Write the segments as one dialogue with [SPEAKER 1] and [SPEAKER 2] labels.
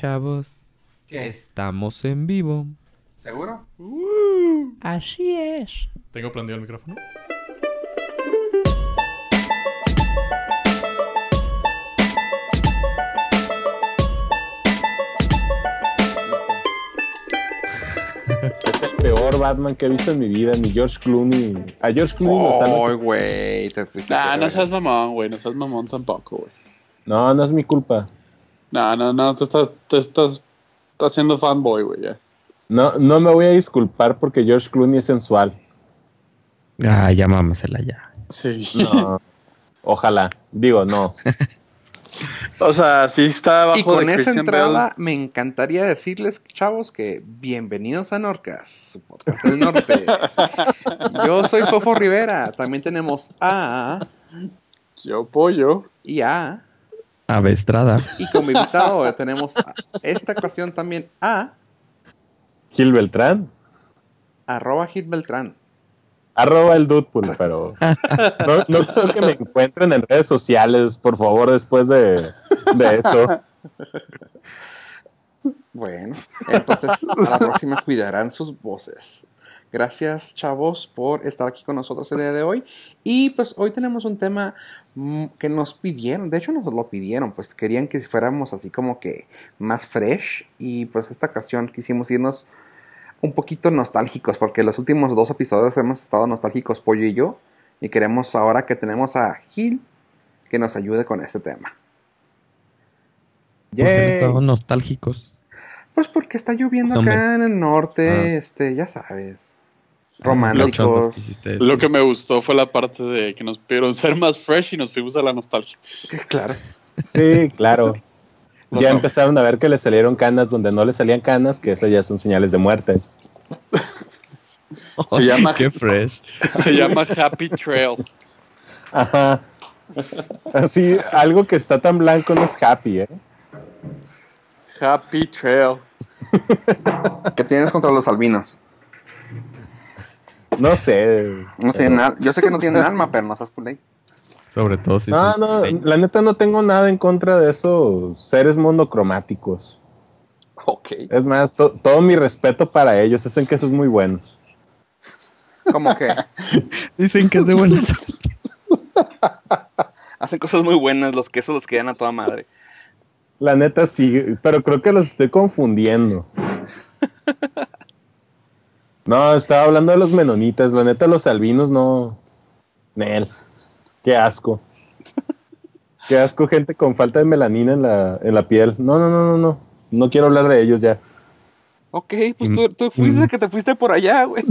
[SPEAKER 1] Pichavos.
[SPEAKER 2] ¿Qué?
[SPEAKER 1] Estamos en vivo.
[SPEAKER 2] ¿Seguro?
[SPEAKER 1] Así es.
[SPEAKER 3] Tengo prendido el micrófono.
[SPEAKER 4] Es el peor Batman que he visto en mi vida, ni George Clooney. A George Clooney lo
[SPEAKER 5] Ay,
[SPEAKER 4] salva.
[SPEAKER 5] güey. te fuiste
[SPEAKER 6] Nah,
[SPEAKER 5] pero,
[SPEAKER 6] no
[SPEAKER 5] güey.
[SPEAKER 6] seas mamón, güey. No seas mamón tampoco, güey.
[SPEAKER 4] No, no es mi culpa.
[SPEAKER 6] No, no, no. Te estás, te estás, estás siendo fanboy, güey. Ya.
[SPEAKER 4] No, no me voy a disculpar porque George Clooney es sensual.
[SPEAKER 7] Ah, ya mámasela ya.
[SPEAKER 6] Sí.
[SPEAKER 4] No. Ojalá. Digo, no.
[SPEAKER 6] O sea, sí está abajo
[SPEAKER 5] Y con
[SPEAKER 6] de
[SPEAKER 5] esa
[SPEAKER 6] Christian
[SPEAKER 5] entrada,
[SPEAKER 6] Bale.
[SPEAKER 5] me encantaría decirles, chavos, que bienvenidos a Norcas, su podcast del norte. Yo soy Fofo Rivera. También tenemos A
[SPEAKER 6] Yo pollo.
[SPEAKER 5] y A.
[SPEAKER 7] Avestrada.
[SPEAKER 5] Y como invitado tenemos a- esta ocasión también a
[SPEAKER 4] Gil Beltrán.
[SPEAKER 5] arroba Gil Beltrán.
[SPEAKER 4] Arroba el Dudpool, pero. No, no creo que me encuentren en redes sociales, por favor, después de, de eso.
[SPEAKER 5] Bueno, entonces a la próxima cuidarán sus voces. Gracias, chavos, por estar aquí con nosotros el día de hoy. Y pues hoy tenemos un tema mm, que nos pidieron, de hecho nos lo pidieron, pues querían que fuéramos así como que más fresh. Y pues esta ocasión quisimos irnos un poquito nostálgicos, porque los últimos dos episodios hemos estado nostálgicos, Pollo y yo. Y queremos ahora que tenemos a Gil que nos ayude con este tema.
[SPEAKER 7] Porque han
[SPEAKER 4] Yay.
[SPEAKER 7] estado nostálgicos.
[SPEAKER 5] Pues porque está lloviendo
[SPEAKER 7] Hombre.
[SPEAKER 5] acá en el norte,
[SPEAKER 7] Ah.
[SPEAKER 5] este, ya sabes.
[SPEAKER 7] Chongos
[SPEAKER 5] Románticos.
[SPEAKER 7] que hiciste decir.
[SPEAKER 6] Lo que me gustó fue la parte de que nos pidieron ser más fresh y nos fuimos a la nostalgia.
[SPEAKER 5] Claro.
[SPEAKER 4] Sí, claro.
[SPEAKER 5] No,
[SPEAKER 4] Ya
[SPEAKER 5] no.
[SPEAKER 4] empezaron a ver que le salieron canas donde no le salían canas, que esas ya son señales de muerte.
[SPEAKER 6] Se llama-
[SPEAKER 7] Qué fresh.
[SPEAKER 6] Se llama Happy Trail.
[SPEAKER 4] Ajá. Así, algo que está tan blanco no es happy, ¿eh?
[SPEAKER 6] Happy Trail.
[SPEAKER 5] ¿Qué tienes contra los albinos?
[SPEAKER 4] No sé.
[SPEAKER 5] No
[SPEAKER 7] Eh.
[SPEAKER 5] tienen al- Yo sé que no tienen alma, pero no seas culé.
[SPEAKER 7] Sobre todo si
[SPEAKER 4] No,
[SPEAKER 7] son-
[SPEAKER 4] no,
[SPEAKER 7] Ey,
[SPEAKER 4] la neta no tengo nada en contra de esos seres monocromáticos.
[SPEAKER 5] Ok.
[SPEAKER 4] Es más, to- todo mi respeto para ellos, es en que son muy buenos.
[SPEAKER 5] Como que
[SPEAKER 7] Dicen que es de buenas.
[SPEAKER 5] hacen cosas muy buenas, los quesos los quedan a toda madre.
[SPEAKER 4] La neta sí, pero creo que los estoy confundiendo. No, estaba hablando de los menonitas, la neta los albinos no. Nel, qué asco. Qué asco, gente con falta de melanina en la, en la piel. No, no, no, no, no. No quiero hablar de ellos ya.
[SPEAKER 5] Ok, pues
[SPEAKER 7] Y-
[SPEAKER 5] tú, tú fuiste
[SPEAKER 7] y-
[SPEAKER 5] que te fuiste por allá, güey.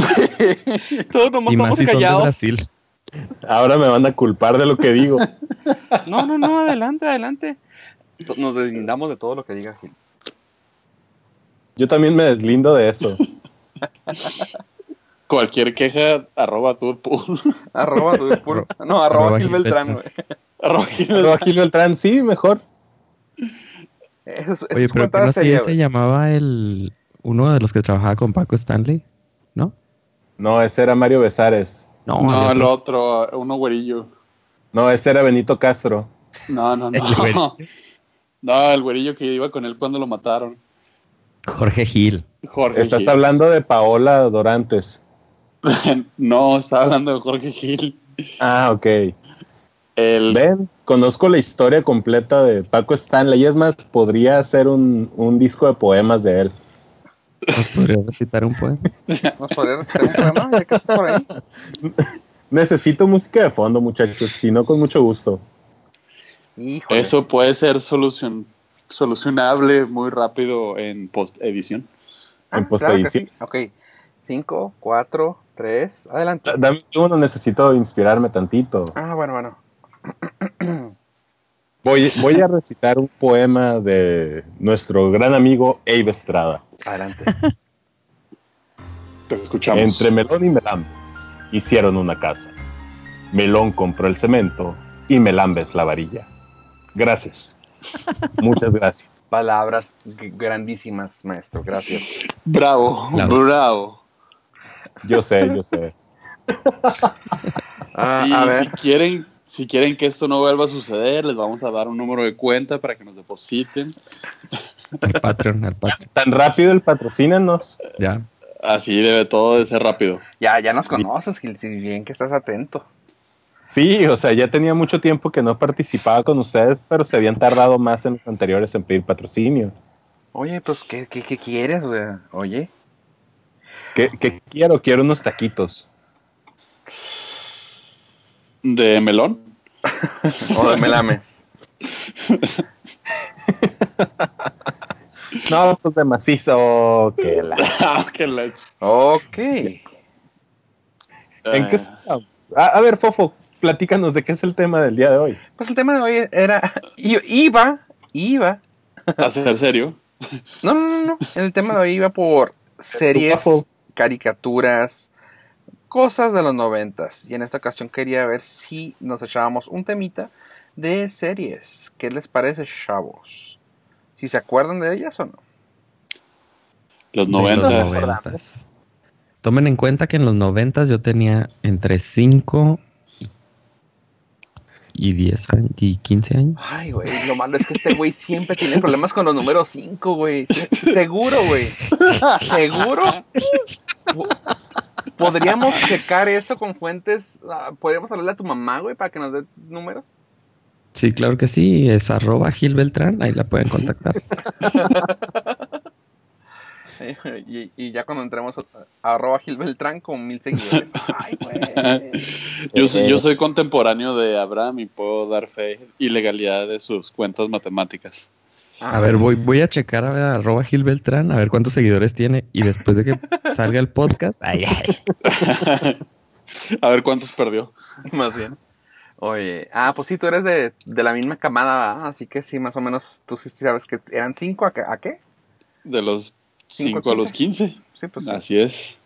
[SPEAKER 5] Todos nomás
[SPEAKER 7] y más
[SPEAKER 5] estamos
[SPEAKER 7] si son de
[SPEAKER 5] callados.
[SPEAKER 7] Brasil.
[SPEAKER 4] Ahora me van a culpar de lo que digo.
[SPEAKER 5] No, no, no, adelante, adelante. To- Nos deslindamos de todo lo que diga Gil.
[SPEAKER 4] Yo también me deslindo de eso.
[SPEAKER 6] Cualquier queja, arroba Dudpool.
[SPEAKER 5] Arroba, Dude Puro. No, arroba
[SPEAKER 7] Arroba
[SPEAKER 5] Gil
[SPEAKER 7] Gil
[SPEAKER 5] Beltrán,
[SPEAKER 7] Beltrán.
[SPEAKER 5] güey.
[SPEAKER 6] Arroba Gil-
[SPEAKER 4] Pero Gil Beltrán, sí, mejor.
[SPEAKER 5] Esa es, esa
[SPEAKER 7] Oye,
[SPEAKER 5] es
[SPEAKER 7] pero que
[SPEAKER 5] cuenta
[SPEAKER 7] no sé,
[SPEAKER 5] seria,
[SPEAKER 7] ya se
[SPEAKER 5] güey.
[SPEAKER 7] llamaba el uno de los que trabajaba con Paco Stanley, ¿no?
[SPEAKER 4] No, ese era Mario Besares.
[SPEAKER 7] No, había
[SPEAKER 6] No, el
[SPEAKER 7] otro.
[SPEAKER 6] otro, uno güerillo.
[SPEAKER 4] No, ese era Benito Castro.
[SPEAKER 6] No, no,
[SPEAKER 7] El
[SPEAKER 6] no.
[SPEAKER 7] güerillo.
[SPEAKER 6] No, el güerillo que iba con él cuando lo mataron.
[SPEAKER 7] Jorge Gil.
[SPEAKER 6] Jorge.
[SPEAKER 4] Estás
[SPEAKER 6] Gil.
[SPEAKER 4] hablando de Paola Dorantes.
[SPEAKER 6] No, estaba hablando de Jorge Gil.
[SPEAKER 4] Ah, ok.
[SPEAKER 6] El
[SPEAKER 4] Ven, conozco la historia completa de Paco Stanley. Y es más, podría hacer un, un disco de poemas de él.
[SPEAKER 7] ¿Nos podría recitar un poema?
[SPEAKER 5] Nos podría recitar un poema, este ya que estás por ahí.
[SPEAKER 4] Necesito música de fondo, muchachos. Si no, con mucho gusto.
[SPEAKER 5] Híjole.
[SPEAKER 6] Eso puede ser solución, solucionable muy rápido en postedición.
[SPEAKER 5] Ah,
[SPEAKER 4] en
[SPEAKER 5] claro que
[SPEAKER 4] postedición.
[SPEAKER 5] sí. Ok. 5, 4, 3, adelante.
[SPEAKER 4] Da- Dame un segundo, necesito inspirarme tantito.
[SPEAKER 5] Ah, bueno, bueno.
[SPEAKER 4] Voy, voy a recitar un poema de nuestro gran amigo Abe Estrada.
[SPEAKER 5] Adelante.
[SPEAKER 6] Te escuchamos.
[SPEAKER 4] Entre Melón y Melambe hicieron una casa. Melón compró el cemento y Melambes la varilla. Gracias. Muchas gracias.
[SPEAKER 5] Palabras g- grandísimas, maestro. Gracias.
[SPEAKER 6] Bravo,
[SPEAKER 7] Claro.
[SPEAKER 6] bravo.
[SPEAKER 4] Yo sé, yo sé.
[SPEAKER 5] Ah,
[SPEAKER 6] y
[SPEAKER 5] a
[SPEAKER 6] si
[SPEAKER 5] ver.
[SPEAKER 6] quieren, si quieren que esto no vuelva a suceder, les vamos a dar un número de cuenta para que nos depositen.
[SPEAKER 7] Al Patreon, al Patreon.
[SPEAKER 4] Tan rápido el patrocínanos.
[SPEAKER 7] Ya.
[SPEAKER 6] Así debe todo de ser rápido.
[SPEAKER 5] Ya, ya nos conoces, Gil, si bien que estás atento.
[SPEAKER 4] Sí, o sea, ya tenía mucho tiempo que no participaba con ustedes, pero se habían tardado más en los anteriores en pedir patrocinio.
[SPEAKER 5] Oye, pues, ¿qué, qué, qué quieres? O sea, oye.
[SPEAKER 4] ¿Qué, qué quiero? Quiero unos taquitos.
[SPEAKER 6] ¿De melón?
[SPEAKER 5] O de melames.
[SPEAKER 4] No, pues de macizo. que la-
[SPEAKER 6] Ah, qué la ch-
[SPEAKER 5] Ok.
[SPEAKER 4] ¿En qué
[SPEAKER 6] Ah.
[SPEAKER 4] estamos? A, a ver, Fofo, platícanos de qué es el tema del día de hoy.
[SPEAKER 5] Pues el tema de hoy era. i- Iba, iba.
[SPEAKER 6] ¿A ser serio?
[SPEAKER 5] No, no, no, no. El tema de hoy iba por series,
[SPEAKER 4] Guapo.
[SPEAKER 5] caricaturas, cosas de los noventas. Y en esta ocasión quería ver si nos echábamos un temita de series. ¿Qué les parece, chavos? Si se acuerdan de ellas o no.
[SPEAKER 6] Los
[SPEAKER 7] De
[SPEAKER 6] 90.
[SPEAKER 7] los noventas. Tomen en cuenta que en los noventas yo tenía entre 5 y 10 años, y 15 años.
[SPEAKER 5] Ay, güey, lo malo es que este güey siempre tiene problemas con los números 5, güey. Se- Seguro, güey. Seguro. Po- Podríamos checar eso con fuentes. ah, Podríamos hablarle a tu mamá, güey, para que nos dé números.
[SPEAKER 7] Sí, claro que sí, es arroba Gil Beltrán, ahí la pueden contactar.
[SPEAKER 5] Y, y ya cuando entremos a arroba Gil Beltrán con mil seguidores. Ay, pues. güey.
[SPEAKER 6] Yo, soy-
[SPEAKER 4] eh.
[SPEAKER 6] yo soy contemporáneo de Abraham y puedo dar fe y legalidad de sus cuentas matemáticas.
[SPEAKER 7] A ver, voy, voy a checar a ver, arroba Gil Beltrán, a ver cuántos seguidores tiene y después de que salga el podcast, ay, ay,
[SPEAKER 6] A ver cuántos perdió.
[SPEAKER 5] Más bien. Oye, ah, pues sí, tú eres de, de la misma camada, ¿verdad? así que sí, más o menos tú sí sabes que eran cinco a, qué- a qué.
[SPEAKER 6] De los
[SPEAKER 5] Cinco a
[SPEAKER 6] 5 a los 15.
[SPEAKER 5] Sí, pues sí.
[SPEAKER 6] Así es.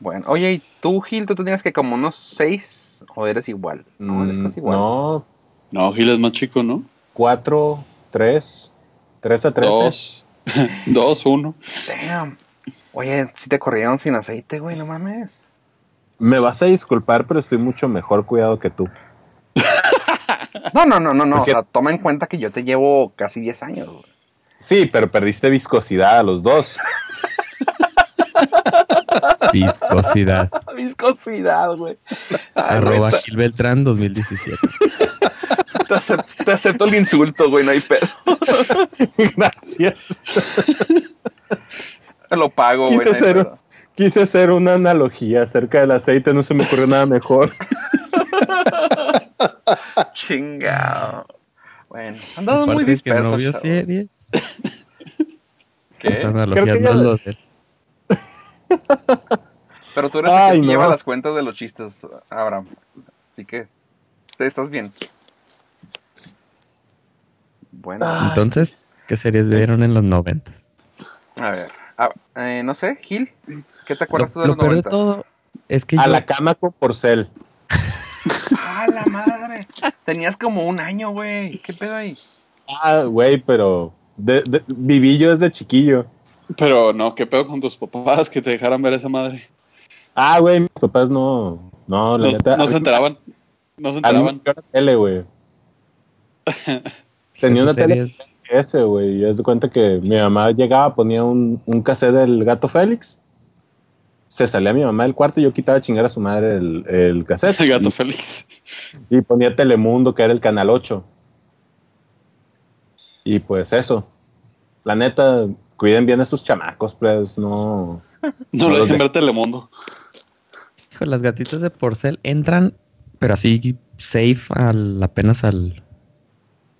[SPEAKER 5] Bueno, oye, ¿y tú, Gil, tú tenías que como unos seis o eres igual? No, eres casi
[SPEAKER 4] Mm,
[SPEAKER 5] igual.
[SPEAKER 4] No,
[SPEAKER 6] No, Gil es más chico, ¿no?
[SPEAKER 4] cuatro, tres, tres a tres.
[SPEAKER 6] Dos. Dos, uno.
[SPEAKER 5] Damn. Oye, si te corrieron sin aceite, güey, no mames.
[SPEAKER 4] Me vas a disculpar, pero estoy mucho mejor cuidado que tú.
[SPEAKER 5] No, no, no, no, no.
[SPEAKER 4] Por
[SPEAKER 5] O sea, toma en cuenta que yo te llevo casi 10 años, güey.
[SPEAKER 4] Sí, pero perdiste viscosidad a los dos.
[SPEAKER 7] viscosidad.
[SPEAKER 5] Viscosidad, güey. Ay, güey,
[SPEAKER 7] Arroba
[SPEAKER 5] te-
[SPEAKER 7] Gil Beltrán 2017.
[SPEAKER 5] te, acep- te acepto el insulto, güey, no hay pedo.
[SPEAKER 4] Gracias.
[SPEAKER 5] Te lo pago, güey, no hay
[SPEAKER 4] Quise hacer,
[SPEAKER 5] pedo.
[SPEAKER 4] quise hacer una analogía acerca del aceite, no se me ocurrió nada mejor.
[SPEAKER 5] Chingado. Bueno, han dado muy
[SPEAKER 7] Aparte de que
[SPEAKER 5] dispersos.
[SPEAKER 7] no vio
[SPEAKER 5] chavos.
[SPEAKER 7] series,
[SPEAKER 5] ¿Qué?
[SPEAKER 7] esa analogía
[SPEAKER 4] Creo que ya
[SPEAKER 7] no
[SPEAKER 4] lo-
[SPEAKER 7] lo sé.
[SPEAKER 5] Pero tú eres el que
[SPEAKER 4] Ay,
[SPEAKER 5] te
[SPEAKER 4] no.
[SPEAKER 5] lleva las cuentas de los chistes, Abraham. Así que, te estás bien. Bueno,
[SPEAKER 4] Ah.
[SPEAKER 7] Entonces, ¿qué series vieron en los noventas?
[SPEAKER 5] a ver. a- eh, no sé, Gil, ¿qué te acuerdas
[SPEAKER 7] Lo-
[SPEAKER 5] tú de
[SPEAKER 7] lo
[SPEAKER 5] los
[SPEAKER 7] peor de
[SPEAKER 5] noventas?
[SPEAKER 7] todo es que
[SPEAKER 4] A
[SPEAKER 7] yo-
[SPEAKER 4] la cama con porcel.
[SPEAKER 5] ¡Ah, la madre! Tenías como un año, güey. ¿Qué pedo ahí?
[SPEAKER 4] Ah, güey, pero de- de- viví yo desde chiquillo.
[SPEAKER 6] Pero no, ¿qué pedo con tus papás que te dejaran ver esa madre?
[SPEAKER 4] Ah, güey, mis papás no. No, la
[SPEAKER 6] No,
[SPEAKER 4] neta.
[SPEAKER 6] no
[SPEAKER 4] a
[SPEAKER 6] se
[SPEAKER 4] mí-
[SPEAKER 6] enteraban. No se
[SPEAKER 4] a mí me
[SPEAKER 6] enteraban.
[SPEAKER 4] dio la tele, güey. Tenía una
[SPEAKER 7] esas
[SPEAKER 4] tele
[SPEAKER 7] series-
[SPEAKER 4] ese, güey. Y haz de cuenta que mi mamá llegaba, ponía un, un cassette del gato Félix. Se salía mi mamá del cuarto y yo quitaba a chingar a su madre el, el cassette.
[SPEAKER 6] El gato Félix.
[SPEAKER 4] Y ponía Telemundo, que era el canal 8. Y pues eso. La neta, cuiden bien a sus chamacos, pues no.
[SPEAKER 6] No
[SPEAKER 4] No
[SPEAKER 6] lo
[SPEAKER 4] los
[SPEAKER 6] dejen
[SPEAKER 4] de-
[SPEAKER 6] ver Telemundo.
[SPEAKER 7] Hijo, las gatitas de porcel entran, pero así safe al, apenas al,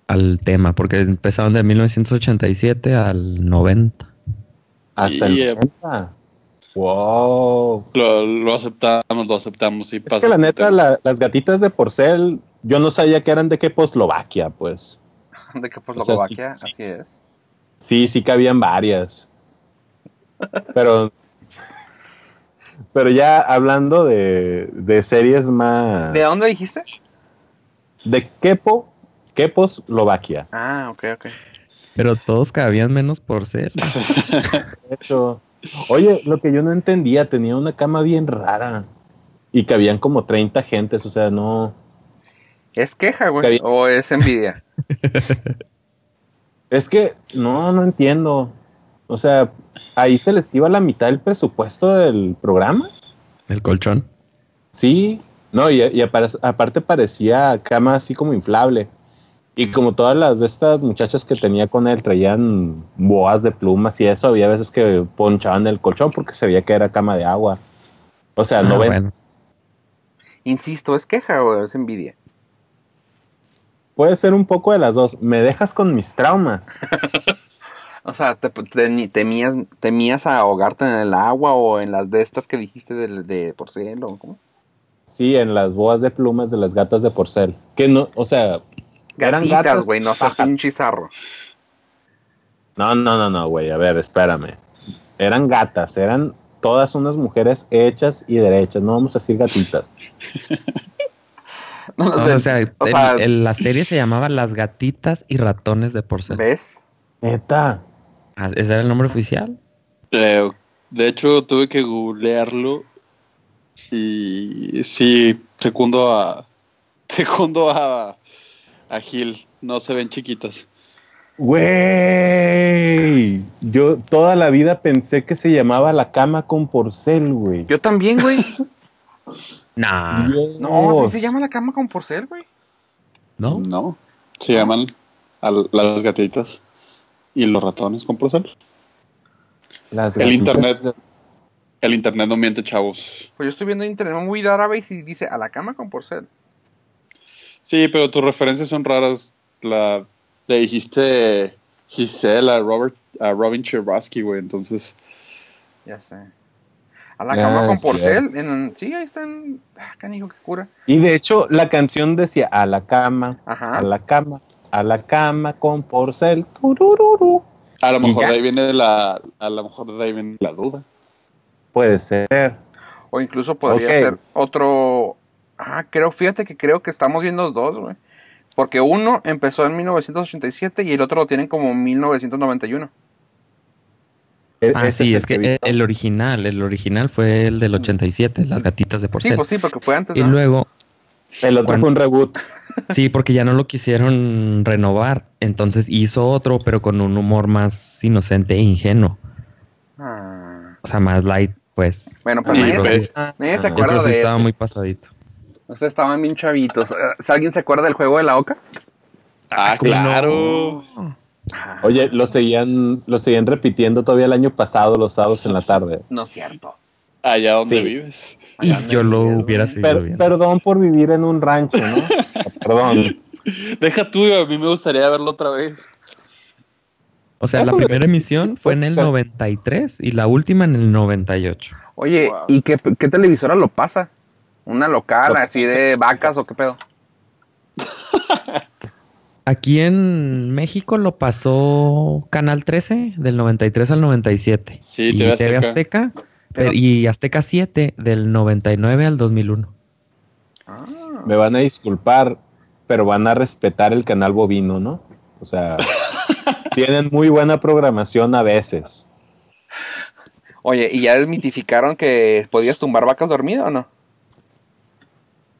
[SPEAKER 7] al tema, porque empezaron de 1987 al 90.
[SPEAKER 4] Hasta
[SPEAKER 6] Y,
[SPEAKER 4] el.
[SPEAKER 6] eh,
[SPEAKER 4] 90. Wow.
[SPEAKER 6] Lo, lo aceptamos, lo aceptamos. Y
[SPEAKER 4] Es que la neta, la- las gatitas de porcel, yo no sabía que eran de qué Poslovaquia, pues.
[SPEAKER 5] De que pues
[SPEAKER 4] O sea,
[SPEAKER 5] Locovaquia,
[SPEAKER 4] sí, sí.
[SPEAKER 5] así es.
[SPEAKER 4] Sí, sí que habían varias. Pero. Pero ya hablando de, de series más.
[SPEAKER 5] ¿De dónde dijiste?
[SPEAKER 4] De Kepo, Keposlovaquia.
[SPEAKER 5] Ah, ok, ok.
[SPEAKER 7] Pero todos cabían menos porcel.
[SPEAKER 4] De hecho, Oye, lo que yo no entendía, tenía una cama bien rara. Y cabían como 30 gentes, o sea, no.
[SPEAKER 5] ¿Es queja,
[SPEAKER 4] Está
[SPEAKER 5] güey?
[SPEAKER 4] bien.
[SPEAKER 5] ¿O es envidia?
[SPEAKER 4] Es que no, no entiendo. O sea, ahí se les iba la mitad del presupuesto del programa.
[SPEAKER 7] El colchón.
[SPEAKER 4] Sí, no, y, y apar- aparte parecía cama así como inflable. Y como todas las de estas muchachas que tenía con él traían boas de plumas y eso, había veces que ponchaban el colchón porque se veía que era cama de agua. O sea,
[SPEAKER 7] Ah,
[SPEAKER 4] no ven.
[SPEAKER 7] bueno.
[SPEAKER 5] Insisto, es queja o es envidia.
[SPEAKER 4] Puede ser un poco de las dos. Me dejas con mis traumas.
[SPEAKER 5] O sea, te, te- ni- temías, temías ahogarte en el agua o en las de estas que dijiste de, de porcel o cómo.
[SPEAKER 4] Sí, en las boas de plumas de las gatas de porcel. Que no, o sea, Eran
[SPEAKER 5] Gatitas,
[SPEAKER 4] gatas.
[SPEAKER 5] güey, no seas
[SPEAKER 4] Ajá.
[SPEAKER 5] pinche zarro.
[SPEAKER 4] No, no, no, no, güey, a ver, espérame. Eran gatas, eran todas unas mujeres hechas y derechas, no vamos a decir gatitas.
[SPEAKER 5] No,
[SPEAKER 7] No,
[SPEAKER 5] de-
[SPEAKER 7] o sea,
[SPEAKER 5] o
[SPEAKER 7] el-
[SPEAKER 5] sea-
[SPEAKER 7] el- la serie se llamaba Las gatitas y ratones de porcel.
[SPEAKER 5] ¿Ves?
[SPEAKER 4] Neta.
[SPEAKER 7] Ah, ¿Ese era el nombre oficial?
[SPEAKER 6] Eh, de hecho, tuve que googlearlo y sí, secundo a. Secundo a. A Gil. No se ven chiquitas.
[SPEAKER 4] Güey, yo toda la vida pensé que se llamaba la cama con porcel, güey.
[SPEAKER 5] Yo también, güey.
[SPEAKER 7] Nah.
[SPEAKER 4] Dios.
[SPEAKER 5] No, sí se llama la cama con porcel, güey.
[SPEAKER 7] ¿No?
[SPEAKER 6] No. Se llaman a las gatitas y los ratones con porcel.
[SPEAKER 4] Las
[SPEAKER 6] El
[SPEAKER 4] gatitas-
[SPEAKER 6] internet. El internet no miente, chavos.
[SPEAKER 5] Pues yo estoy viendo en internet un video árabe y sí dice a la cama con porcel.
[SPEAKER 6] Sí, pero tus referencias son raras. La, le dijiste Gisela, Robert, a Robin Cherbatsky, güey. Entonces,
[SPEAKER 5] Ya sé. A la
[SPEAKER 4] Ya,
[SPEAKER 5] cama con
[SPEAKER 4] sí.
[SPEAKER 5] porcel. En, sí, ahí están. Ah, canijo, qué cura.
[SPEAKER 4] Y de hecho, la canción decía a la cama,
[SPEAKER 5] Ajá.
[SPEAKER 4] a la cama, a la cama con porcel. Turururu.
[SPEAKER 6] a lo
[SPEAKER 4] ¿Y
[SPEAKER 6] mejor
[SPEAKER 4] ya?
[SPEAKER 6] de ahí viene la, a lo mejor de ahí viene la duda.
[SPEAKER 4] Puede ser.
[SPEAKER 5] O incluso podría
[SPEAKER 4] Ok.
[SPEAKER 5] ser otro. Ah, creo, fíjate que creo que estamos viendo los dos, güey. Porque uno empezó en 1987 y el otro lo tienen como 1991.
[SPEAKER 4] E-
[SPEAKER 7] Ah,
[SPEAKER 4] ese
[SPEAKER 7] sí, es
[SPEAKER 4] el
[SPEAKER 7] que
[SPEAKER 4] vi.
[SPEAKER 7] el, el original, el original fue el del 87, Las gatitas de
[SPEAKER 5] Sí,
[SPEAKER 7] porcel.
[SPEAKER 5] pues sí, porque fue antes.
[SPEAKER 7] y
[SPEAKER 5] ¿no?
[SPEAKER 7] luego,
[SPEAKER 4] el otro fue un reboot.
[SPEAKER 7] sí, porque ya no lo quisieron renovar, entonces hizo otro, pero con un humor más inocente e ingenuo,
[SPEAKER 5] Ah.
[SPEAKER 7] o sea, más light, pues.
[SPEAKER 5] Bueno, pero
[SPEAKER 6] Sí,
[SPEAKER 5] nadie,
[SPEAKER 6] pues.
[SPEAKER 5] se, nadie se
[SPEAKER 4] Ah,
[SPEAKER 7] Yo creo
[SPEAKER 5] acuerda
[SPEAKER 7] que sí
[SPEAKER 5] de
[SPEAKER 7] estaba
[SPEAKER 5] eso.
[SPEAKER 7] muy pasadito.
[SPEAKER 5] O sea, estaban bien chavitos. Eh, ¿si ¿Alguien se acuerda del juego de la oca?
[SPEAKER 6] Ah,
[SPEAKER 7] ¿cómo
[SPEAKER 6] claro.
[SPEAKER 7] no?
[SPEAKER 4] Oye, lo seguían, lo seguían repitiendo todavía el año pasado, los sábados en la tarde.
[SPEAKER 5] No es cierto.
[SPEAKER 6] Allá donde
[SPEAKER 4] Sí.
[SPEAKER 6] vives.
[SPEAKER 7] Y
[SPEAKER 5] Ay,
[SPEAKER 7] yo lo
[SPEAKER 5] Dios,
[SPEAKER 7] hubiera
[SPEAKER 5] güey.
[SPEAKER 7] seguido
[SPEAKER 4] Per-
[SPEAKER 7] viendo.
[SPEAKER 4] perdón por vivir en un rancho, ¿no? Perdón.
[SPEAKER 6] Deja tú, a mí me gustaría verlo otra vez.
[SPEAKER 7] O
[SPEAKER 6] Ah,
[SPEAKER 7] sea, la
[SPEAKER 4] Eso me-
[SPEAKER 7] primera emisión fue en el 93 y la última en el 98.
[SPEAKER 5] Oye,
[SPEAKER 6] Wow.
[SPEAKER 5] ¿y qué, qué televisora lo pasa? ¿Una local así de vacas o qué pedo?
[SPEAKER 7] Aquí en México lo pasó Canal 13 del 93 al 97.
[SPEAKER 6] Sí,
[SPEAKER 7] y
[SPEAKER 6] TV Azteca.
[SPEAKER 7] TV Azteca
[SPEAKER 5] Pero-
[SPEAKER 7] per- y Azteca 7 del 99 al 2001.
[SPEAKER 5] Ah.
[SPEAKER 4] Me van a disculpar, pero van a respetar el canal bovino, ¿no? O sea, tienen muy buena programación a veces.
[SPEAKER 5] Oye, ¿y ya desmitificaron que podías tumbar vacas dormido o no?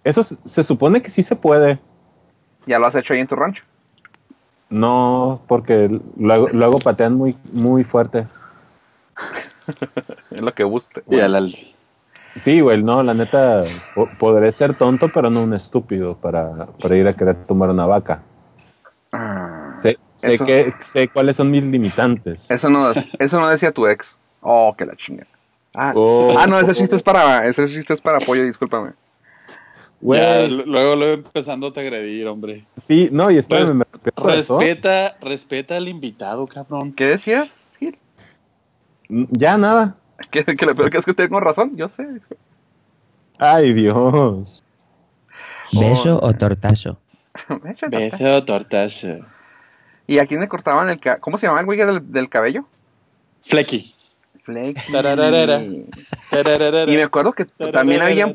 [SPEAKER 4] Eso se, se supone que sí se puede.
[SPEAKER 5] ¿Ya lo has hecho ahí en tu rancho?
[SPEAKER 4] No, porque luego, luego patean muy, muy fuerte.
[SPEAKER 5] Es lo que guste.
[SPEAKER 6] Y
[SPEAKER 5] Bueno,
[SPEAKER 6] al, al-
[SPEAKER 4] Sí, güey, no, la neta, po- podré ser tonto, pero no un estúpido para, para ir a querer tomar una vaca.
[SPEAKER 5] Ah,
[SPEAKER 4] Sé, sé,
[SPEAKER 5] Eso.
[SPEAKER 4] que, sé cuáles son mis limitantes.
[SPEAKER 5] eso, no, eso no decía tu ex. Oh, que la chinga. Ah,
[SPEAKER 4] Oh.
[SPEAKER 5] ah, no, ese chiste es para, ese chiste es para apoyo, discúlpame.
[SPEAKER 4] Güey,
[SPEAKER 6] ya, l- luego, luego empezando a te agredir, hombre.
[SPEAKER 4] sí, no, y espérame, me arrepiento de eso.
[SPEAKER 6] Respeta, respeta al invitado, cabrón.
[SPEAKER 5] ¿Qué decías, Gil?
[SPEAKER 4] Ya nada.
[SPEAKER 5] Que, que lo peor que es que tengo razón, yo sé. discul-
[SPEAKER 4] Ay, Dios.
[SPEAKER 6] Oh.
[SPEAKER 7] ¿Beso o tortazo?
[SPEAKER 5] Me echa la cara.
[SPEAKER 6] Beso, tortazo.
[SPEAKER 5] ¿Y a quién le cortaban el cabello? ¿Cómo se llamaba el güey del, del cabello?
[SPEAKER 6] Flecky.
[SPEAKER 5] Flake.
[SPEAKER 6] Tarararara.
[SPEAKER 5] Y me acuerdo que también había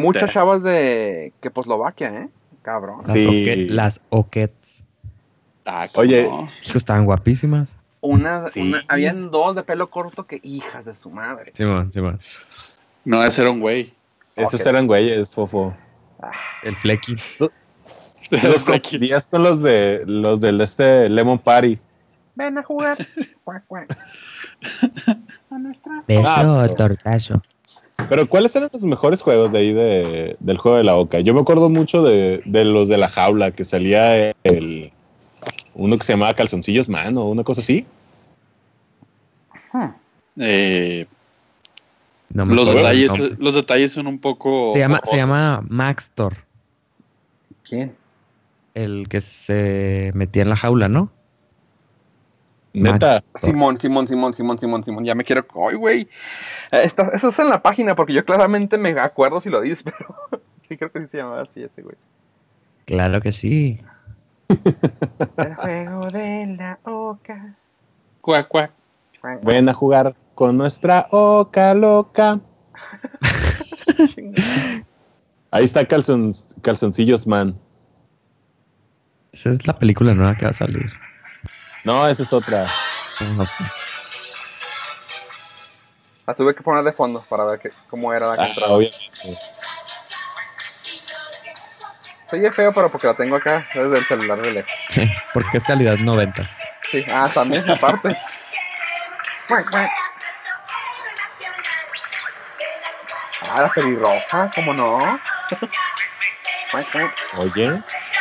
[SPEAKER 5] muchas chavas de que Poslovaquia, ¿eh? Cabrón.
[SPEAKER 7] Las,
[SPEAKER 4] Sí.
[SPEAKER 7] oque- las oquets.
[SPEAKER 6] Ah,
[SPEAKER 4] Oye.
[SPEAKER 6] Oye.
[SPEAKER 7] Hijo, estaban guapísimas.
[SPEAKER 5] Una,
[SPEAKER 4] Sí.
[SPEAKER 5] una- habían dos de pelo corto que hijas de su madre.
[SPEAKER 7] Simón, Simón.
[SPEAKER 6] No, ese era un güey.
[SPEAKER 4] Esos
[SPEAKER 5] Ok.
[SPEAKER 4] eran güeyes, fofo.
[SPEAKER 7] El flequi.
[SPEAKER 4] Yo Los confundías con los de los del este Lemon Party.
[SPEAKER 5] Ven a jugar. Cuac, cuac. A nuestra.
[SPEAKER 7] Beso
[SPEAKER 4] Ah,
[SPEAKER 7] o tortazo.
[SPEAKER 4] Pero ¿cuáles eran los mejores juegos de ahí de- del juego de la Oca? Yo me acuerdo mucho de, de los de la jaula, que salía el uno que se llamaba Calzoncillos Mano, una cosa así.
[SPEAKER 5] Hmm.
[SPEAKER 6] Eh,
[SPEAKER 7] No me
[SPEAKER 6] los,
[SPEAKER 7] acuerdo del
[SPEAKER 6] detalles, eh,
[SPEAKER 7] nombre.
[SPEAKER 6] los detalles son un poco.
[SPEAKER 7] Se llama, se
[SPEAKER 6] borrosos.
[SPEAKER 7] llama Maxtor,
[SPEAKER 5] ¿Quién?
[SPEAKER 7] el que se metía en la jaula, ¿no?
[SPEAKER 4] Neta.
[SPEAKER 5] Simón, Simón, Simón, Simón, Simón, Simón. Ya me quiero. ¡Ay, güey! Eh, está- Eso es en la página porque yo claramente me acuerdo si lo dices, pero sí creo que sí se llamaba así ese güey.
[SPEAKER 7] Claro que sí.
[SPEAKER 5] El juego de la oca.
[SPEAKER 6] Cuac, cuac.
[SPEAKER 5] Cuac, cuac.
[SPEAKER 4] Ven a jugar con nuestra Oca loca. Ahí está calzon, Calzoncillos Man.
[SPEAKER 7] Esa es la película nueva que va a salir.
[SPEAKER 4] No, esa es otra.
[SPEAKER 7] Ah, ok.
[SPEAKER 5] La tuve que poner de fondo para ver que- cómo era la que
[SPEAKER 4] Ah,
[SPEAKER 5] entraba.
[SPEAKER 4] obviamente.
[SPEAKER 5] Se oye feo, pero porque la tengo acá desde el celular de lejos.
[SPEAKER 7] Porque es calidad noventas.
[SPEAKER 5] Sí, ah, también, aparte. Cuac, cuac. Ah, la pelirroja, ¿cómo no? Cuac, cuac.
[SPEAKER 4] Oye.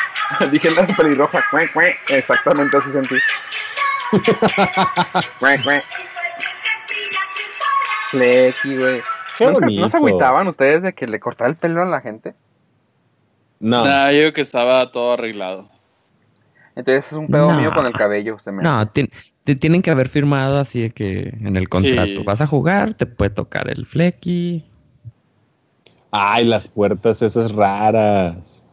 [SPEAKER 5] Dije la pelirroja, cuac, cuac. Exactamente así sentí. Cuac, cuac. Flecky, güey.
[SPEAKER 4] Qué
[SPEAKER 5] ¿Nunca- ¿No
[SPEAKER 4] bonito.
[SPEAKER 5] se agüitaban ustedes de que le cortaba el pelo a la gente?
[SPEAKER 4] No.
[SPEAKER 6] Nah, yo creo que estaba todo arreglado.
[SPEAKER 5] Entonces es un pedo
[SPEAKER 7] No.
[SPEAKER 5] mío con el cabello, se me hace.
[SPEAKER 7] No, ti- te tienen que haber firmado así de que en el contrato.
[SPEAKER 6] Sí.
[SPEAKER 7] Vas a jugar, te puede tocar el flequi.
[SPEAKER 4] Ay, las puertas esas raras.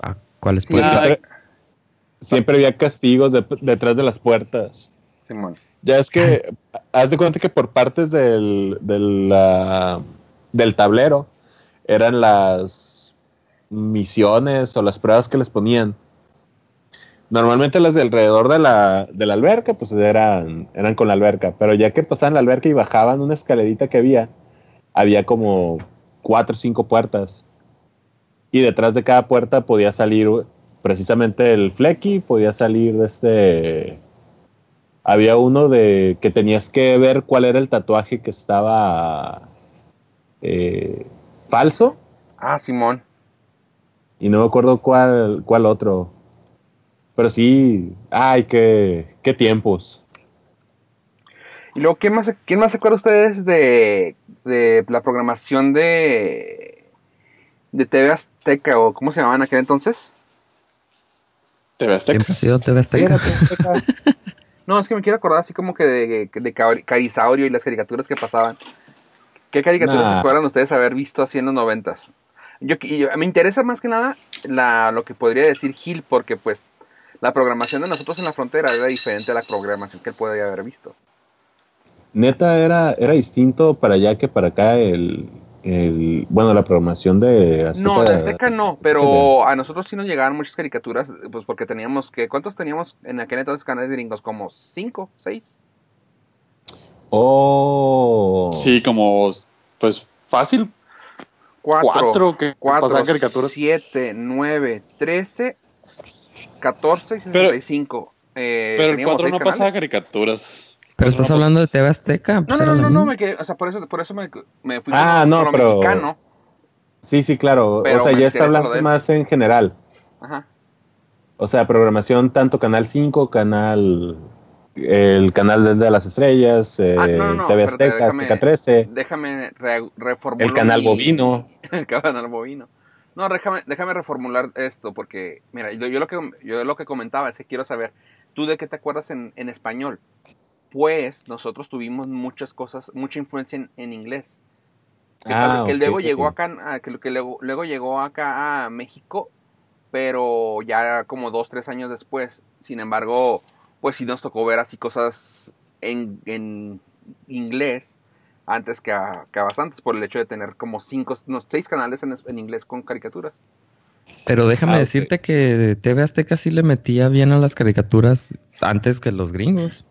[SPEAKER 7] Ah, ¿Cuáles
[SPEAKER 5] Sí.
[SPEAKER 7] puertas?
[SPEAKER 6] Nah,
[SPEAKER 4] Siempre, siempre había castigos de- detrás de las puertas.
[SPEAKER 5] Simón.
[SPEAKER 4] Ya es que, haz de cuenta que por partes del, del, ah, del tablero eran las misiones o las pruebas que les ponían. Normalmente las de alrededor de la, de la alberca, pues eran, eran con la alberca, pero ya que pasaban la alberca y bajaban una escalerita que había, había como cuatro o cinco puertas. Y detrás de cada puerta podía salir precisamente el flequi, podía salir de este había uno de que tenías que ver cuál era el tatuaje que estaba eh, falso
[SPEAKER 5] Ah, Simón.
[SPEAKER 4] y no me acuerdo cuál cuál otro pero sí ay qué qué tiempos
[SPEAKER 5] Y luego, ¿quién más, quién más se acuerda ustedes de, de la programación de, de TV Azteca o cómo se llamaban aquel entonces?
[SPEAKER 6] Te ves
[SPEAKER 7] Siempre ha sido TV Azteca.
[SPEAKER 5] pues, No, es que me quiero acordar así como que de, de Cari- Carisaurio y las caricaturas que pasaban. ¿Qué caricaturas
[SPEAKER 4] Nah.
[SPEAKER 5] se acuerdan ustedes haber visto así en los noventas? Yo, qui- yo- me interesa más que nada la, lo que podría decir Gil, porque pues la programación de nosotros en la frontera era diferente a la programación que él podría haber visto.
[SPEAKER 4] neta era era distinto para allá que para acá el, el- bueno la programación de Azteca-
[SPEAKER 5] No, de Azteca no, pero a nosotros sí nos llegaban muchas caricaturas, pues porque teníamos que, ¿cuántos teníamos en aquel entonces canales gringos? ¿Como cinco, seis?
[SPEAKER 4] oh
[SPEAKER 6] Sí, como, pues fácil.
[SPEAKER 5] Cuatro, cuatro,
[SPEAKER 6] Cuatro, que pasaban caricaturas.
[SPEAKER 5] siete, nueve, trece, catorce y
[SPEAKER 6] Pero-
[SPEAKER 5] sesenta y cinco. Eh,
[SPEAKER 6] Pero el
[SPEAKER 5] teníamos
[SPEAKER 6] cuatro
[SPEAKER 5] seis
[SPEAKER 6] no
[SPEAKER 5] canales.
[SPEAKER 6] pasaba caricaturas.
[SPEAKER 7] Pero estás
[SPEAKER 6] Pues No,
[SPEAKER 7] hablando de TV Azteca.
[SPEAKER 5] No,
[SPEAKER 7] pues
[SPEAKER 5] no,
[SPEAKER 7] era lo
[SPEAKER 5] no, no, no,
[SPEAKER 7] mismo.
[SPEAKER 5] me quedé, o sea, por eso, por eso me, me fui
[SPEAKER 4] Ah,
[SPEAKER 5] con-
[SPEAKER 4] no,
[SPEAKER 5] con lo
[SPEAKER 4] pero-
[SPEAKER 5] mexicano.
[SPEAKER 4] sí sí claro
[SPEAKER 5] Pero
[SPEAKER 4] o sea
[SPEAKER 5] me
[SPEAKER 4] ya
[SPEAKER 5] interesa
[SPEAKER 4] está
[SPEAKER 5] lo
[SPEAKER 4] hablando
[SPEAKER 5] de él.
[SPEAKER 4] más en general
[SPEAKER 5] Ajá.
[SPEAKER 4] O sea, programación tanto Canal 5, Canal. El canal de- de las estrellas, eh,
[SPEAKER 5] Ah, no, no, no,
[SPEAKER 4] TV
[SPEAKER 5] espérate,
[SPEAKER 4] Azteca,
[SPEAKER 5] déjame-
[SPEAKER 4] Azteca 13,
[SPEAKER 5] Déjame re- reformular.
[SPEAKER 4] el canal
[SPEAKER 5] mi-
[SPEAKER 4] bovino.
[SPEAKER 5] el canal bovino. No, déjame, déjame reformular esto, porque, mira, yo, yo lo que, yo lo que comentaba es que quiero saber, ¿tú de qué te acuerdas en, en español? Pues nosotros tuvimos muchas cosas, mucha influencia en, en inglés. Que, tal-
[SPEAKER 4] Ah,
[SPEAKER 5] que
[SPEAKER 4] ok,
[SPEAKER 5] luego
[SPEAKER 4] ok.
[SPEAKER 5] llegó acá, a- que, lo- que luego, luego llegó acá a México, pero ya como dos, tres años después. Sin embargo, pues sí nos tocó ver así cosas en, en inglés antes que a, que a bastantes por el hecho de tener como cinco, no, seis canales en, es- en inglés con caricaturas.
[SPEAKER 7] Pero déjame
[SPEAKER 4] Ah, ok.
[SPEAKER 7] decirte que TV Azteca sí le metía bien a las caricaturas antes que los gringos.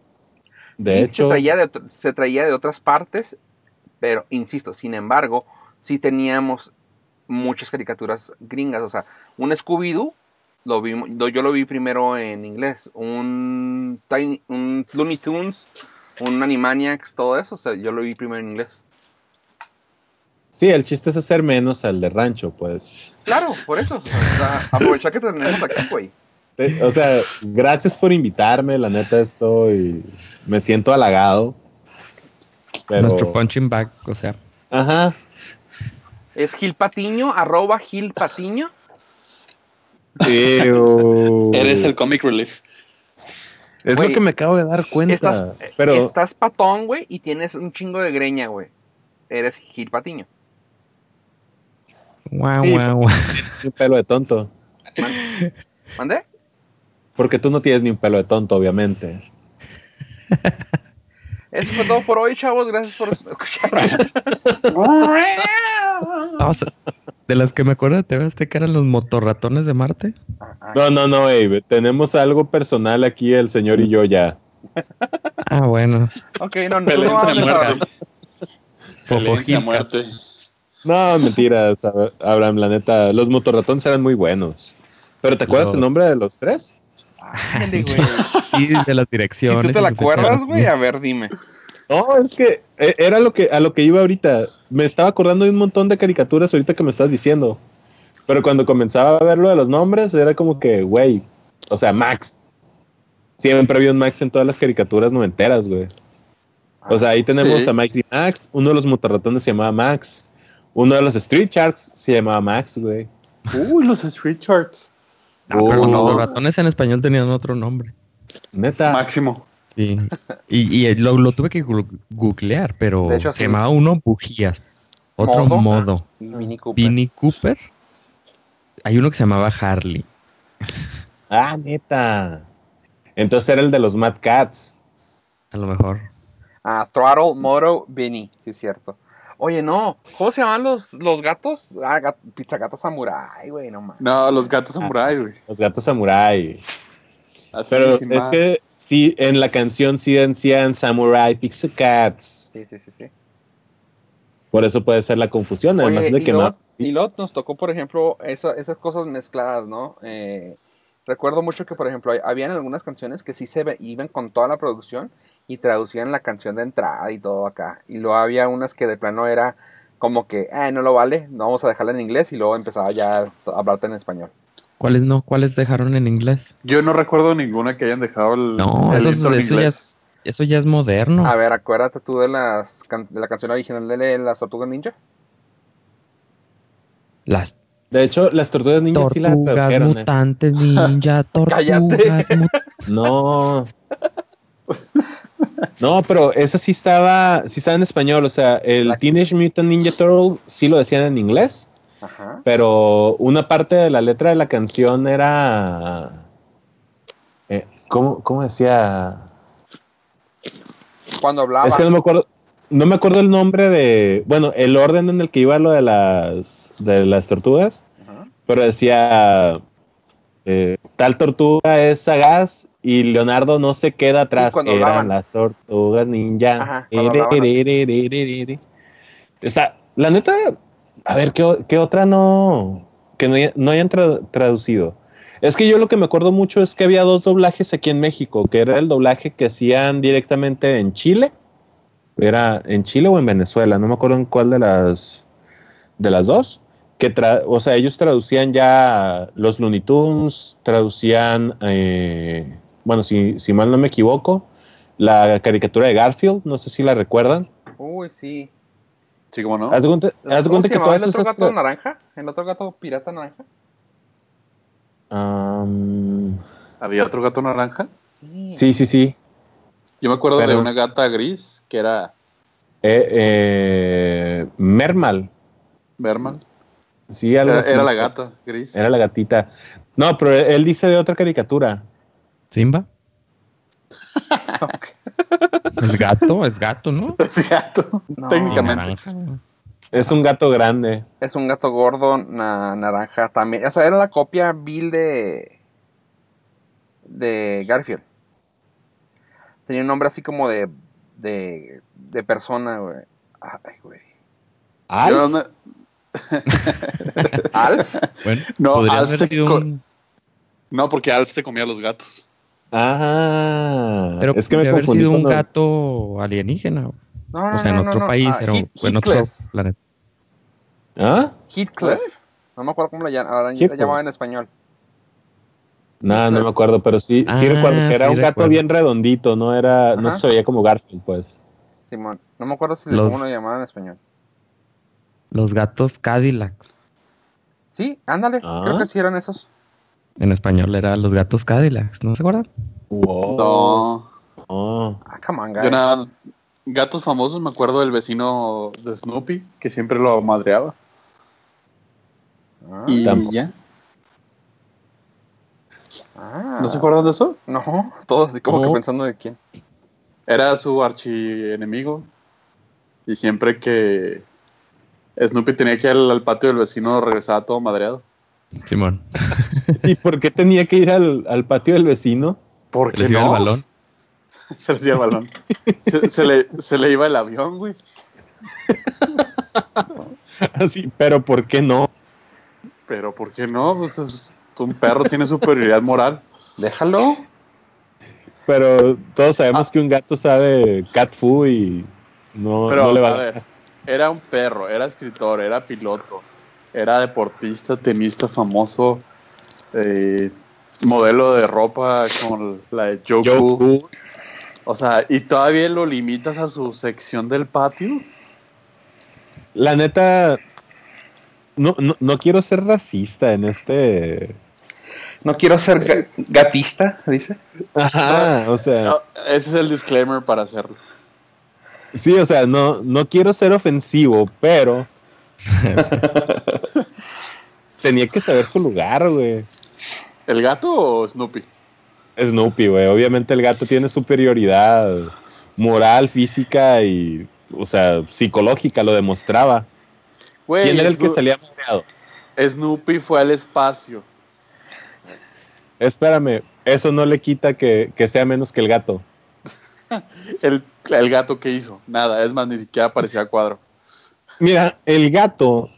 [SPEAKER 4] De
[SPEAKER 5] Sí, se
[SPEAKER 4] hecho,
[SPEAKER 5] traía de, ot- se traía de otras partes, pero insisto, sin embargo, sí teníamos muchas caricaturas gringas, o sea, un Scooby-Doo Lo vimos, lo- yo lo vi primero en inglés. Un, Tiny- un Looney Tunes, un Animaniacs, todo eso. o sea, yo lo vi primero en inglés.
[SPEAKER 4] Sí, el chiste es hacer menos al de rancho, pues.
[SPEAKER 5] Claro, por eso. o sea, aprovechar que tenemos aquí, güey.
[SPEAKER 4] Te- Eh, O sea, gracias por invitarme, la neta estoy, me siento halagado. Pero,
[SPEAKER 7] Nuestro punching bag, o sea,
[SPEAKER 4] Ajá,
[SPEAKER 5] Es Gil Patiño, arroba Gil Patiño.
[SPEAKER 4] Ew.
[SPEAKER 6] Eres el comic relief.
[SPEAKER 4] Es
[SPEAKER 5] Güey,
[SPEAKER 4] lo que me acabo de dar cuenta.
[SPEAKER 5] Estás,
[SPEAKER 4] pero
[SPEAKER 5] estás patón, güey, y tienes un chingo de greña, güey. Eres Gil Patiño.
[SPEAKER 7] guau,
[SPEAKER 4] Sí,
[SPEAKER 7] guau, guau.
[SPEAKER 4] ni un pelo de tonto.
[SPEAKER 5] ¿Mandé?
[SPEAKER 4] Porque tú no tienes ni un pelo de tonto, obviamente.
[SPEAKER 5] Eso fue todo por hoy, chavos. Gracias por escuchar.
[SPEAKER 7] Vamos a- de las que me acuerdo de TV Azteca eran los motorratones de Marte.
[SPEAKER 4] No, no, no, Abe. Tenemos algo personal aquí, el señor y yo ya.
[SPEAKER 7] Ah, bueno.
[SPEAKER 5] Ok, no, no, tú no
[SPEAKER 6] Pelense a
[SPEAKER 5] hables ahora.
[SPEAKER 6] muerte. Pelense a
[SPEAKER 7] Fofojicas.
[SPEAKER 6] muerte.
[SPEAKER 4] No, mentiras, Ab- Abraham, la neta. Los motorratones eran muy buenos. ¿Pero te acuerdas
[SPEAKER 7] No.
[SPEAKER 4] el nombre de los tres?
[SPEAKER 5] Ándale, güey.
[SPEAKER 7] Y de las
[SPEAKER 5] Si
[SPEAKER 7] direcciones.
[SPEAKER 5] tú te
[SPEAKER 7] y
[SPEAKER 5] la
[SPEAKER 7] su fecha de
[SPEAKER 5] acuerdas, güey,
[SPEAKER 7] nacimiento.
[SPEAKER 5] a ver, dime.
[SPEAKER 4] No, es que eh, era lo que a lo que iba ahorita. Me estaba acordando de un montón de caricaturas ahorita que me estás diciendo. Pero cuando comenzaba a ver lo de los nombres, era como que, güey, o sea, Max. Siempre había un Max en todas las caricaturas noventeras, güey. O sea, ahí tenemos
[SPEAKER 6] Sí.
[SPEAKER 4] a Mikey Max, uno de los motorratones se llamaba Max, uno de los Street Sharks se llamaba Max, güey.
[SPEAKER 6] Uy, los Street Charts.
[SPEAKER 7] Ah, pero los
[SPEAKER 4] Oh,
[SPEAKER 7] motorratones en español tenían otro nombre.
[SPEAKER 4] Neta.
[SPEAKER 6] Máximo.
[SPEAKER 7] Sí. Y, y lo, lo tuve que gu- googlear, pero
[SPEAKER 5] De hecho, sí.
[SPEAKER 7] se llamaba uno Bujías. Otro
[SPEAKER 5] Modo.
[SPEAKER 7] modo.
[SPEAKER 5] Y Mini Cooper.
[SPEAKER 7] Vinnie Cooper. Hay uno que se llamaba Harley.
[SPEAKER 4] Ah, neta. Entonces era el de los Mad Cats.
[SPEAKER 7] A lo mejor.
[SPEAKER 5] Ah, Throttle, Moro, Vinny, sí es cierto. Oye, no, ¿cómo se llaman los, los gatos? Ah, gat- pizza gato samurai, güey, no mames.
[SPEAKER 6] No, los gatos
[SPEAKER 4] Ah.
[SPEAKER 6] samurai, güey.
[SPEAKER 4] Los gatos samurai.
[SPEAKER 6] Así,
[SPEAKER 4] Pero
[SPEAKER 6] sin
[SPEAKER 4] es
[SPEAKER 6] más.
[SPEAKER 4] que sí, en la canción sí decían Samurai Pixie Cats.
[SPEAKER 5] Sí, sí, sí, sí.
[SPEAKER 4] Por eso puede ser la confusión, además
[SPEAKER 5] Oye,
[SPEAKER 4] de
[SPEAKER 5] y,
[SPEAKER 4] que
[SPEAKER 5] luego-
[SPEAKER 4] más.
[SPEAKER 5] y luego nos tocó, por ejemplo, esa- esas cosas mezcladas, ¿no? Eh, recuerdo mucho que, por ejemplo, hay- habían algunas canciones que sí se ve- iban con toda la producción y traducían la canción de entrada y todo acá. Y luego había unas que de plano era como que, eh, no lo vale, no vamos a dejarla en inglés y luego empezaba ya a hablarte en español.
[SPEAKER 7] ¿Cuáles no? ¿Cuáles dejaron en inglés?
[SPEAKER 6] Yo no recuerdo ninguna que hayan dejado el.
[SPEAKER 7] No,
[SPEAKER 6] el
[SPEAKER 7] eso-
[SPEAKER 6] intro en
[SPEAKER 7] eso ya
[SPEAKER 6] inglés.
[SPEAKER 7] Eso ya es moderno.
[SPEAKER 4] Ah.
[SPEAKER 5] A ver, acuérdate tú de, las can- de la canción original de las Tortugas Ninja.
[SPEAKER 7] Las
[SPEAKER 4] De hecho, las tortugas ninjas sí las
[SPEAKER 7] tortugas
[SPEAKER 4] tradujeron. ¿eh?
[SPEAKER 7] mutantes ninja, tortugas
[SPEAKER 5] Cállate.
[SPEAKER 7] mutantes.
[SPEAKER 4] No. No, pero esa sí estaba, sí estaba en español. O sea, el
[SPEAKER 5] La-
[SPEAKER 4] Teenage Mutant Ninja Turtle sí lo decían en inglés,
[SPEAKER 5] Ajá.
[SPEAKER 4] pero una parte de la letra de la canción era. eh, ¿cómo, ¿Cómo decía?
[SPEAKER 5] Cuando hablaba.
[SPEAKER 4] Es que no me acuerdo, no me acuerdo el nombre de, bueno, el orden en el que iba lo de las de las tortugas,
[SPEAKER 5] Ajá.
[SPEAKER 4] pero decía eh, tal tortuga es sagaz y Leonardo no se queda atrás.
[SPEAKER 5] cuando
[SPEAKER 4] Eran
[SPEAKER 5] hablaban.
[SPEAKER 4] las tortugas ninja.
[SPEAKER 5] Ajá, cuando hablaban
[SPEAKER 4] Ererererererere. Está, la neta, a ver qué, o- qué otra no que no, haya- no hayan tra- traducido. Es que yo lo que me acuerdo mucho es que había dos doblajes aquí en México, que era el doblaje que hacían directamente en Chile. Era en Chile o en Venezuela, no me acuerdo en cuál de las de las dos. Que tra- o sea, ellos traducían ya los Looney Tunes, traducían, eh, bueno, si, si mal no me equivoco, la caricatura de Garfield, no sé si la recuerdan.
[SPEAKER 5] Uy, sí.
[SPEAKER 6] Sí, como no.
[SPEAKER 4] Haz de cuenta, haz de
[SPEAKER 5] ¿Cómo
[SPEAKER 4] cuenta
[SPEAKER 5] se
[SPEAKER 4] que
[SPEAKER 5] llamaba
[SPEAKER 4] todas
[SPEAKER 5] el otro
[SPEAKER 4] esas...
[SPEAKER 5] gato naranja? ¿El otro gato pirata naranja?
[SPEAKER 4] Am,
[SPEAKER 6] Había otro gato naranja.
[SPEAKER 5] Sí.
[SPEAKER 4] sí, sí, sí.
[SPEAKER 6] Yo me acuerdo de
[SPEAKER 4] Pero-
[SPEAKER 6] una gata gris que era
[SPEAKER 4] Eh, eh, Mermal.
[SPEAKER 6] Berman.
[SPEAKER 4] Sí, algo
[SPEAKER 6] Era,
[SPEAKER 4] así.
[SPEAKER 6] era la gata gris.
[SPEAKER 4] Era la gatita. No, pero él él dice de otra caricatura.
[SPEAKER 7] Simba. Es gato, es gato, ¿no?
[SPEAKER 6] Ese gato.
[SPEAKER 5] No.
[SPEAKER 6] Técnicamente.
[SPEAKER 7] Naranja.
[SPEAKER 4] Es un gato grande.
[SPEAKER 5] Es un gato gordo na- naranja también. O sea, era la copia vil de. de Garfield. Tenía un nombre así como de. de. de persona, güey. Ay, güey.
[SPEAKER 4] Ay,
[SPEAKER 6] Yo no-
[SPEAKER 5] ¿Alf?
[SPEAKER 7] Bueno,
[SPEAKER 6] No,
[SPEAKER 7] podría
[SPEAKER 6] Alf
[SPEAKER 7] haber
[SPEAKER 6] se
[SPEAKER 7] sido
[SPEAKER 6] ah, co-
[SPEAKER 7] un
[SPEAKER 6] No, porque Alf se comía a los gatos.
[SPEAKER 4] Ah,
[SPEAKER 7] Pero
[SPEAKER 4] es que me
[SPEAKER 7] podría haber
[SPEAKER 4] confundí
[SPEAKER 7] sido
[SPEAKER 4] con
[SPEAKER 7] un
[SPEAKER 4] la-
[SPEAKER 7] gato alienígena.
[SPEAKER 5] No, no,
[SPEAKER 7] o sea,
[SPEAKER 5] no,
[SPEAKER 7] en
[SPEAKER 5] no,
[SPEAKER 7] otro
[SPEAKER 5] no.
[SPEAKER 7] país,
[SPEAKER 5] Ah,
[SPEAKER 7] era un-
[SPEAKER 5] Heath-
[SPEAKER 7] o en otro
[SPEAKER 5] Heathcliff.
[SPEAKER 7] planeta.
[SPEAKER 4] ¿Ah?
[SPEAKER 5] Heathcliff. No me acuerdo cómo la, llam- ahora la
[SPEAKER 4] Heathcliff.
[SPEAKER 5] llamaba en español.
[SPEAKER 4] No, no me acuerdo, pero sí,
[SPEAKER 7] Ah,
[SPEAKER 4] sí recuerdo que era
[SPEAKER 7] sí
[SPEAKER 4] un gato
[SPEAKER 7] recuerdo.
[SPEAKER 4] bien redondito, no era, no
[SPEAKER 5] Ajá.
[SPEAKER 4] se veía como Garfield, pues.
[SPEAKER 5] Simón. No me acuerdo si le
[SPEAKER 7] Los-
[SPEAKER 5] cómo lo llamaban en español.
[SPEAKER 7] Los gatos Cadillacs.
[SPEAKER 5] Sí, ándale.
[SPEAKER 4] Ah.
[SPEAKER 5] Creo que sí eran esos.
[SPEAKER 7] En español era los gatos Cadillacs, ¿no se acuerdan?
[SPEAKER 4] Wow.
[SPEAKER 6] No.
[SPEAKER 4] No.
[SPEAKER 5] Ah, come on, guys.
[SPEAKER 6] Yo nada, gatos famosos, me acuerdo del vecino de Snoopy, que siempre lo madreaba.
[SPEAKER 5] Ah,
[SPEAKER 6] y
[SPEAKER 4] Tampoco.
[SPEAKER 6] ya.
[SPEAKER 5] ah.
[SPEAKER 6] ¿No se acuerdan de eso?
[SPEAKER 5] No, todos así como
[SPEAKER 7] No.
[SPEAKER 5] que pensando de quién.
[SPEAKER 6] Era su archienemigo. Y siempre que Snoopy tenía que ir al, al patio del vecino, regresaba todo madreado.
[SPEAKER 7] Simón.
[SPEAKER 4] ¿Y por qué tenía que ir al, al patio del vecino?
[SPEAKER 6] ¿Por
[SPEAKER 7] Se les iba el balón.
[SPEAKER 6] Se les iba el balón. se, se le, se le iba el avión, güey.
[SPEAKER 4] Así, pero ¿por qué no?
[SPEAKER 6] Pero ¿por qué no? Pues es- un perro tiene superioridad moral.
[SPEAKER 5] Déjalo.
[SPEAKER 4] Pero todos sabemos
[SPEAKER 6] Ah.
[SPEAKER 4] que un gato sabe cat food y no,
[SPEAKER 6] Pero,
[SPEAKER 4] no le va
[SPEAKER 6] a ver, era un perro, era escritor, era piloto, era deportista, tenista famoso, eh, modelo de ropa como la de Joku.
[SPEAKER 4] Yo, Fu,
[SPEAKER 6] O sea, ¿y todavía lo limitas a su sección del patio?
[SPEAKER 4] la neta, no, no, no quiero ser racista en este...
[SPEAKER 5] No quiero ser ga- gatista, dice.
[SPEAKER 4] Ajá, o sea,
[SPEAKER 6] Ah, Ese es el disclaimer para hacerlo.
[SPEAKER 4] sí, o sea, no, no quiero ser ofensivo, pero... tenía que saber su lugar, güey.
[SPEAKER 6] ¿El gato o Snoopy?
[SPEAKER 4] Snoopy, güey. Obviamente el gato tiene superioridad moral, física y, o sea, psicológica, lo demostraba.
[SPEAKER 6] Güey,
[SPEAKER 4] ¿Quién era el que
[SPEAKER 6] Sno-
[SPEAKER 4] salía madreado?
[SPEAKER 6] Snoopy fue al espacio.
[SPEAKER 4] Espérame, eso no le quita que, que sea menos que el gato.
[SPEAKER 6] El, el gato que hizo, nada, es más, ni siquiera aparecía a cuadro.
[SPEAKER 4] Mira, el gato,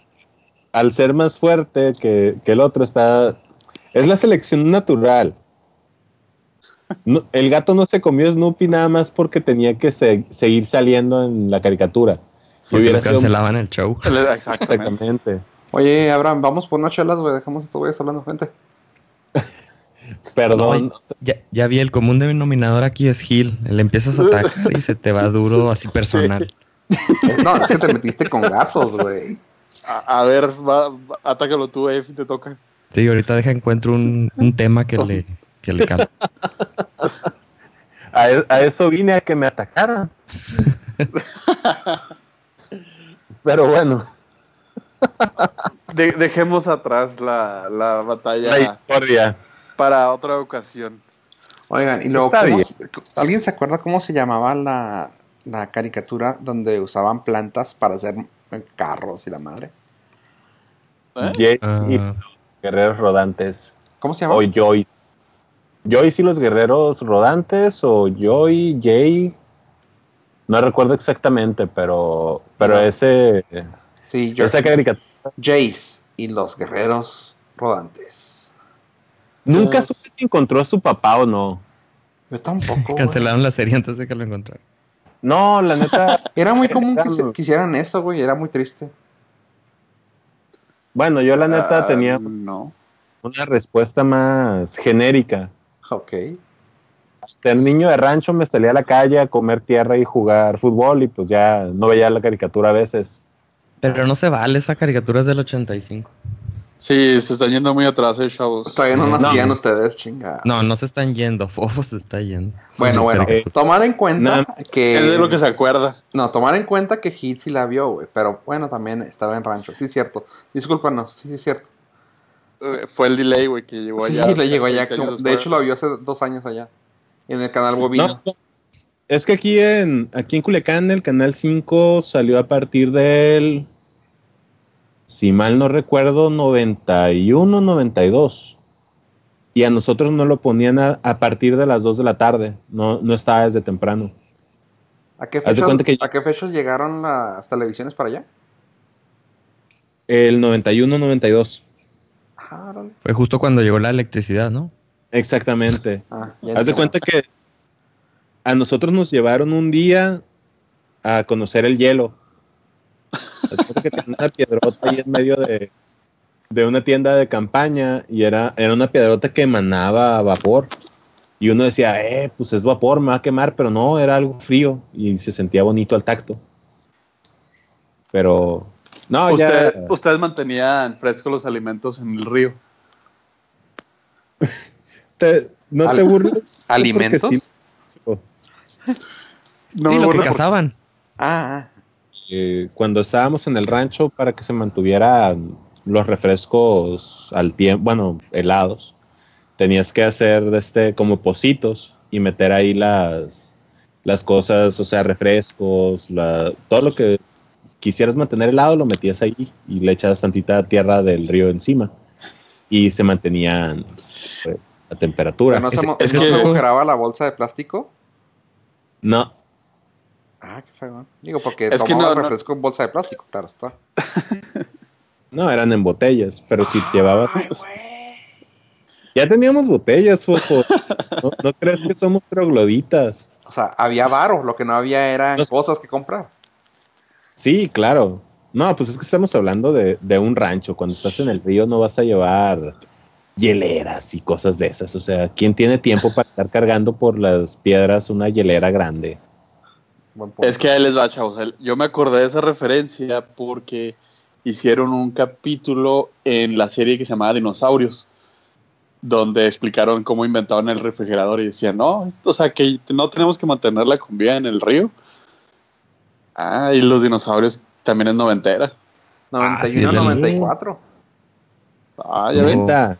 [SPEAKER 4] al ser más fuerte que, que el otro, está... Es la selección natural. No, el gato no se comió a Snoopy nada más porque tenía que se- seguir saliendo en la caricatura. Y
[SPEAKER 7] Porque
[SPEAKER 4] hubiera
[SPEAKER 7] les
[SPEAKER 4] sido-
[SPEAKER 7] cancelaban el show.
[SPEAKER 6] Le- Exactamente.
[SPEAKER 4] Exactamente.
[SPEAKER 5] Oye, Abraham, vamos por unas chelas, güey. Dejamos estos güeyes hablando, gente.
[SPEAKER 4] Perdón,
[SPEAKER 7] Ya, ya vi, el común denominador aquí es Gil. Le empiezas a atacar y se te va duro así personal.
[SPEAKER 5] Eh, No, es que te metiste con gatos, güey.
[SPEAKER 6] A, a ver, va, va- atácalo tú, Efi, te toca.
[SPEAKER 7] Sí, ahorita deja encuentro un, un tema que le, que le cala.
[SPEAKER 4] A, e- a eso vine a que me atacaran. Pero bueno,
[SPEAKER 6] De- dejemos atrás la, la batalla
[SPEAKER 4] la historia.
[SPEAKER 6] para otra ocasión.
[SPEAKER 5] Oigan, y luego,
[SPEAKER 4] Está
[SPEAKER 5] ¿cómo
[SPEAKER 4] bien.
[SPEAKER 5] se- ¿alguien se acuerda cómo se llamaba la, la caricatura donde usaban plantas para hacer eh, carros y la madre?
[SPEAKER 6] ¿Eh?
[SPEAKER 4] Ye-
[SPEAKER 7] Ah,
[SPEAKER 4] y guerreros rodantes.
[SPEAKER 5] ¿Cómo se
[SPEAKER 4] O
[SPEAKER 5] llamaba?
[SPEAKER 4] Joy. Joy y los guerreros rodantes. O Joy, Jay. No recuerdo exactamente, pero, pero
[SPEAKER 5] No.
[SPEAKER 4] ese,
[SPEAKER 5] Sí, yo,
[SPEAKER 4] esa caricatura.
[SPEAKER 5] Jace y los guerreros rodantes.
[SPEAKER 4] Nunca
[SPEAKER 6] Yes.
[SPEAKER 4] supe si encontró a su papá o no.
[SPEAKER 5] Yo tampoco. güey.
[SPEAKER 7] cancelaron la serie antes de que lo encontraran.
[SPEAKER 4] No, la neta.
[SPEAKER 5] Era muy común que, se-
[SPEAKER 4] Carlos.
[SPEAKER 5] que hicieran eso, güey. Era muy triste.
[SPEAKER 4] bueno, yo la neta
[SPEAKER 6] Ah,
[SPEAKER 4] tenía
[SPEAKER 6] No.
[SPEAKER 4] una respuesta más genérica.
[SPEAKER 5] Ok.
[SPEAKER 4] el niño de rancho me salía a la calle a comer tierra y jugar fútbol y pues ya no veía la caricatura a veces.
[SPEAKER 7] Pero no se vale, esa caricatura es del 85.
[SPEAKER 6] Sí, se están yendo muy atrás, eh, chavos.
[SPEAKER 5] Todavía no
[SPEAKER 7] No.
[SPEAKER 5] nacían ustedes, chinga.
[SPEAKER 7] No, no se están yendo, Fofo se está yendo.
[SPEAKER 5] Bueno, bueno.
[SPEAKER 4] Eh,
[SPEAKER 5] Tomar en cuenta que...
[SPEAKER 6] Es de lo que se acuerda.
[SPEAKER 5] No, tomar en cuenta que Hit sí la vio, güey. Pero bueno, también estaba en rancho. Sí, es cierto. Discúlpanos, sí, sí es cierto.
[SPEAKER 6] Eh, Fue el delay, güey, que llegó
[SPEAKER 5] Sí,
[SPEAKER 6] allá.
[SPEAKER 5] le llegó allá.
[SPEAKER 6] 20 años
[SPEAKER 5] como- De
[SPEAKER 6] después.
[SPEAKER 5] hecho, la vio hace dos años allá. En el canal bovino.
[SPEAKER 4] No, es que aquí en, aquí en Culiacán el Canal 5 salió a partir del, si mal no recuerdo, 91, 92. Y a nosotros no lo ponían a, a partir de las 2 de la tarde, no, no estaba desde temprano.
[SPEAKER 5] ¿A, qué
[SPEAKER 4] Haz de
[SPEAKER 5] fechas,
[SPEAKER 4] cuenta que-
[SPEAKER 5] ¿A qué fechas llegaron las televisiones para allá?
[SPEAKER 4] El 91, 92.
[SPEAKER 5] Ah, órale. Ah,
[SPEAKER 7] Fue justo cuando llegó la electricidad, ¿no?
[SPEAKER 4] Exactamente.
[SPEAKER 5] Ah, ya
[SPEAKER 4] Haz de
[SPEAKER 5] entendí.
[SPEAKER 4] cuenta que a nosotros nos llevaron un día a conocer el hielo. Haz de cuenta que tenía una piedrota ahí en medio de, de una tienda de campaña y era, era una piedrota que emanaba vapor. Y uno decía, eh, pues es vapor, me va a quemar, pero no, era algo frío y se sentía bonito al tacto. Pero, no,
[SPEAKER 6] Usted-
[SPEAKER 4] ya.
[SPEAKER 6] Ustedes mantenían frescos los alimentos en el río.
[SPEAKER 4] te- no te
[SPEAKER 5] Al-
[SPEAKER 4] burles.
[SPEAKER 5] ¿Alimentos?
[SPEAKER 4] porque sí.
[SPEAKER 6] No
[SPEAKER 7] sí,
[SPEAKER 6] me
[SPEAKER 7] lo que
[SPEAKER 6] burlo por-
[SPEAKER 7] cazaban.
[SPEAKER 5] Ah, ah.
[SPEAKER 4] eh, cuando estábamos en el rancho para que se mantuvieran los refrescos al tiempo, bueno, helados, tenías que hacer de este como pocitos y meter ahí las, las cosas, o sea, refrescos, la- todo lo que quisieras mantener helado lo metías ahí y le echabas tantita tierra del río encima y se mantenían eh, a temperatura.
[SPEAKER 5] Pero no,
[SPEAKER 7] Es-
[SPEAKER 5] se, mo-
[SPEAKER 6] es
[SPEAKER 5] no
[SPEAKER 6] que-
[SPEAKER 5] se agujeraba la bolsa de plástico.
[SPEAKER 4] No,
[SPEAKER 5] Ah, qué fregón. Digo, porque
[SPEAKER 6] Es que
[SPEAKER 5] tomaba
[SPEAKER 6] no, no.
[SPEAKER 5] refresco en bolsa de plástico, claro está.
[SPEAKER 4] no eran en botellas, pero si llevabas
[SPEAKER 5] Ay, güey.
[SPEAKER 4] Ya teníamos botellas, Fofo. No, no crees que somos trogloditas.
[SPEAKER 5] O sea, había varo, lo que no había eran
[SPEAKER 4] Los-
[SPEAKER 5] cosas que comprar.
[SPEAKER 4] Sí, claro. No, pues es que estamos hablando de, de un rancho. Cuando estás en el río no vas a llevar hieleras y cosas de esas. O sea, ¿quién tiene tiempo para estar cargando por las piedras una hielera grande?
[SPEAKER 5] Buen punto.
[SPEAKER 6] Es que ahí les va, chavos. El- Yo me acordé de esa referencia porque hicieron un capítulo en la serie que se llamaba Dinosaurios, donde explicaron cómo inventaron el refrigerador y decían, no, o sea, que no tenemos que mantener la comida en el río. Ah, y los dinosaurios también es noventera.
[SPEAKER 5] 91,
[SPEAKER 7] Ah, sí, la-
[SPEAKER 5] 94.
[SPEAKER 6] Ah, ya ven.
[SPEAKER 4] Neta.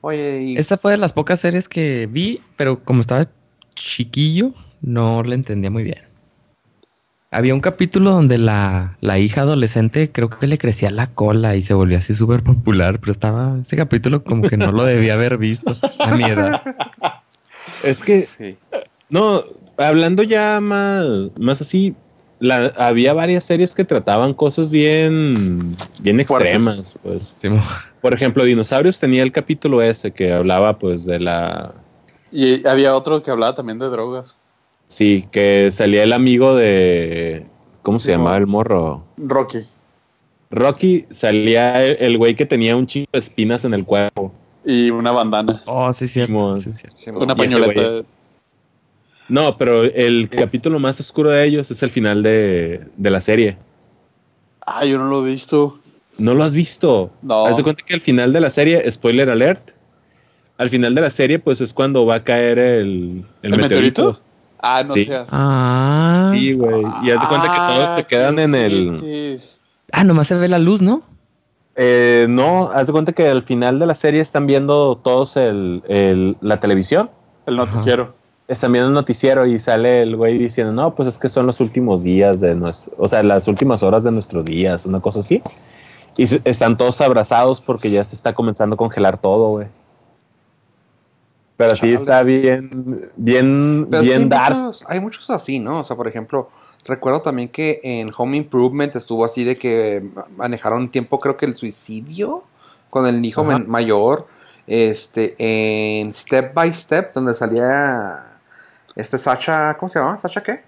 [SPEAKER 5] Oye, y
[SPEAKER 7] Esta fue de las pocas series que vi, pero como estaba chiquillo, no la entendía muy bien. Había un capítulo donde la, la hija adolescente creo que le crecía la cola y se volvió así súper popular, pero estaba ese capítulo como que no lo debía haber visto a mi edad.
[SPEAKER 4] Es que,
[SPEAKER 5] sí.
[SPEAKER 4] no, hablando ya más, más así, la- había varias series que trataban cosas bien, bien
[SPEAKER 6] Fuertes.
[SPEAKER 4] extremas, pues.
[SPEAKER 7] Sí, mo-
[SPEAKER 4] Por ejemplo, Dinosaurios tenía el capítulo ese que hablaba pues de la...
[SPEAKER 6] Y había otro que hablaba también de drogas.
[SPEAKER 4] Sí, que salía el amigo de... ¿Cómo
[SPEAKER 5] Sí,
[SPEAKER 4] se llamaba
[SPEAKER 5] mo-
[SPEAKER 4] el morro?
[SPEAKER 6] Rocky.
[SPEAKER 4] Rocky, salía el el güey que tenía un chingo de espinas en el cuerpo.
[SPEAKER 6] Y una bandana.
[SPEAKER 7] Oh, sí, cierto.
[SPEAKER 4] Simón.
[SPEAKER 7] Sí, cierto.
[SPEAKER 5] sí,
[SPEAKER 6] Una
[SPEAKER 4] Y ese
[SPEAKER 6] pañoleta.
[SPEAKER 4] güey. No, pero el capítulo más oscuro de ellos es el final de, de la serie.
[SPEAKER 6] Ah, yo no lo he visto.
[SPEAKER 4] ¿No lo has visto?
[SPEAKER 6] No.
[SPEAKER 4] Haz de cuenta que al final de la serie, spoiler alert, al final de la serie pues es cuando va a caer el, el
[SPEAKER 6] ¿El meteorito?
[SPEAKER 4] meteorito.
[SPEAKER 6] Ah, no
[SPEAKER 4] Sí.
[SPEAKER 6] seas.
[SPEAKER 7] Ah,
[SPEAKER 4] Sí, güey. Y haz de cuenta que todos se
[SPEAKER 6] Ah,
[SPEAKER 4] quedan
[SPEAKER 6] qué
[SPEAKER 4] en el.
[SPEAKER 6] quitis.
[SPEAKER 7] ah, nomás se ve la luz, ¿no?
[SPEAKER 4] Eh, no, haz de cuenta que al final de la serie están viendo todos el, el- la televisión.
[SPEAKER 6] El noticiero.
[SPEAKER 4] Están viendo el noticiero y sale el güey diciendo, no, pues es que son los últimos días de nuestro, o sea, las últimas horas de nuestros días, una cosa así. Y se- están todos abrazados porque ya se está comenzando a congelar todo, güey. Pero sí
[SPEAKER 5] Chale.
[SPEAKER 4] está bien, bien,
[SPEAKER 5] Pero es que
[SPEAKER 4] bien
[SPEAKER 5] hay
[SPEAKER 4] dark.
[SPEAKER 5] muchos- hay muchos así, ¿no? O sea, por ejemplo, recuerdo también que en Home Improvement estuvo así de que ma- manejaron un tiempo, creo que el suicidio con el hijo
[SPEAKER 7] Ajá.
[SPEAKER 5] men- mayor. Este, en Step by Step, donde salía este Sacha, ¿cómo se llama? ¿Sacha qué?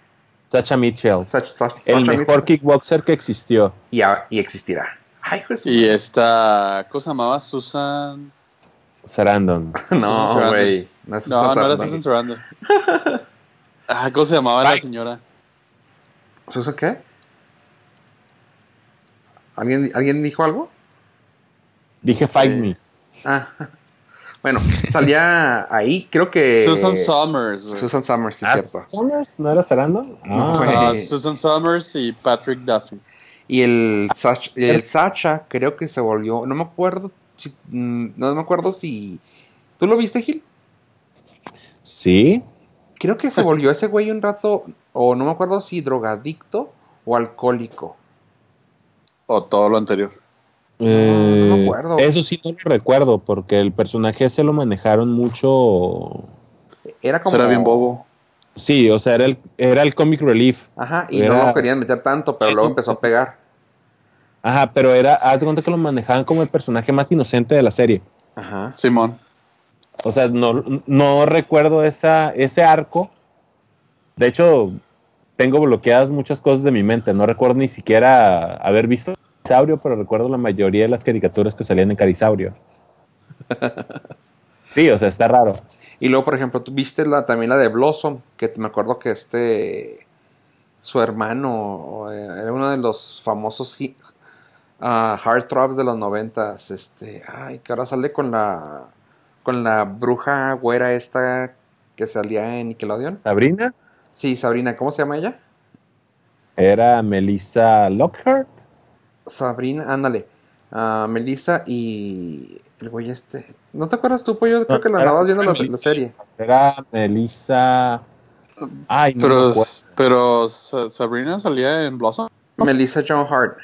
[SPEAKER 4] Sacha Mitchell,
[SPEAKER 5] Sacha, Sacha-
[SPEAKER 4] el
[SPEAKER 5] Sacha
[SPEAKER 4] mejor
[SPEAKER 5] Mitchell.
[SPEAKER 4] kickboxer que existió.
[SPEAKER 5] Y, a- y existirá. Ay, pues.
[SPEAKER 6] Y esta cosa llamaba Susan.
[SPEAKER 4] Sarandon.
[SPEAKER 5] No,
[SPEAKER 6] Susan
[SPEAKER 5] güey. No, es
[SPEAKER 6] No,
[SPEAKER 5] Susan
[SPEAKER 6] no era
[SPEAKER 5] Sarandon.
[SPEAKER 6] Susan Sarandon. Ah, ¿cómo se llamaba la
[SPEAKER 4] Bye.
[SPEAKER 6] señora?
[SPEAKER 5] ¿Susan qué? ¿Alguien, ¿Alguien dijo algo?
[SPEAKER 4] Dije Fight
[SPEAKER 6] Eh,
[SPEAKER 4] Me.
[SPEAKER 5] Ah. Bueno, salía ahí, creo que.
[SPEAKER 6] Susan Summers. güey.
[SPEAKER 5] eh, Susan Summers, sí,
[SPEAKER 4] Ah,
[SPEAKER 5] cierto.
[SPEAKER 4] ¿Summers? ¿No era Sarandon?
[SPEAKER 5] No, güey.
[SPEAKER 6] Ah, Susan Summers y Patrick Duffy.
[SPEAKER 5] Y el, Sach- el Sacha, creo que se volvió. No me acuerdo. Si, mm, no me acuerdo si. ¿Tú lo viste, Gil?
[SPEAKER 4] Sí.
[SPEAKER 5] Creo que se volvió ese güey un rato. O no me acuerdo si drogadicto o alcohólico.
[SPEAKER 6] O todo lo anterior.
[SPEAKER 5] no me
[SPEAKER 4] Eh,
[SPEAKER 5] acuerdo.
[SPEAKER 4] Eso sí no lo recuerdo, porque el personaje se lo manejaron mucho.
[SPEAKER 5] Era como.
[SPEAKER 6] Será bien bobo.
[SPEAKER 4] Sí, o sea, era el, era el comic relief.
[SPEAKER 5] Ajá, y no
[SPEAKER 4] Era-
[SPEAKER 5] lo querían meter tanto, pero luego empezó a pegar.
[SPEAKER 4] Ajá, pero era, haz de cuenta que lo manejaban como el personaje más inocente de la serie.
[SPEAKER 5] Ajá.
[SPEAKER 6] Simón.
[SPEAKER 4] O sea, no, no recuerdo esa, ese arco. De hecho, tengo bloqueadas muchas cosas de mi mente. No recuerdo ni siquiera haber visto Carisaurio, pero recuerdo la mayoría de las caricaturas que salían en Carisaurio. Sí, o sea, está raro.
[SPEAKER 5] Y luego, por ejemplo, tú viste la, también la de Blossom, que me acuerdo que este, su hermano, eh, era uno de los famosos hi- ah, heartthrobs de los noventas, este, ay, que ahora sale con la, con la bruja güera esta que salía en Nickelodeon.
[SPEAKER 4] Sabrina
[SPEAKER 5] Sí, Sabrina, ¿cómo se llama ella?
[SPEAKER 4] era Melissa Lockhart.
[SPEAKER 5] Sabrina, ándale. Ah, Melissa y el güey este. ¿No te acuerdas tú, pollo? Creo
[SPEAKER 4] No,
[SPEAKER 5] que la
[SPEAKER 4] era-
[SPEAKER 5] andabas viendo la, la serie.
[SPEAKER 4] Era Melissa. Ay, no me
[SPEAKER 6] Pero,
[SPEAKER 4] acuerdo.
[SPEAKER 6] pero Sa- Sabrina salía en Blossom.
[SPEAKER 5] Melissa John Hart.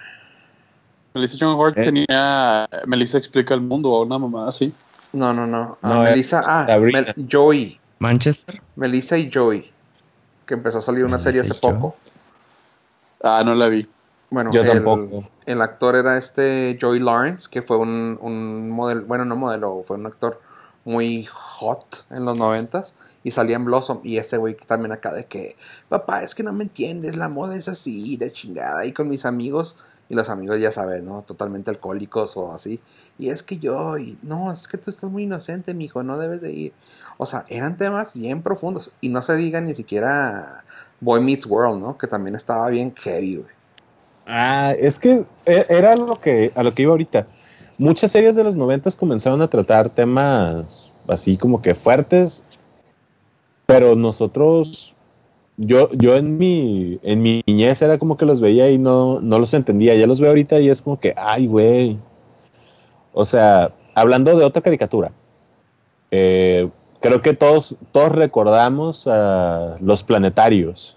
[SPEAKER 6] Melissa John Hart
[SPEAKER 4] ¿Eh?
[SPEAKER 6] tenía Melissa explica el mundo o una mamá así.
[SPEAKER 5] No, no, no. Ah,
[SPEAKER 4] No, era
[SPEAKER 5] Melissa, ah,
[SPEAKER 4] Sabrina.
[SPEAKER 5] Mel- Joey.
[SPEAKER 7] Manchester.
[SPEAKER 5] Melissa y Joey. Que empezó a salir una serie hace
[SPEAKER 7] Melissa y Joey.
[SPEAKER 5] poco.
[SPEAKER 6] Ah, no la vi.
[SPEAKER 5] Bueno,
[SPEAKER 4] Yo
[SPEAKER 5] el,
[SPEAKER 4] tampoco.
[SPEAKER 5] el actor era este Joey Lawrence, que fue un, un modelo, bueno, no modelo, fue un actor muy hot en los noventas. Y salía en Blossom. Y ese güey también acá de que, papá, es que no me entiendes, la moda es así, de chingada. Y con mis amigos, y los amigos ya sabes, ¿no? Totalmente alcohólicos o así. Y es que yo, y, no, es que tú estás muy inocente, mijo, no debes de ir. O sea, eran temas bien profundos. Y no se diga ni siquiera Boy Meets World, ¿no? Que también estaba bien heavy, güey.
[SPEAKER 4] Ah, es que e- era lo que, a lo que iba ahorita. Muchas series de los noventas comenzaron a tratar temas así como que fuertes, pero nosotros, yo, yo en mi, en mi niñez era como que los veía y no, no los entendía. Ya los veo ahorita y es como que, ay, güey. O sea, hablando de otra caricatura, eh, creo que todos, todos recordamos a los planetarios.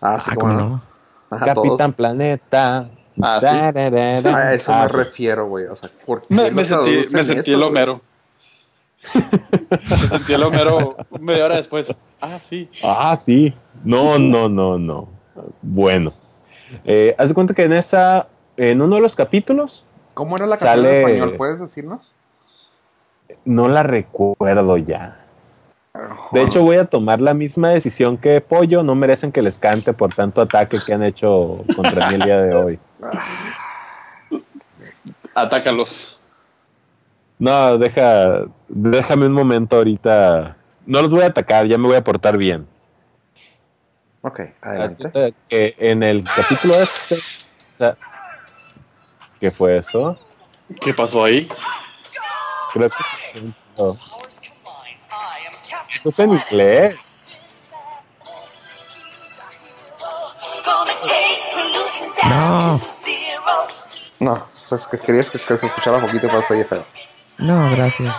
[SPEAKER 5] Ah, sí,
[SPEAKER 7] Ah,
[SPEAKER 5] cómo
[SPEAKER 7] cómo
[SPEAKER 5] no.
[SPEAKER 7] no.
[SPEAKER 5] Ajá,
[SPEAKER 4] Capitán
[SPEAKER 5] todos.
[SPEAKER 4] Planeta.
[SPEAKER 6] Ah, sí.
[SPEAKER 4] Tararara.
[SPEAKER 5] A eso
[SPEAKER 4] Ah,
[SPEAKER 5] me refiero, güey. O sea, ¿por qué
[SPEAKER 6] Me,
[SPEAKER 5] lo
[SPEAKER 6] me sentí,
[SPEAKER 5] traducen
[SPEAKER 6] me sentí
[SPEAKER 5] eso,
[SPEAKER 6] el
[SPEAKER 5] güey?
[SPEAKER 6] Homero. me sentí el Homero media hora después. Ah, sí.
[SPEAKER 4] Ah, sí. No, no, no, no. Bueno. Eh, haz de cuenta que en esa, en uno de los capítulos,
[SPEAKER 5] ¿Cómo era la canción en
[SPEAKER 4] Sale-
[SPEAKER 5] español? ¿Puedes decirnos?
[SPEAKER 4] no la recuerdo ya. De hecho, voy a tomar la misma decisión que Pollo. No merecen que les cante por tanto ataque que han hecho contra mí el día de hoy.
[SPEAKER 6] Atácalos.
[SPEAKER 4] No, deja, déjame un momento ahorita. No los voy a atacar, ya me voy a portar bien.
[SPEAKER 5] Ok,
[SPEAKER 4] Haz de
[SPEAKER 5] adelante.
[SPEAKER 4] cuenta que en el capítulo este, o sea, ¿qué fue eso?
[SPEAKER 6] ¿Qué pasó ahí?
[SPEAKER 4] Creo que no.
[SPEAKER 2] powers combined. I am Captain
[SPEAKER 4] Esto es en inglés.
[SPEAKER 2] Gonna take pollution down
[SPEAKER 7] No.
[SPEAKER 2] to zero.
[SPEAKER 5] No, o sea, es que querías que, que se escuchara poquito, pero soy feo.
[SPEAKER 7] No, gracias.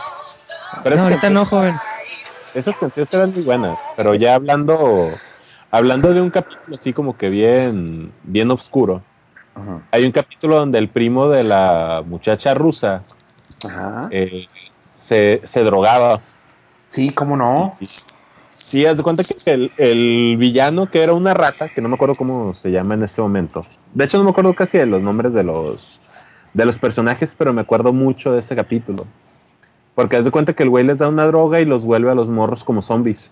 [SPEAKER 4] Pero
[SPEAKER 7] no, ahorita
[SPEAKER 4] esas canciones-
[SPEAKER 7] no, joven.
[SPEAKER 4] Esas canciones eran muy buenas, pero ya hablando hablando de un capítulo así como que bien bien oscuro.
[SPEAKER 5] Ajá.
[SPEAKER 4] Hay un capítulo donde el primo de la muchacha rusa
[SPEAKER 5] Ajá.
[SPEAKER 4] eh, se, se drogaba.
[SPEAKER 5] Sí, ¿cómo no?
[SPEAKER 4] Sí, haz de cuenta que el, el villano que era una rata, que no me acuerdo cómo se llama en este momento. De hecho no me acuerdo casi de los nombres de los de los personajes, pero me acuerdo mucho de ese capítulo. Porque haz de cuenta que el güey les da una droga y los vuelve a los morros como zombies.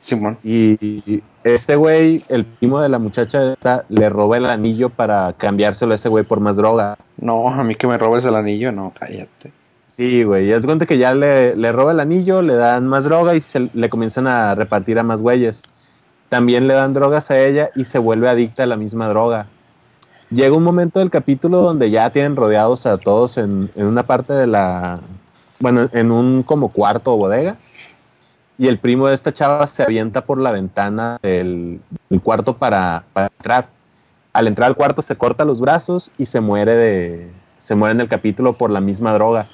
[SPEAKER 5] Simón.
[SPEAKER 4] Y este güey, el primo de la muchacha, esta, le roba el anillo para cambiárselo a ese güey por más droga.
[SPEAKER 5] No, a mí que me robes el anillo, no, cállate.
[SPEAKER 4] Sí, güey. Y haz de cuenta que ya le, le roba el anillo, le dan más droga y se, le comienzan a repartir a más güeyes. También le dan drogas a ella y se vuelve adicta a la misma droga. Llega un momento del capítulo donde ya tienen rodeados a todos en, en una parte de la. Bueno, en un como cuarto o bodega. Y el primo de esta chava se avienta por la ventana del, del cuarto para, para entrar. Al entrar al cuarto se corta los brazos y se muere de. Se muere en el capítulo por la misma droga.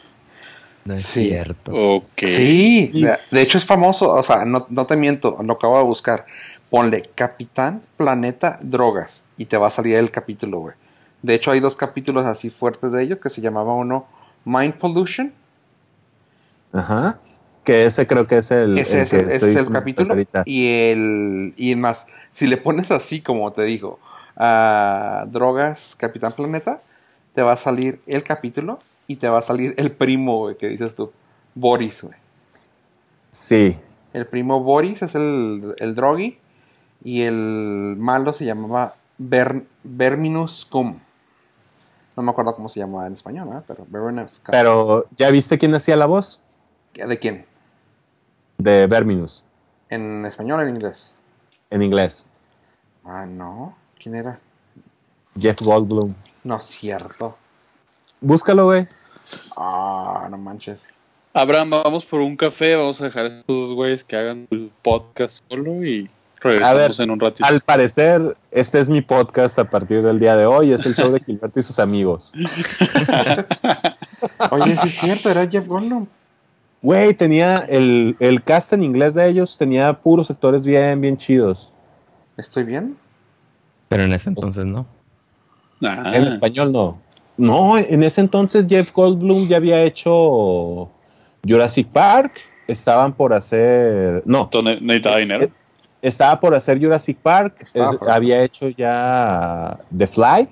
[SPEAKER 7] No es
[SPEAKER 5] Sí.
[SPEAKER 7] cierto.
[SPEAKER 6] Ok.
[SPEAKER 5] Sí,
[SPEAKER 4] Sí.
[SPEAKER 5] de, de hecho es famoso, o sea, no, no te miento, lo acabo de buscar. Ponle Capitán Planeta Drogas y te va a salir el capítulo, güey. De hecho hay dos capítulos así fuertes de ellos que se llamaba uno Mind Pollution
[SPEAKER 4] Ajá. Que ese creo que es el.
[SPEAKER 5] Ese
[SPEAKER 4] el
[SPEAKER 5] es
[SPEAKER 4] que
[SPEAKER 5] el, ese
[SPEAKER 4] estoy
[SPEAKER 5] es el
[SPEAKER 4] comentando
[SPEAKER 5] capítulo.
[SPEAKER 4] ahorita.
[SPEAKER 5] Y el y más, si le pones así, como te digo, a drogas, Capitán Planeta, te va a salir el capítulo y te va a salir el primo, güey, que dices tú, Boris, güey.
[SPEAKER 4] Sí.
[SPEAKER 5] El primo Boris es el, el drogi. Y el malo se llamaba Ver, Verminus Cum. No me acuerdo cómo se llamaba en español, ¿verdad? Pero Verminus Cum.
[SPEAKER 4] Pero, ¿ya viste quién hacía la voz?
[SPEAKER 5] ¿De quién?
[SPEAKER 4] De Verminus,
[SPEAKER 5] ¿En español o en inglés?
[SPEAKER 4] en inglés.
[SPEAKER 5] Ah, no. ¿Quién era?
[SPEAKER 4] Jeff Goldblum.
[SPEAKER 5] No es cierto.
[SPEAKER 4] Búscalo, güey.
[SPEAKER 5] Ah, no manches.
[SPEAKER 6] Abraham, vamos por un café, vamos a dejar a estos güeyes que hagan el podcast solo y regresamos
[SPEAKER 4] ver,
[SPEAKER 6] en un ratito.
[SPEAKER 4] Al parecer, este es mi podcast a partir del día de hoy. Es el show de Gilberto y sus amigos.
[SPEAKER 5] Oye, sí es cierto, era Jeff Goldblum.
[SPEAKER 4] Güey, tenía el, el cast en inglés de ellos, tenía puros sectores bien, bien chidos.
[SPEAKER 5] ¿Estoy bien?
[SPEAKER 7] Pero en ese entonces no.
[SPEAKER 6] Ah,
[SPEAKER 4] En español no. No, en ese entonces Jeff Goldblum ya había hecho Jurassic Park. Estaban por hacer. No,
[SPEAKER 6] entonces ne- necesitaba
[SPEAKER 4] Eh,
[SPEAKER 6] dinero.
[SPEAKER 4] estaba por hacer Jurassic Park.
[SPEAKER 5] Estaba
[SPEAKER 4] es-
[SPEAKER 5] por hacer.
[SPEAKER 4] había hecho ya The Fly.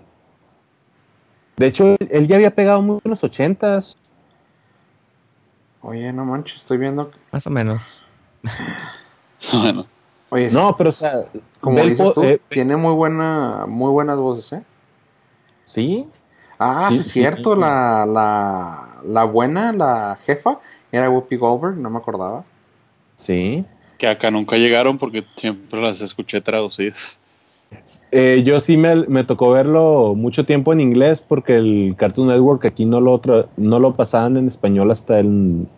[SPEAKER 4] De hecho, él ya había pegado muy en los ochentas.
[SPEAKER 5] Oye, no manches, estoy viendo. que-
[SPEAKER 7] Más o menos.
[SPEAKER 6] Bueno,
[SPEAKER 5] Oye,
[SPEAKER 4] No, pero o sea.
[SPEAKER 5] como
[SPEAKER 4] ve el
[SPEAKER 5] dices
[SPEAKER 4] po-
[SPEAKER 5] tú,
[SPEAKER 4] eh,
[SPEAKER 5] tiene muy buena, muy buenas voces, ¿eh?
[SPEAKER 4] sí,
[SPEAKER 5] Ah, sí,
[SPEAKER 4] Sí,
[SPEAKER 5] es
[SPEAKER 4] sí,
[SPEAKER 5] cierto,
[SPEAKER 4] sí.
[SPEAKER 5] La, la, la buena, la jefa, era Whoopi Goldberg, no me acordaba.
[SPEAKER 4] sí.
[SPEAKER 6] que acá nunca llegaron porque siempre las escuché traducidas.
[SPEAKER 4] Eh, yo sí me, me tocó verlo mucho tiempo en inglés porque el Cartoon Network aquí no lo, tra- no lo pasaban en español hasta el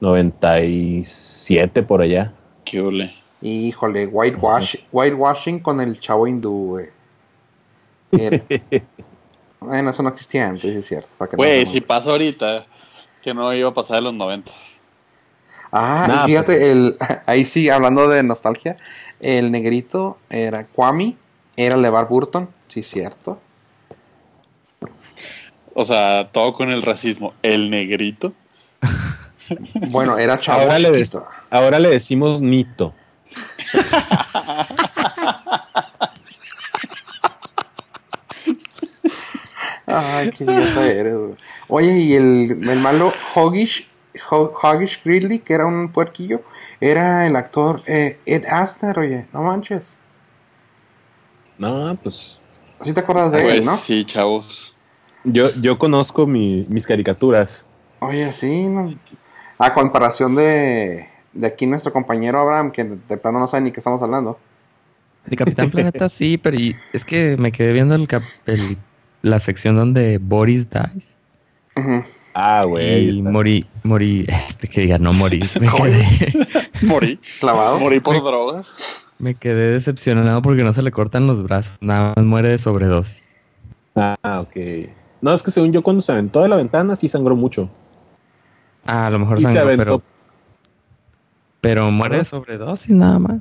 [SPEAKER 4] 97 por allá.
[SPEAKER 6] Qué ole.
[SPEAKER 5] Híjole, whitewash, whitewashing con el chavo hindú, güey. Era- bueno, eso no existía antes, sí es cierto. para que no
[SPEAKER 6] Güey,
[SPEAKER 5] se
[SPEAKER 6] si pasa ahorita, que no iba a pasar de los 90.
[SPEAKER 5] Ah,
[SPEAKER 4] Nah, pues,
[SPEAKER 5] y fíjate, el, ahí sí, hablando de nostalgia, el negrito era Kwame, era LeVar Burton, sí, cierto.
[SPEAKER 6] O sea, todo con el racismo. El negrito.
[SPEAKER 5] Bueno, era chavo
[SPEAKER 4] Ahora le, des-
[SPEAKER 5] chiquito.
[SPEAKER 4] ahora le decimos Nito.
[SPEAKER 5] Ay, qué idiota eres, güey. Oye, y el, el malo Hoggish, Ho- Hoggish Gridley, que era un puerquillo, era el actor eh, Ed Asner, oye, no manches.
[SPEAKER 4] No, pues
[SPEAKER 5] ¿Sí te acuerdas de
[SPEAKER 6] Pues
[SPEAKER 5] él, no?
[SPEAKER 6] sí, chavos.
[SPEAKER 4] yo, yo conozco mi- mis caricaturas.
[SPEAKER 5] Oye, sí, no. A comparación de, de aquí nuestro compañero Abraham, que de plano no sabe ni qué estamos hablando.
[SPEAKER 7] De Capitán Planeta sí, pero y- es que me quedé viendo el cap- el- la sección donde Boris dies.
[SPEAKER 5] Ujú.
[SPEAKER 4] Ah,
[SPEAKER 7] y
[SPEAKER 4] güey. está-
[SPEAKER 7] morí, morí, este que diga, no morí. Me
[SPEAKER 5] Joder.
[SPEAKER 7] quedé,
[SPEAKER 6] Morí.
[SPEAKER 5] Clavado.
[SPEAKER 6] Morí por drogas.
[SPEAKER 7] me quedé decepcionado porque no se le cortan los brazos. Nada más muere de sobredosis.
[SPEAKER 4] Ah, ok. No, es que según yo cuando se aventó de la ventana sí sangró mucho.
[SPEAKER 7] Ah, a lo mejor
[SPEAKER 4] Y se
[SPEAKER 7] sangró,
[SPEAKER 4] aventó.
[SPEAKER 7] pero, pero muere de sobredosis nada más.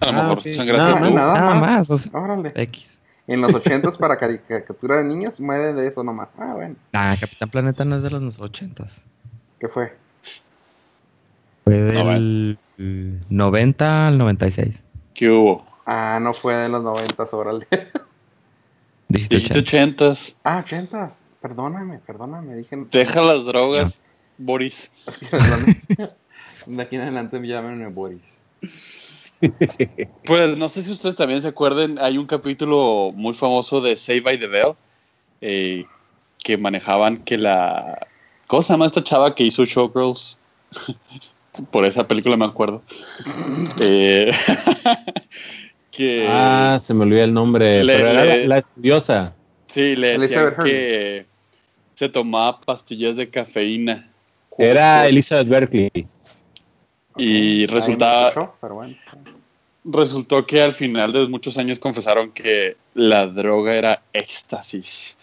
[SPEAKER 6] A lo
[SPEAKER 4] Ah,
[SPEAKER 6] mejor
[SPEAKER 4] ok.
[SPEAKER 6] sangraste
[SPEAKER 5] Ah,
[SPEAKER 6] tú.
[SPEAKER 5] nada
[SPEAKER 7] Nada
[SPEAKER 5] más.
[SPEAKER 7] más, o sea,
[SPEAKER 5] Órale.
[SPEAKER 7] X.
[SPEAKER 5] En los ochentas para caricatura de niños, muere de eso nomás. Ah, bueno.
[SPEAKER 7] Ah, Capitán Planeta no es de los ochentas.
[SPEAKER 5] ¿Qué fue?
[SPEAKER 7] Fue del eh, 90 al 96.
[SPEAKER 6] ¿Qué hubo?
[SPEAKER 5] Ah, no fue de los noventas, órale.
[SPEAKER 7] Dijiste
[SPEAKER 6] Dijiste
[SPEAKER 7] ochenta.
[SPEAKER 6] ochentas.
[SPEAKER 5] Ah, ochentas. Perdóname, perdóname. Dije.
[SPEAKER 6] Deja las drogas, Boris.
[SPEAKER 5] Es que perdóname. De aquí en adelante llámenme Boris.
[SPEAKER 6] Pues no sé si ustedes también se acuerden, hay un capítulo muy famoso de Save by the Bell eh, que manejaban que la... ¿Cómo se llama esta chava que hizo Showgirls? Por esa película me acuerdo. Eh, que
[SPEAKER 4] Ah, se me olvidó el nombre.
[SPEAKER 6] Le-
[SPEAKER 4] pero era
[SPEAKER 6] le-
[SPEAKER 4] la, la estudiosa.
[SPEAKER 6] Sí, le decían
[SPEAKER 5] Elizabeth Hurley.
[SPEAKER 6] que se tomaba pastillas de cafeína.
[SPEAKER 4] Era Elizabeth Berkeley.
[SPEAKER 6] Y
[SPEAKER 5] Ok,
[SPEAKER 6] resultaba-
[SPEAKER 5] nadie me escuchó, pero bueno.
[SPEAKER 6] Resultó que al final de muchos años confesaron que la droga era éxtasis.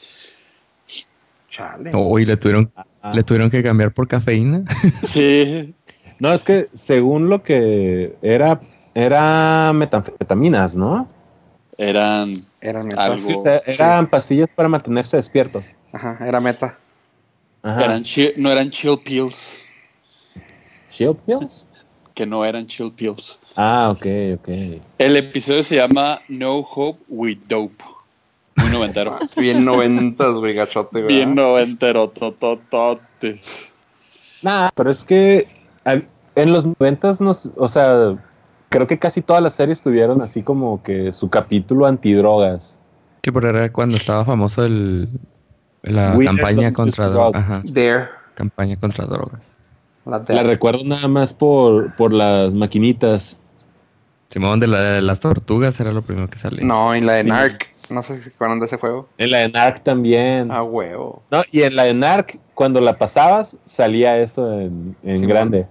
[SPEAKER 5] Chale.
[SPEAKER 7] Oh, y le tuvieron,
[SPEAKER 4] Ah.
[SPEAKER 7] le tuvieron que cambiar por cafeína.
[SPEAKER 6] Sí,
[SPEAKER 4] No, es que según lo que era, era metanfetaminas, ¿no?
[SPEAKER 6] eran
[SPEAKER 5] Era meta.
[SPEAKER 6] Algo.
[SPEAKER 4] O sea, eran pastillas para mantenerse despierto.
[SPEAKER 5] Ajá, era meta.
[SPEAKER 4] Ajá.
[SPEAKER 6] eran chi- no eran chill pills,
[SPEAKER 4] Shield pills.
[SPEAKER 6] que no eran chill pills.
[SPEAKER 4] Ah, ok, ok.
[SPEAKER 6] El episodio se llama No Hope with Dope. Muy noventero.
[SPEAKER 5] Ah, Bien noventas, güey, gachote, güey.
[SPEAKER 6] Bien noventero, tototote.
[SPEAKER 4] Nada, pero es que hab- en los noventas nos, o sea, creo que casi todas las series tuvieron así como que su capítulo antidrogas.
[SPEAKER 7] Sí, pero era cuando estaba famoso el, la
[SPEAKER 4] We
[SPEAKER 7] campaña
[SPEAKER 4] are going to
[SPEAKER 7] contra
[SPEAKER 4] rock.
[SPEAKER 7] drogas. Ajá,
[SPEAKER 5] There.
[SPEAKER 7] campaña contra drogas.
[SPEAKER 5] La
[SPEAKER 4] La
[SPEAKER 5] there.
[SPEAKER 4] recuerdo nada más por, por las maquinitas.
[SPEAKER 7] Simón de, la- de las tortugas era lo primero que salía.
[SPEAKER 5] No, y la de
[SPEAKER 4] Sí.
[SPEAKER 5] Narc. No sé si se acuerdan de ese juego.
[SPEAKER 4] En la de NARC también.
[SPEAKER 5] Ah, huevo.
[SPEAKER 4] No, y en la de NARC, cuando la pasabas, salía eso en, en
[SPEAKER 5] Simón.
[SPEAKER 4] grande.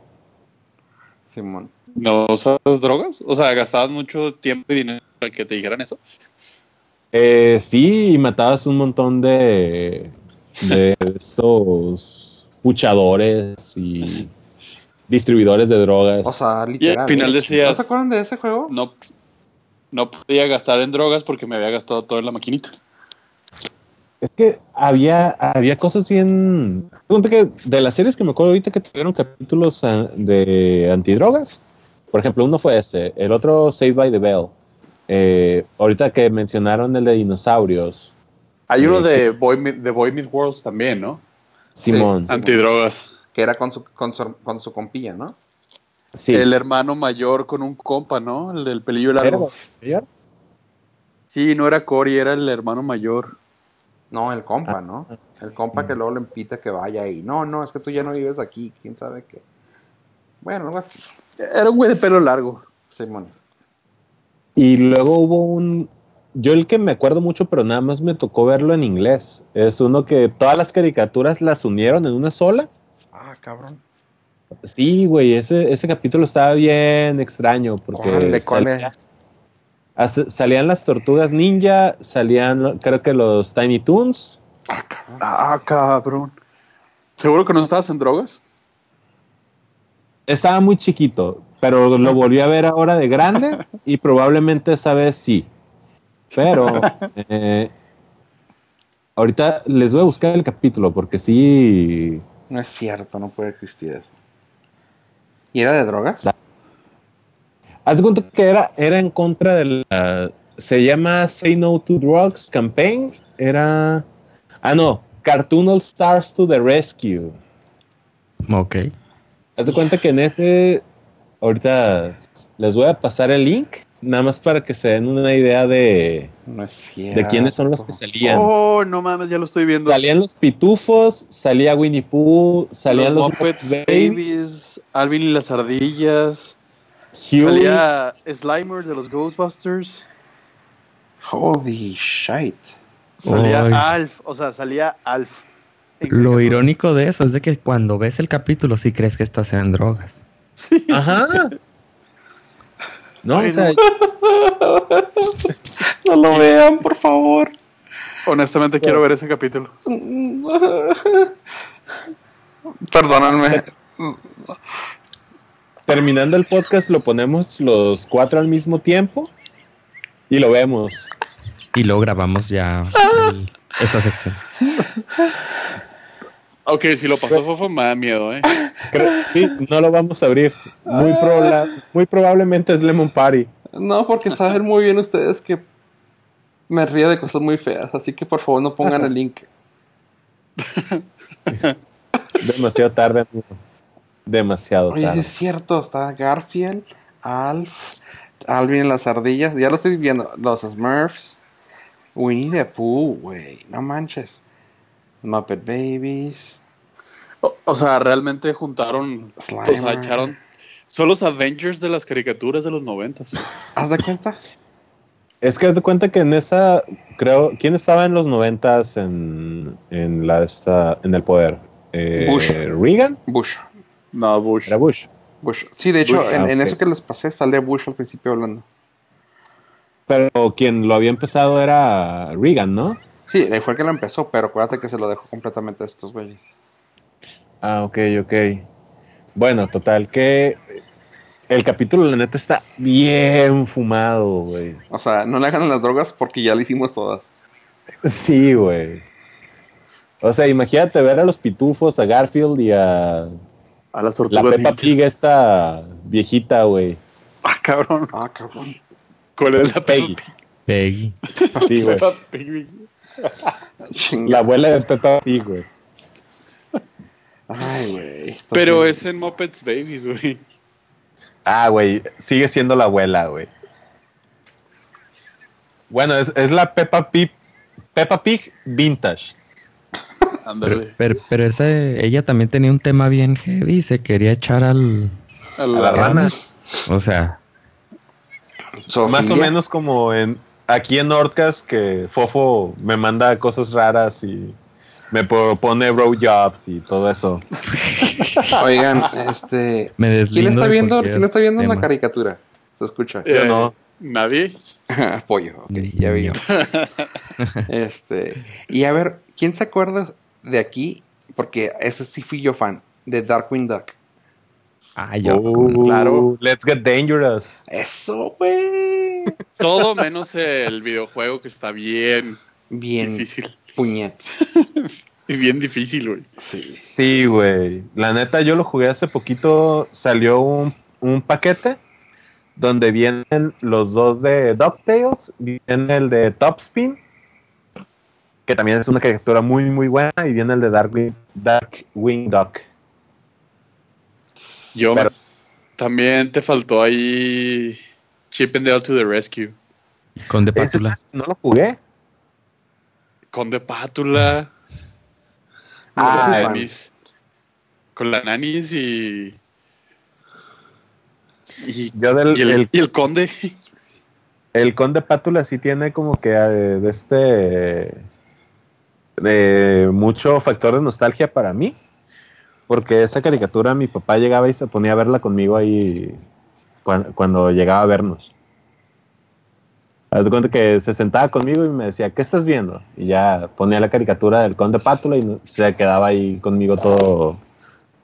[SPEAKER 5] Simón.
[SPEAKER 6] ¿No usas drogas? O sea, gastabas mucho tiempo y dinero para que te dijeran eso.
[SPEAKER 4] Eh, sí, y matabas un montón de, de estos puchadores y distribuidores de drogas.
[SPEAKER 5] O sea, literal.
[SPEAKER 6] al final
[SPEAKER 5] ¿eh?
[SPEAKER 6] decías-
[SPEAKER 5] ¿No se acuerdan de ese juego?
[SPEAKER 6] No, no podía gastar en drogas porque me había gastado todo en la maquinita.
[SPEAKER 4] Es que había, había cosas bien. Ponte que de las series que me acuerdo ahorita que tuvieron capítulos ah, de antidrogas, por ejemplo, uno fue ese, el otro Saved by the Bell. Eh, ahorita que mencionaron el de dinosaurios,
[SPEAKER 6] Hay uno
[SPEAKER 4] Sí.
[SPEAKER 6] de Boy, Meet- de Boy Meet Worlds también, ¿no?
[SPEAKER 4] Simón.
[SPEAKER 5] Sí.
[SPEAKER 6] Ah, Antidrogas.
[SPEAKER 5] Que era con su, con su, con su compilla, ¿no?
[SPEAKER 4] Sí.
[SPEAKER 6] El hermano mayor con un compa, ¿no? El del pelillo largo.
[SPEAKER 4] ¿Era?
[SPEAKER 6] Sí, no era Cory, era el hermano mayor.
[SPEAKER 5] No, el compa, ¿no? El compa que luego le impita que vaya ahí. No, no, es que tú ya no vives aquí. ¿Quién sabe qué? Bueno, algo así.
[SPEAKER 6] Era un güey de pelo largo.
[SPEAKER 5] Simón.
[SPEAKER 4] Y luego hubo un. Yo el que me acuerdo mucho, pero nada más me tocó verlo en inglés. Es uno que todas las caricaturas las unieron en una sola.
[SPEAKER 5] Ah, cabrón.
[SPEAKER 4] Sí, güey, ese, ese capítulo estaba bien extraño. Porque
[SPEAKER 5] Órale, ¿cuál
[SPEAKER 4] salía-
[SPEAKER 5] es?
[SPEAKER 4] as- salían las tortugas ninja, salían lo- creo que los Tiny Toons.
[SPEAKER 6] Ah, cabrón. ¿Seguro que no estabas en drogas?
[SPEAKER 4] Estaba muy chiquito, pero lo volví a ver ahora de grande y probablemente esa vez sí. Pero eh, ahorita les voy a buscar el capítulo porque sí
[SPEAKER 5] No es cierto, no puede existir eso. ¿Y era de drogas?
[SPEAKER 4] La- Haz de cuenta que era, era en contra de la. Se llama Say No to Drugs Campaign. Era. Ah, no. Cartoon All Stars to the Rescue.
[SPEAKER 7] Ok.
[SPEAKER 4] Haz de cuenta que en ese. Ahorita les voy a pasar el link. Nada más para que se den una idea de,
[SPEAKER 5] No es cierto.
[SPEAKER 4] de quiénes son los
[SPEAKER 5] pues,
[SPEAKER 4] que salían.
[SPEAKER 6] Oh, no mames, ya lo estoy viendo.
[SPEAKER 4] Salían los pitufos, salía Winnie Pooh, salían los,
[SPEAKER 6] Muppets
[SPEAKER 4] Muppets
[SPEAKER 6] Babies, Alvin y las ardillas.
[SPEAKER 4] Huey,
[SPEAKER 6] Salía Slimer de los Ghostbusters.
[SPEAKER 5] Holy shit.
[SPEAKER 6] Salía
[SPEAKER 7] Ay.
[SPEAKER 6] Alf. O sea, salía Alf. En-
[SPEAKER 7] Lo irónico de eso es de que cuando ves el capítulo sí crees que estas sean drogas.
[SPEAKER 4] Ajá. No,
[SPEAKER 6] Ay,
[SPEAKER 4] o sea,
[SPEAKER 6] no.
[SPEAKER 5] No lo vean, por favor.
[SPEAKER 6] Honestamente, quiero ver ese capítulo.
[SPEAKER 5] Perdónenme.
[SPEAKER 4] terminando el podcast lo ponemos los cuatro al mismo tiempo y lo vemos.
[SPEAKER 7] Y luego grabamos ya el- esta sección.
[SPEAKER 6] Ok, si lo pasó Fofo, me da miedo, ¿eh?
[SPEAKER 4] Creo- sí, no lo vamos a abrir. Muy, proba- muy probablemente es Lemon Party.
[SPEAKER 5] No, porque saben muy bien ustedes que me río de cosas muy feas, así que por favor no pongan el link.
[SPEAKER 4] Demasiado tarde, amigo. Demasiado
[SPEAKER 5] Oye, sí
[SPEAKER 4] tarde.
[SPEAKER 5] es cierto, está Garfield, Alf, Alvin y las ardillas, ya lo estoy viendo, los Smurfs, Winnie the Pooh, güey, no manches. Muppet Babies,
[SPEAKER 6] O, o sea, realmente juntaron.
[SPEAKER 5] Slimer.
[SPEAKER 6] O sea, echaron. Son los Avengers de las caricaturas de los noventas.
[SPEAKER 5] ¿Haz de cuenta?
[SPEAKER 4] Es que haz de cuenta que en esa, creo, ¿quién estaba en los noventas en, en la esta- en el poder? Eh,
[SPEAKER 5] Bush.
[SPEAKER 4] ¿Reagan?
[SPEAKER 5] Bush,
[SPEAKER 6] No, Bush.
[SPEAKER 4] Era Bush.
[SPEAKER 5] Bush. Sí, de hecho,
[SPEAKER 6] Bush,
[SPEAKER 5] en,
[SPEAKER 4] ah,
[SPEAKER 5] en
[SPEAKER 4] ok.
[SPEAKER 5] eso que les pasé sale Bush al principio hablando.
[SPEAKER 4] Pero quien lo había empezado era Reagan, ¿no?
[SPEAKER 5] Sí, ahí fue el que lo empezó, pero acuérdate que se lo dejó completamente a estos güeyes.
[SPEAKER 4] Ah, ok, ok. Bueno, total, que el capítulo, la neta, está bien fumado, güey.
[SPEAKER 5] O sea, no le hagan las drogas porque ya le hicimos todas.
[SPEAKER 4] Sí, güey. O sea, imagínate ver a los pitufos, a Garfield y a
[SPEAKER 6] A las
[SPEAKER 4] la
[SPEAKER 6] tortugas.
[SPEAKER 4] Peppa
[SPEAKER 6] ninjas.
[SPEAKER 4] Pig, esta viejita, güey.
[SPEAKER 6] Ah, cabrón.
[SPEAKER 5] Ah, cabrón.
[SPEAKER 6] ¿Cuál es la
[SPEAKER 4] Peggy.
[SPEAKER 6] Peppa
[SPEAKER 7] Peggy.
[SPEAKER 4] Sí, güey.
[SPEAKER 6] Peppa Pig?
[SPEAKER 4] La
[SPEAKER 5] Chinga.
[SPEAKER 4] abuela de Peppa Pig, güey.
[SPEAKER 5] Ay, güey. esto
[SPEAKER 6] Pero
[SPEAKER 5] sí.
[SPEAKER 6] es en Muppets Babies, güey.
[SPEAKER 4] Ah, güey, sigue siendo la abuela, güey. Bueno, es, es la Peppa Pig, Peppa Pig Vintage.
[SPEAKER 7] Pero,
[SPEAKER 6] Ándale.
[SPEAKER 7] pero, pero ese, ella también tenía un tema bien heavy y se quería echar al.
[SPEAKER 6] A
[SPEAKER 4] A la rana.
[SPEAKER 7] O sea,
[SPEAKER 4] Más o menos como en aquí en Orcas que Fofo me manda cosas raras y me propone jobs y todo eso.
[SPEAKER 5] Oigan, este.
[SPEAKER 7] me
[SPEAKER 5] ¿Quién
[SPEAKER 7] deslindo
[SPEAKER 5] está
[SPEAKER 7] de
[SPEAKER 5] viendo,
[SPEAKER 7] cualquier
[SPEAKER 5] quién está viendo la
[SPEAKER 7] tema.
[SPEAKER 5] caricatura? Se escucha.
[SPEAKER 4] Yo no.
[SPEAKER 6] eh, ¿Nadie?
[SPEAKER 5] Pollo, ok, ya vi.
[SPEAKER 7] Niño.
[SPEAKER 5] Este. Y a ver, ¿quién se acuerda de aquí? Porque ese sí fui yo fan, de Darkwing Duck.
[SPEAKER 7] Ah, yo.
[SPEAKER 4] Oh,
[SPEAKER 7] cómo no.
[SPEAKER 6] Claro.
[SPEAKER 4] Let's get dangerous.
[SPEAKER 5] Eso, güey.
[SPEAKER 6] Todo menos el videojuego que está bien
[SPEAKER 5] Bien,
[SPEAKER 6] difícil.
[SPEAKER 5] puñet.
[SPEAKER 6] Y bien difícil, güey.
[SPEAKER 5] Sí.
[SPEAKER 4] Sí, güey. La neta, yo lo jugué hace poquito. Salió un, un paquete donde vienen los dos de DuckTales. Viene el de Topspin, que también es una caricatura muy, muy buena. Y viene el de Darkwing, Darkwing Duck.
[SPEAKER 6] Yo me- También te faltó ahí Chip and Dale to the Rescue.
[SPEAKER 7] Con de
[SPEAKER 4] Ese
[SPEAKER 7] pátula.
[SPEAKER 4] está- no lo jugué.
[SPEAKER 6] Con de pátula.
[SPEAKER 5] No, yo
[SPEAKER 4] Ah,
[SPEAKER 5] fui
[SPEAKER 6] con,
[SPEAKER 5] fan.
[SPEAKER 6] nanis, con la nanis y... Y,
[SPEAKER 4] Yo del
[SPEAKER 6] y el,
[SPEAKER 4] el,
[SPEAKER 6] y el conde.
[SPEAKER 4] el conde Pátula sí tiene como que eh, de este de mucho factor de nostalgia para mí. Porque esa caricatura mi papá llegaba y se ponía a verla conmigo ahí cuan- cuando, llegaba a vernos. Haz de cuenta que se sentaba conmigo y me decía, ¿qué estás viendo? Y ya ponía la caricatura del conde Pátula y no- se quedaba ahí conmigo todo,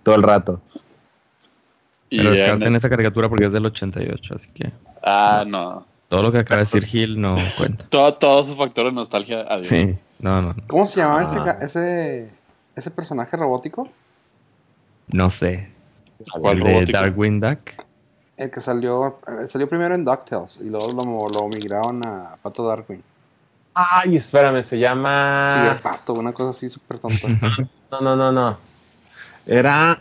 [SPEAKER 4] todo el rato.
[SPEAKER 6] Y
[SPEAKER 7] Pero descarten
[SPEAKER 6] Ernest.
[SPEAKER 7] esa caricatura porque es del 88, así que
[SPEAKER 6] Ah, no.
[SPEAKER 7] todo lo que acaba de decir Gil no cuenta.
[SPEAKER 6] Todo, todo su factor de nostalgia. Adiós.
[SPEAKER 7] Sí, no, no, no.
[SPEAKER 5] ¿Cómo se llamaba ese,
[SPEAKER 4] Ah.
[SPEAKER 5] ga- ese, ese personaje robótico?
[SPEAKER 7] no sé.
[SPEAKER 6] ¿Cuál
[SPEAKER 7] El de
[SPEAKER 6] robótico?
[SPEAKER 7] Darkwing Duck.
[SPEAKER 5] El que salió, eh, salió primero en DuckTales y luego lo, mo- lo migraron a Pato Darkwing.
[SPEAKER 4] Ay, espérame, se
[SPEAKER 7] Ah.
[SPEAKER 4] llama...
[SPEAKER 5] Ciberpato, una cosa así súper tonta.
[SPEAKER 4] No, no, no, no. Era.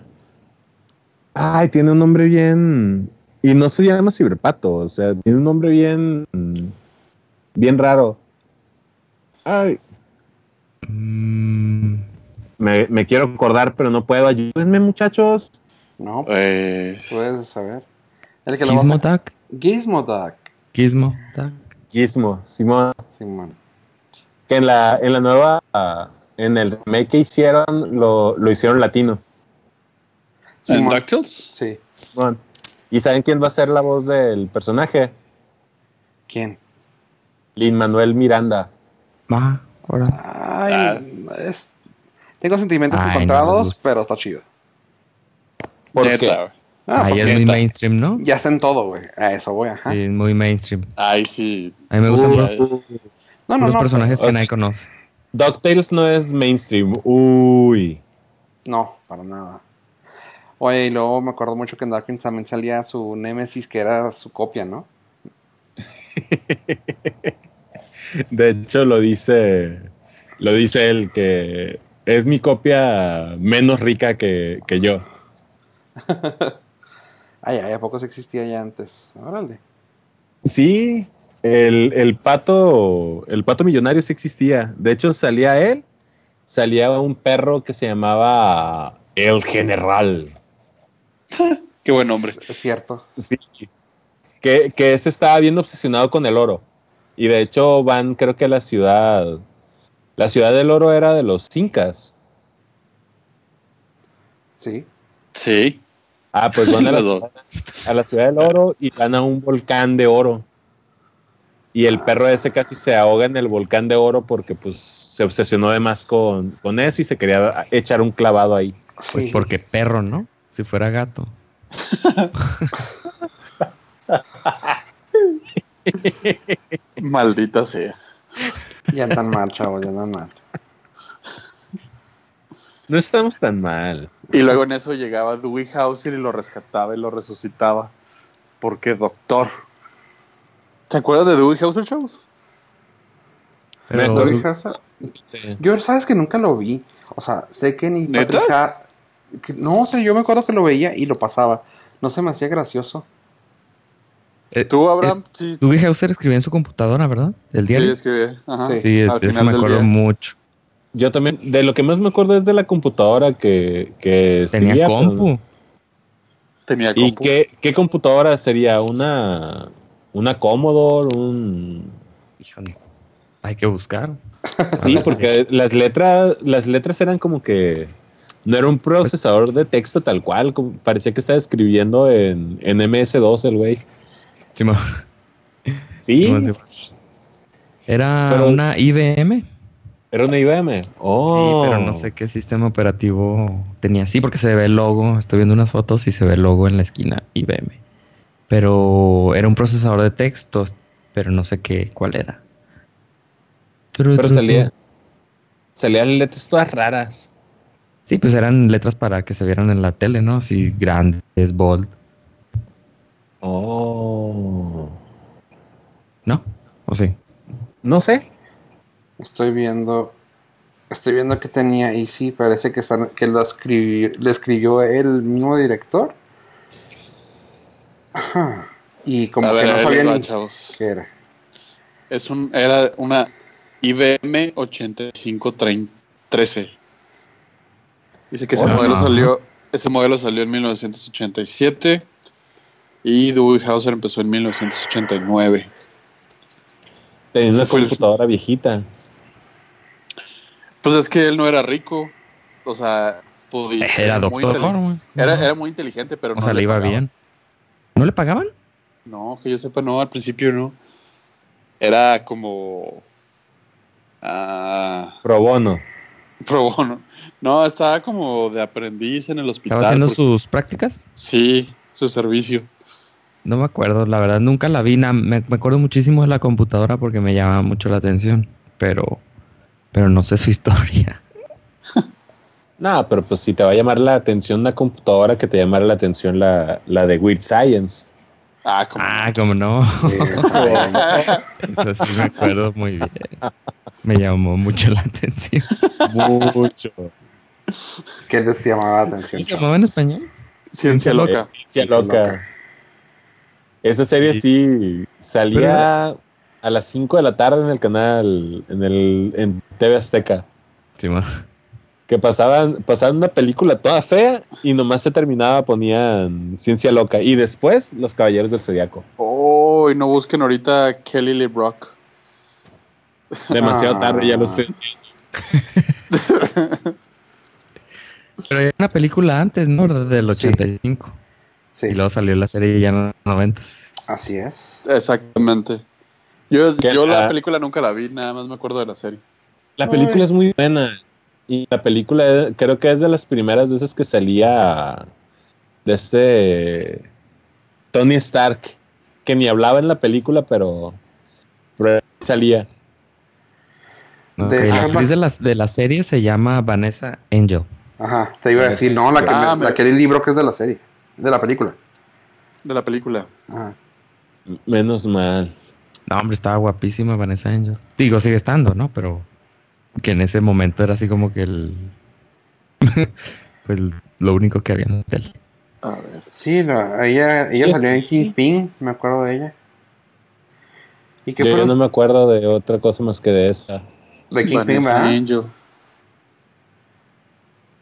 [SPEAKER 4] Ay, tiene un nombre bien. Y no se llama Ciberpato, o sea, tiene un nombre bien. Bien raro. Ay.
[SPEAKER 7] Mm,
[SPEAKER 4] Me, me quiero acordar, pero no puedo. Ayúdenme, muchachos.
[SPEAKER 5] No,
[SPEAKER 6] Eh,
[SPEAKER 5] puedes saber. El que lo vas
[SPEAKER 7] Gizmo
[SPEAKER 5] a...
[SPEAKER 7] Duck.
[SPEAKER 5] Gizmo Duck.
[SPEAKER 7] Gizmo Duck.
[SPEAKER 4] Gizmo, Simón.
[SPEAKER 5] Simón.
[SPEAKER 4] Que en la, en la nueva. En el remake que hicieron, lo, lo hicieron latino.
[SPEAKER 6] ¿En
[SPEAKER 5] Simón.
[SPEAKER 6] DuckTales?
[SPEAKER 5] Sí.
[SPEAKER 4] Simón. ¿Y saben quién va a ser la voz del personaje?
[SPEAKER 5] ¿Quién?
[SPEAKER 4] Lin Manuel Miranda.
[SPEAKER 7] Va, ahora.
[SPEAKER 5] Ay,
[SPEAKER 6] Ah.
[SPEAKER 5] es- tengo sentimientos
[SPEAKER 7] Ay, no me
[SPEAKER 5] encontrados,
[SPEAKER 7] gusta.
[SPEAKER 5] pero está chido.
[SPEAKER 4] ¿Por qué?
[SPEAKER 6] Neta, güey.
[SPEAKER 5] Ah,
[SPEAKER 7] Ahí
[SPEAKER 5] porque
[SPEAKER 7] es muy
[SPEAKER 6] neta.
[SPEAKER 7] mainstream, ¿no?
[SPEAKER 5] ya está en todo, güey. A eso voy, ajá.
[SPEAKER 7] Sí, es muy mainstream.
[SPEAKER 6] Ay, sí.
[SPEAKER 7] A mí me gustan
[SPEAKER 4] Uh,
[SPEAKER 7] los,
[SPEAKER 5] No, no, no.
[SPEAKER 7] personajes
[SPEAKER 4] pero-
[SPEAKER 7] que nadie conoce.
[SPEAKER 4] DuckTales no es mainstream. Uy.
[SPEAKER 5] No, para nada. Oye, y luego me acuerdo mucho que en Darkwing también salía su Nemesis, que era su copia, ¿no?
[SPEAKER 4] De hecho, lo dice. Lo dice él que es mi copia menos rica que, que yo.
[SPEAKER 5] Ay, ay, ¿a poco se existía ya antes? Órale.
[SPEAKER 4] Sí, el, el pato. El pato millonario sí existía. De hecho, salía él. Salía un perro que se llamaba El General.
[SPEAKER 6] Qué buen hombre.
[SPEAKER 5] Es cierto.
[SPEAKER 4] Sí. Que, que ese estaba bien obsesionado con el oro. Y de hecho van, creo que a la ciudad. La ciudad del oro era de los incas.
[SPEAKER 5] Sí.
[SPEAKER 6] Sí.
[SPEAKER 4] Ah, pues van a la,
[SPEAKER 6] Los dos.
[SPEAKER 4] a la ciudad del oro y van a un volcán de oro. Y el perro ese casi se ahoga en el volcán de oro porque pues se obsesionó de más con, con eso y se quería echar un clavado ahí.
[SPEAKER 7] Pues
[SPEAKER 5] Sí.
[SPEAKER 7] porque perro, ¿no? Si fuera gato.
[SPEAKER 6] Maldita sea.
[SPEAKER 5] Ya andan mal, chavos, ya andan mal.
[SPEAKER 4] No estamos tan mal.
[SPEAKER 6] Y luego en eso llegaba Dewey Hauser y lo rescataba y lo resucitaba. Porque doctor. ¿Te acuerdas de Dewey Hauser Shows?
[SPEAKER 7] Pero
[SPEAKER 4] Neta,
[SPEAKER 5] Dewey
[SPEAKER 4] Dewey-
[SPEAKER 5] Hauser- Yo, ¿sabes que nunca lo vi? O sea, sé que ni Patrick Har- que- No, o sea, yo me acuerdo que lo veía y lo pasaba. No se me hacía gracioso.
[SPEAKER 7] Eh,
[SPEAKER 6] Tú, Abraham, sí,
[SPEAKER 7] Dougie Hauser escribía en su computadora, ¿verdad? ¿El
[SPEAKER 6] sí
[SPEAKER 7] diario? Sí,
[SPEAKER 6] escribí. Ajá.
[SPEAKER 5] Sí.
[SPEAKER 7] de
[SPEAKER 6] al
[SPEAKER 7] eso
[SPEAKER 6] final
[SPEAKER 7] me
[SPEAKER 6] del
[SPEAKER 7] acuerdo
[SPEAKER 6] día.
[SPEAKER 7] mucho.
[SPEAKER 4] Yo también, de lo que más me acuerdo es de la computadora que, que
[SPEAKER 7] Tenía
[SPEAKER 4] escribía, pero-
[SPEAKER 7] compu.
[SPEAKER 6] Tenía
[SPEAKER 4] ¿Y
[SPEAKER 6] compu.
[SPEAKER 4] qué, qué computadora sería? ¿Una, una Commodore? Un...
[SPEAKER 7] Híjole. Hay que buscar.
[SPEAKER 4] Sí, porque las letras, las letras eran como que no era un procesador de texto tal cual, como- parecía que estaba escribiendo en, en MS2 el güey.
[SPEAKER 7] Simón,
[SPEAKER 4] Sí,
[SPEAKER 7] Simón, Simón. Era
[SPEAKER 4] Pero-
[SPEAKER 7] una IBM.
[SPEAKER 4] era una IBM. Oh,
[SPEAKER 7] Sí, pero no sé qué sistema operativo tenía. Sí, porque se ve el logo. Estoy viendo unas fotos y se ve el logo en la esquina IBM. Pero era un procesador de textos, pero no sé qué, cuál era. Tru,
[SPEAKER 4] Pero
[SPEAKER 7] tru,
[SPEAKER 4] salía,
[SPEAKER 7] tru.
[SPEAKER 4] salían letras todas raras.
[SPEAKER 7] Sí, pues eran letras para que se vieran en la tele, ¿no? Así grandes, bold,
[SPEAKER 4] Oh,
[SPEAKER 7] ¿no? ¿O sí?
[SPEAKER 4] no sé.
[SPEAKER 5] Estoy viendo. Estoy viendo que tenía y sí, parece que, están, que lo escribió, lo escribió el mismo director. Ajá. Y como
[SPEAKER 6] A
[SPEAKER 5] que
[SPEAKER 6] ver,
[SPEAKER 5] no
[SPEAKER 6] ahí
[SPEAKER 5] sabía
[SPEAKER 6] les va,
[SPEAKER 5] ni
[SPEAKER 6] chavos.
[SPEAKER 5] qué era.
[SPEAKER 6] Es un, era una IBM 8513. Dice que ese
[SPEAKER 7] Hola.
[SPEAKER 6] modelo salió ese modelo salió en 1987 y Dewey Hauser empezó en 1989.
[SPEAKER 4] Tenía
[SPEAKER 6] Ese
[SPEAKER 4] una
[SPEAKER 6] fue el-
[SPEAKER 4] computadora viejita.
[SPEAKER 6] Pues es que él no era rico, o sea, podía
[SPEAKER 7] Era
[SPEAKER 6] muy
[SPEAKER 7] doctor.
[SPEAKER 6] inteli-
[SPEAKER 7] Horman.
[SPEAKER 6] Era, era muy inteligente, pero
[SPEAKER 7] o
[SPEAKER 6] no
[SPEAKER 7] sea, le iba
[SPEAKER 6] pagaban.
[SPEAKER 7] bien. ¿No le pagaban?
[SPEAKER 6] No, que yo sepa, no, al principio no. Era como ah,
[SPEAKER 4] Pro bono.
[SPEAKER 6] pro bono. No, estaba como de aprendiz en el hospital.
[SPEAKER 7] ¿Estaba haciendo
[SPEAKER 6] porque-
[SPEAKER 7] sus prácticas?
[SPEAKER 6] Sí, su servicio.
[SPEAKER 7] No me acuerdo, la verdad nunca la vi. na- me, me acuerdo muchísimo de la computadora porque me llamaba mucho la atención, pero, pero no sé su historia.
[SPEAKER 4] No, pero pues si te va a llamar la atención una computadora que te llamara la atención la, la de Weird Science.
[SPEAKER 6] Ah, como.
[SPEAKER 7] Ah, como no. Eso sí me acuerdo muy bien. Me llamó mucho la atención.
[SPEAKER 4] Mucho.
[SPEAKER 5] ¿Qué les llamaba la atención?
[SPEAKER 7] ¿Se llamaba en español?
[SPEAKER 6] Ciencia loca.
[SPEAKER 4] Ciencia loca. Esa serie sí salía a las 5 de la tarde en el canal, en el en TV Azteca.
[SPEAKER 7] Sí, ma.
[SPEAKER 4] Que pasaban, pasaban una película toda fea y nomás se terminaba, ponían ciencia loca. Y después, Los Caballeros del Zodiaco.
[SPEAKER 6] Oh, y no busquen ahorita Kelly Lee Brock.
[SPEAKER 4] Demasiado
[SPEAKER 5] Ah.
[SPEAKER 4] tarde, ya lo sé.
[SPEAKER 7] Pero era una película antes, ¿no? Del
[SPEAKER 5] Sí.
[SPEAKER 7] 85.
[SPEAKER 5] Sí,
[SPEAKER 7] Y luego salió la serie ya en los 90.
[SPEAKER 5] así es.
[SPEAKER 6] Exactamente. Yo,
[SPEAKER 4] ¿Qué
[SPEAKER 6] yo la
[SPEAKER 7] ah,
[SPEAKER 4] tal?
[SPEAKER 6] película nunca la vi, nada más me acuerdo de la serie.
[SPEAKER 4] La película es muy buena. Y la película eh, creo que es de las primeras veces que salía de este Tony Stark, que ni hablaba en la película, pero, pero salía.
[SPEAKER 7] ¿no?
[SPEAKER 5] De-
[SPEAKER 7] Que la
[SPEAKER 5] ah,
[SPEAKER 7] actriz de la, de la serie se llama Vanessa Angel.
[SPEAKER 5] Ajá, te iba a decir, no, la que,
[SPEAKER 6] Ah,
[SPEAKER 5] me- la
[SPEAKER 6] me-
[SPEAKER 5] que leí el libro que es de la serie, de la película.
[SPEAKER 6] De la película.
[SPEAKER 5] Ajá.
[SPEAKER 4] Menos mal.
[SPEAKER 7] No, hombre, estaba guapísima Vanessa Angel. Digo, sigue estando, ¿no? Pero que en ese momento era así como que el... pues lo único que había en la tele.
[SPEAKER 6] A ver.
[SPEAKER 5] Sí, la- ella, ella
[SPEAKER 4] Sí,
[SPEAKER 5] salió en
[SPEAKER 4] sí.
[SPEAKER 5] Kingpin, me acuerdo de ella. ¿Y qué
[SPEAKER 4] Yo ya
[SPEAKER 5] fue
[SPEAKER 4] no me acuerdo de otra cosa más que de esa.
[SPEAKER 5] de Kingpin,
[SPEAKER 6] Vanessa
[SPEAKER 5] verdad?
[SPEAKER 6] Angel.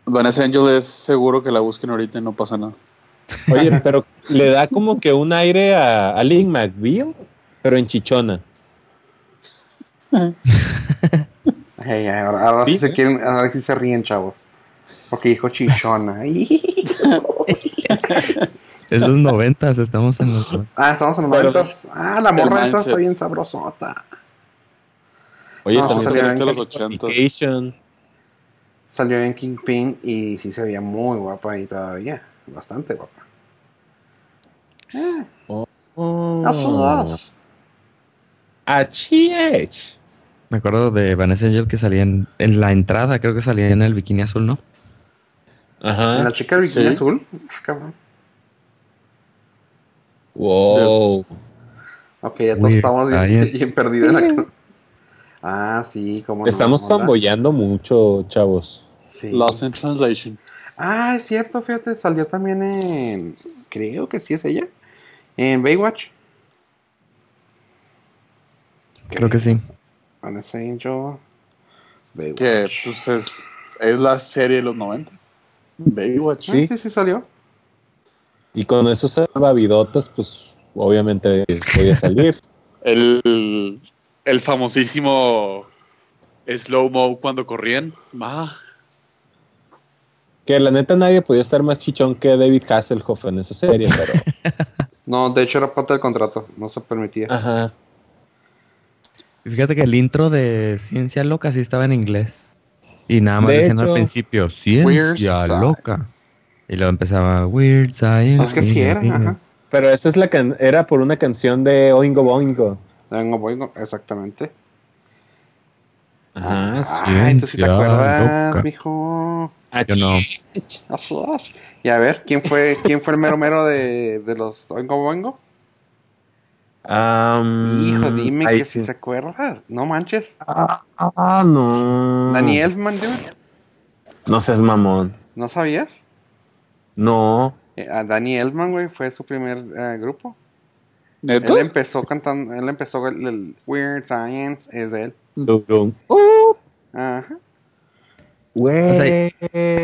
[SPEAKER 6] Vanessa Angel es seguro que la busquen ahorita y no pasa nada.
[SPEAKER 4] Oye, pero le da como que un aire a, a Link McBeal, pero en chichona.
[SPEAKER 5] Hey, ahora, ahora sí
[SPEAKER 4] Sí,
[SPEAKER 5] se
[SPEAKER 4] ¿eh?
[SPEAKER 5] quieren, ahora sí se ríen, chavos. Porque dijo chichona.
[SPEAKER 7] Es los noventas, estamos en los... noventas.
[SPEAKER 5] ah, estamos en los
[SPEAKER 4] Pero-
[SPEAKER 5] noventas. Ah, la morra esa está
[SPEAKER 6] mindset.
[SPEAKER 5] bien sabrosota.
[SPEAKER 4] Oye,
[SPEAKER 5] No,
[SPEAKER 4] también
[SPEAKER 5] salió
[SPEAKER 4] salió
[SPEAKER 5] en
[SPEAKER 6] los
[SPEAKER 4] Californication.
[SPEAKER 6] 80.
[SPEAKER 5] Salió en Kingpin y sí se veía muy guapa y todavía. Bastante guapa.
[SPEAKER 4] Oh.
[SPEAKER 5] Ah, Azudas.
[SPEAKER 4] Achí, ech.
[SPEAKER 7] Me acuerdo de Vanessa Angel que salía en, en la entrada, creo que salía en el bikini azul, ¿no?
[SPEAKER 4] Ajá.
[SPEAKER 5] La chica de bikini
[SPEAKER 6] Ah, sí.
[SPEAKER 5] azul. Ah, cabrón.
[SPEAKER 4] Wow.
[SPEAKER 5] Ok, ya todos
[SPEAKER 7] Weird
[SPEAKER 5] estamos bien,
[SPEAKER 7] Science.
[SPEAKER 5] bien perdidos. en la- Ah, sí, como
[SPEAKER 4] Estamos fanboyando mucho, chavos.
[SPEAKER 5] Sí.
[SPEAKER 6] Lost in Translation.
[SPEAKER 5] Ah, es cierto, fíjate, salió también en. Creo que sí es ella. En Baywatch.
[SPEAKER 7] Creo que sí.
[SPEAKER 5] Honest Angel. Baywatch. Ah,
[SPEAKER 6] Que pues es, es la serie de los 90. Baywatch.
[SPEAKER 5] Ah,
[SPEAKER 4] Sí.
[SPEAKER 5] sí, sí salió.
[SPEAKER 4] Y con esos salvavidotas, pues obviamente eh, voy a salir.
[SPEAKER 6] El, el famosísimo slow-mo cuando corrían. Ah,
[SPEAKER 4] que la neta nadie podía estar más chichón que David Hasselhoff en esa serie, pero.
[SPEAKER 5] No, de hecho era parte del contrato. No se permitía.
[SPEAKER 6] Ah.
[SPEAKER 4] Ajá.
[SPEAKER 7] Y Fíjate que el intro de Ciencia Loca sí estaba en inglés. Y nada más
[SPEAKER 4] De
[SPEAKER 7] decían al
[SPEAKER 4] hecho,
[SPEAKER 7] principio,
[SPEAKER 6] Weird
[SPEAKER 7] Ciencia
[SPEAKER 6] Science.
[SPEAKER 7] Loca. Y luego empezaba Weird Science.
[SPEAKER 5] Es que Ah, sí era, ajá.
[SPEAKER 4] Pero esa es la can- era por una canción de Oingo Boingo.
[SPEAKER 5] Vengo, vengo, exactamente.
[SPEAKER 4] Ajá.
[SPEAKER 5] Ah, entonces sí te
[SPEAKER 7] Ciencia
[SPEAKER 5] acuerdas,
[SPEAKER 7] loca.
[SPEAKER 5] mijo.
[SPEAKER 6] Ah,
[SPEAKER 7] Yo no.
[SPEAKER 5] Y a ver, ¿quién fue, quién fue el mero mero de, de los Oingo Boingo?
[SPEAKER 7] Mm,
[SPEAKER 5] Hijo, dime que si se acuerdas. No manches.
[SPEAKER 4] Ah, ah, no.
[SPEAKER 5] Danny Elfman, dude.
[SPEAKER 4] No seas mamón.
[SPEAKER 5] ¿No sabías?
[SPEAKER 4] No.
[SPEAKER 5] Eh, a Danny Elfman, güey, fue su primer eh, grupo.
[SPEAKER 6] ¿Neto?
[SPEAKER 5] Él em- empezó cantando, él empezó el, el Weird Science, es de él.
[SPEAKER 4] Durum.
[SPEAKER 5] Ajá.
[SPEAKER 4] Güey.
[SPEAKER 7] O sea,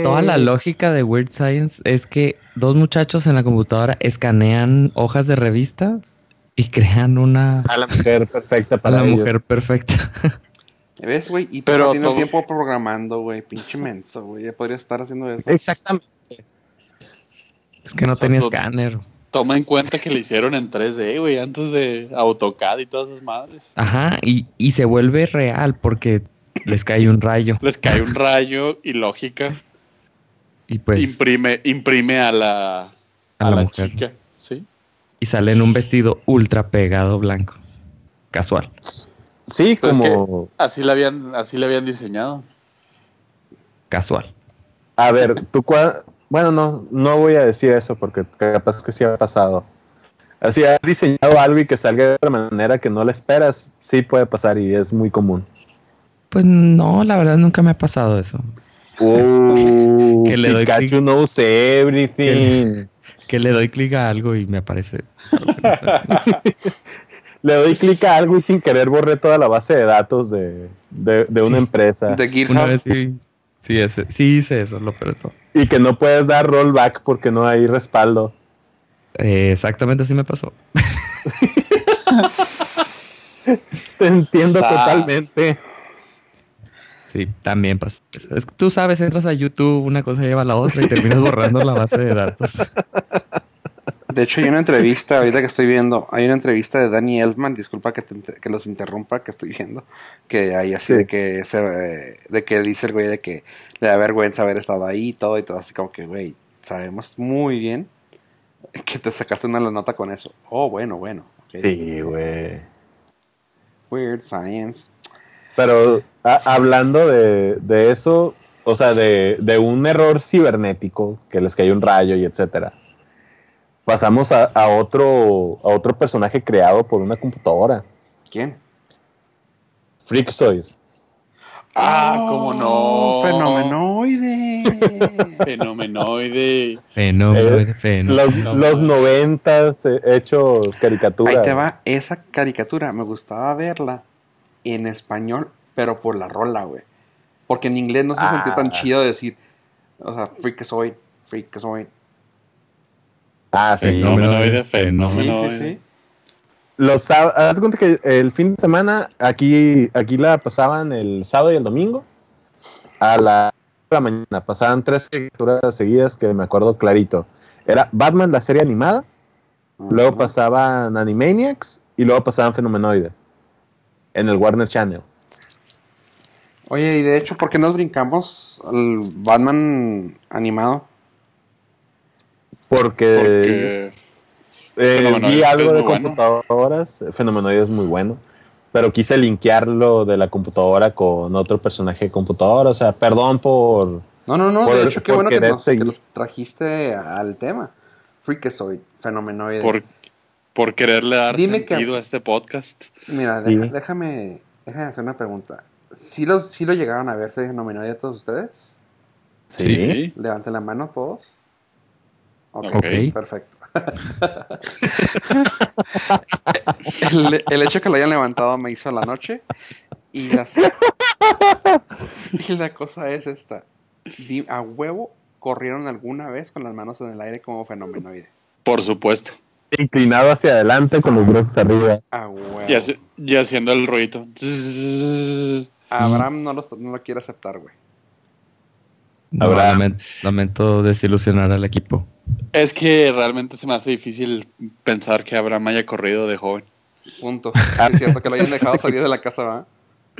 [SPEAKER 7] Toda
[SPEAKER 4] Eh,
[SPEAKER 7] la lógica de Weird Science es que dos muchachos en la computadora escanean hojas de revista y crean una
[SPEAKER 4] A la mujer perfecta
[SPEAKER 7] a
[SPEAKER 4] para
[SPEAKER 7] la
[SPEAKER 4] Ah, ellos.
[SPEAKER 7] mujer perfecta.
[SPEAKER 5] ¿Ves, güey? Y
[SPEAKER 6] Pero
[SPEAKER 5] tú tienes
[SPEAKER 6] todo-
[SPEAKER 5] tiempo programando, güey. Pinche menso, güey. Ya podría estar haciendo eso.
[SPEAKER 4] Exactamente.
[SPEAKER 7] Es que no
[SPEAKER 6] Exacto.
[SPEAKER 7] tenía escáner.
[SPEAKER 6] Toma en cuenta que le hicieron en 3D, güey, antes de AutoCAD y todas esas madres.
[SPEAKER 7] Ajá, y, y se vuelve real porque les cae un rayo.
[SPEAKER 6] Les cae un rayo y lógica
[SPEAKER 7] Y pues
[SPEAKER 6] imprime, imprime a la, a
[SPEAKER 7] a la
[SPEAKER 6] la
[SPEAKER 7] mujer.
[SPEAKER 6] chica. Sí.
[SPEAKER 7] Y sale en un vestido ultra pegado blanco. Casual.
[SPEAKER 4] Sí,
[SPEAKER 6] Pues
[SPEAKER 4] como.
[SPEAKER 6] Así la habían, así la habían diseñado.
[SPEAKER 7] Casual.
[SPEAKER 4] A ver, tú cua- Bueno, no, no voy a decir eso porque capaz que sí ha pasado. Así has diseñado algo y que salga de otra manera que no la esperas, sí puede pasar y es muy común.
[SPEAKER 7] Pues no, la verdad nunca me ha pasado eso.
[SPEAKER 4] Uh,
[SPEAKER 7] Que le doy
[SPEAKER 4] Pikachu
[SPEAKER 7] clic.
[SPEAKER 4] knows everything.
[SPEAKER 7] Que le doy clic a algo y me aparece.
[SPEAKER 4] Le doy clic a algo y sin querer borré toda la base de datos de, de- de una empresa.
[SPEAKER 5] De GitHub.
[SPEAKER 7] Una vez sí. Sí, ese- sí hice eso, lo peor de todo.
[SPEAKER 4] Y que no puedes dar rollback porque no hay respaldo.
[SPEAKER 7] Eh, exactamente así me pasó.
[SPEAKER 4] Te entiendo
[SPEAKER 6] Sas.
[SPEAKER 4] totalmente.
[SPEAKER 7] Sí, también pasó. eso. Es que tú sabes, entras a YouTube, una cosa lleva a la otra y terminas borrando la base de datos.
[SPEAKER 5] De hecho, hay una entrevista, ahorita que estoy viendo, hay una entrevista de Danny Elfman, disculpa que, te inter- que los interrumpa, que estoy viendo, que hay así
[SPEAKER 4] Sí.
[SPEAKER 5] de que se, eh, de que dice el güey de que le da vergüenza haber estado ahí y todo, y todo así como que, güey, sabemos muy bien que te sacaste una la nota con eso. Oh, bueno, bueno. ok.
[SPEAKER 4] Sí, güey.
[SPEAKER 5] Weird science.
[SPEAKER 4] Pero a- hablando de, de eso, o sea, de, de un error cibernético, que les cayó un rayo y etcétera, pasamos a, a otro, a otro personaje creado por una computadora,
[SPEAKER 5] ¿Quién?
[SPEAKER 4] Freakzoid.
[SPEAKER 6] Ah,
[SPEAKER 5] Oh.
[SPEAKER 6] cómo no.
[SPEAKER 5] Fenomenoide.
[SPEAKER 6] Fenomenoide.
[SPEAKER 7] Fenómeno,
[SPEAKER 4] Eh,
[SPEAKER 7] fenómeno.
[SPEAKER 4] Los, los 90 hechos caricatura.
[SPEAKER 5] Ahí te va, esa caricatura me gustaba verla en español, pero por la rola, güey. Porque en inglés no se sentía
[SPEAKER 4] Ah.
[SPEAKER 5] tan chido decir, o sea, freak soy, freak soy.
[SPEAKER 4] Ah, sí.
[SPEAKER 6] Fenomenoide,
[SPEAKER 5] Sí,
[SPEAKER 6] fenomenoide.
[SPEAKER 4] eh.
[SPEAKER 5] sí, sí.
[SPEAKER 4] Los sá- haz de cuenta que el fin de semana aquí, aquí la pasaban el sábado y el domingo a la, de la mañana. Pasaban tres caricaturas seguidas que me acuerdo clarito. Era Batman, la serie animada, luego
[SPEAKER 5] Ajá.
[SPEAKER 4] pasaban Animaniacs y luego pasaban Fenomenoide en el Warner Channel.
[SPEAKER 5] Oye, y de hecho, ¿por qué nos brincamos al Batman animado?
[SPEAKER 4] Porque eh,
[SPEAKER 6] Porque Fenomenoide
[SPEAKER 4] vi
[SPEAKER 6] es
[SPEAKER 4] algo
[SPEAKER 6] muy
[SPEAKER 4] de
[SPEAKER 6] bueno.
[SPEAKER 4] computadoras, Fenomenoide es muy bueno. Pero quise linkearlo de la computadora con otro personaje de computadora. O sea, perdón por
[SPEAKER 5] No, no, no,
[SPEAKER 4] Por-
[SPEAKER 5] de hecho, qué
[SPEAKER 4] por
[SPEAKER 5] bueno que
[SPEAKER 4] querer
[SPEAKER 5] nos que
[SPEAKER 4] seguir.
[SPEAKER 5] lo trajiste al tema. Freak soy, fenomenoide.
[SPEAKER 6] por, por quererle dar
[SPEAKER 5] Dime que-
[SPEAKER 6] sentido a este podcast.
[SPEAKER 5] Mira,
[SPEAKER 4] Sí.
[SPEAKER 5] deja- déjame, déjame hacer una pregunta. ¿Sí, los, ¿Sí lo llegaron a ver fenomenoide todos ustedes?
[SPEAKER 4] Sí.
[SPEAKER 5] Levanten la mano todos. Ok,
[SPEAKER 6] Ok.
[SPEAKER 5] perfecto. El, el hecho que lo hayan levantado me hizo la noche. Y, las- y la cosa es esta. Di- A huevo corrieron alguna vez con las manos en el aire como fenomenoide.
[SPEAKER 6] Por supuesto.
[SPEAKER 4] Inclinado hacia adelante con los brazos arriba.
[SPEAKER 5] A huevo.
[SPEAKER 6] Y, hace- y haciendo el ruido.
[SPEAKER 5] Abraham no lo, no lo quiere aceptar, güey.
[SPEAKER 7] No,
[SPEAKER 4] Habrá.
[SPEAKER 7] lamen- lamento desilusionar al equipo.
[SPEAKER 6] Es que realmente se me hace difícil pensar que Abraham haya corrido de joven.
[SPEAKER 5] Punto. Sí, es cierto que lo hayan dejado salir de la casa, ¿va?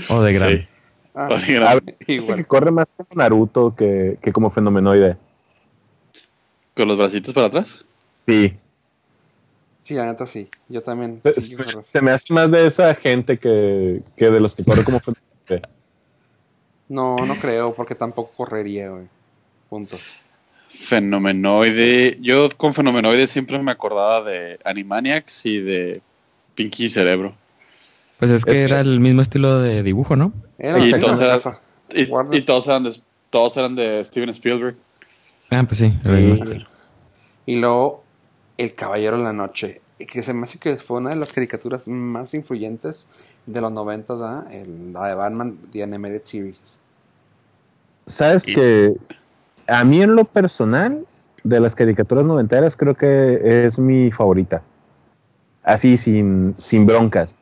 [SPEAKER 7] O de gran.
[SPEAKER 6] Sí.
[SPEAKER 5] Ah,
[SPEAKER 6] O de gran-
[SPEAKER 4] Dice que
[SPEAKER 5] igual.
[SPEAKER 4] corre más como Naruto que, que como fenomenoide.
[SPEAKER 6] Con los bracitos para atrás.
[SPEAKER 4] Sí.
[SPEAKER 5] Sí, la neta sí. Yo también.
[SPEAKER 4] Se,
[SPEAKER 5] Sí, güey, sí.
[SPEAKER 4] se me hace más de esa gente que, que de los que corre como fenomenoide.
[SPEAKER 5] No, no creo, porque tampoco correría, güey. Punto.
[SPEAKER 6] Fenomenoide. Yo con Fenomenoide siempre me acordaba de Animaniacs y de Pinky Cerebro.
[SPEAKER 7] Pues es que
[SPEAKER 4] Es que-
[SPEAKER 7] era el mismo estilo de dibujo, ¿no?
[SPEAKER 5] Era
[SPEAKER 6] Y
[SPEAKER 5] la
[SPEAKER 6] entonces-
[SPEAKER 5] de la casa.
[SPEAKER 6] Y,
[SPEAKER 5] Guarda.
[SPEAKER 6] y todos, eran de, todos eran de Steven Spielberg.
[SPEAKER 7] Ah, pues sí, el mismo estilo.
[SPEAKER 5] Y luego El Caballero en la Noche, que se me hace que fue una de las caricaturas más influyentes de los noventas, ¿verdad? El- la de Batman, The Animated Series.
[SPEAKER 4] Sabes que a mí en lo personal, de las caricaturas noventeras, creo que es mi favorita. Así, sin, sin broncas.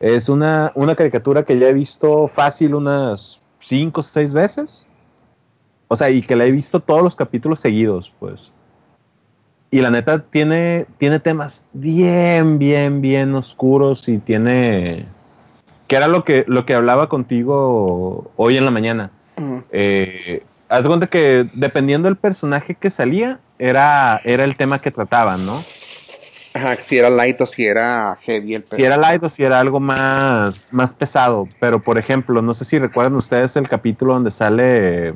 [SPEAKER 4] Es una, una caricatura que ya he visto fácil unas cinco o seis veces. O sea, y que la he visto todos los capítulos seguidos, pues. Y la neta tiene, tiene temas bien, bien, bien oscuros y tiene... Que era lo que, lo que hablaba contigo hoy en la mañana eh, haz de cuenta que dependiendo del personaje que salía, era, era el tema que trataban, ¿no?
[SPEAKER 5] Ajá, si era light o si era heavy el
[SPEAKER 4] Si era light o si era algo más, más pesado. Pero, por ejemplo, no sé si recuerdan ustedes el capítulo donde sale.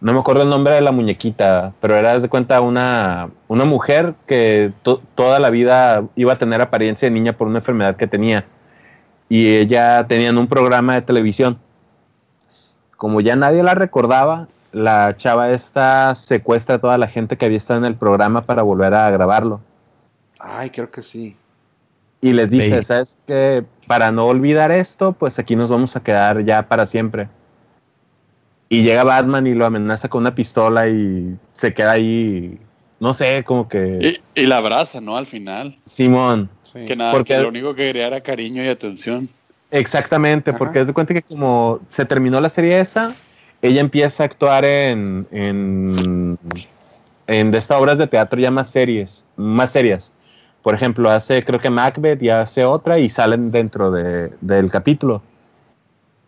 [SPEAKER 4] No me acuerdo el nombre de la muñequita, pero era, haz de cuenta, una, una mujer que to- toda la vida iba a tener apariencia de niña por una enfermedad que tenía. Y ella tenía un programa de televisión. Como ya nadie la recordaba, la chava esta secuestra a toda la gente que había estado en el programa para volver a grabarlo
[SPEAKER 5] Ay, creo que sí.
[SPEAKER 4] y les dice,
[SPEAKER 7] Baby.
[SPEAKER 4] ¿sabes que Para no olvidar esto, pues aquí nos vamos a quedar ya para siempre. Y llega Batman y lo amenaza con una pistola y se queda ahí, no sé, como que...
[SPEAKER 6] Y, y la abraza, ¿no? Al final.
[SPEAKER 4] Simón,
[SPEAKER 5] sí.
[SPEAKER 6] Que nada,
[SPEAKER 4] Porque-
[SPEAKER 6] que lo único que quería era cariño y atención.
[SPEAKER 4] exactamente,
[SPEAKER 5] Ajá.
[SPEAKER 4] porque es de cuenta que como se terminó la serie esa, ella empieza a actuar en, en, en de estas obras de teatro ya más series, más serias. Por ejemplo, hace creo que Macbeth y hace otra y salen dentro de- del capítulo.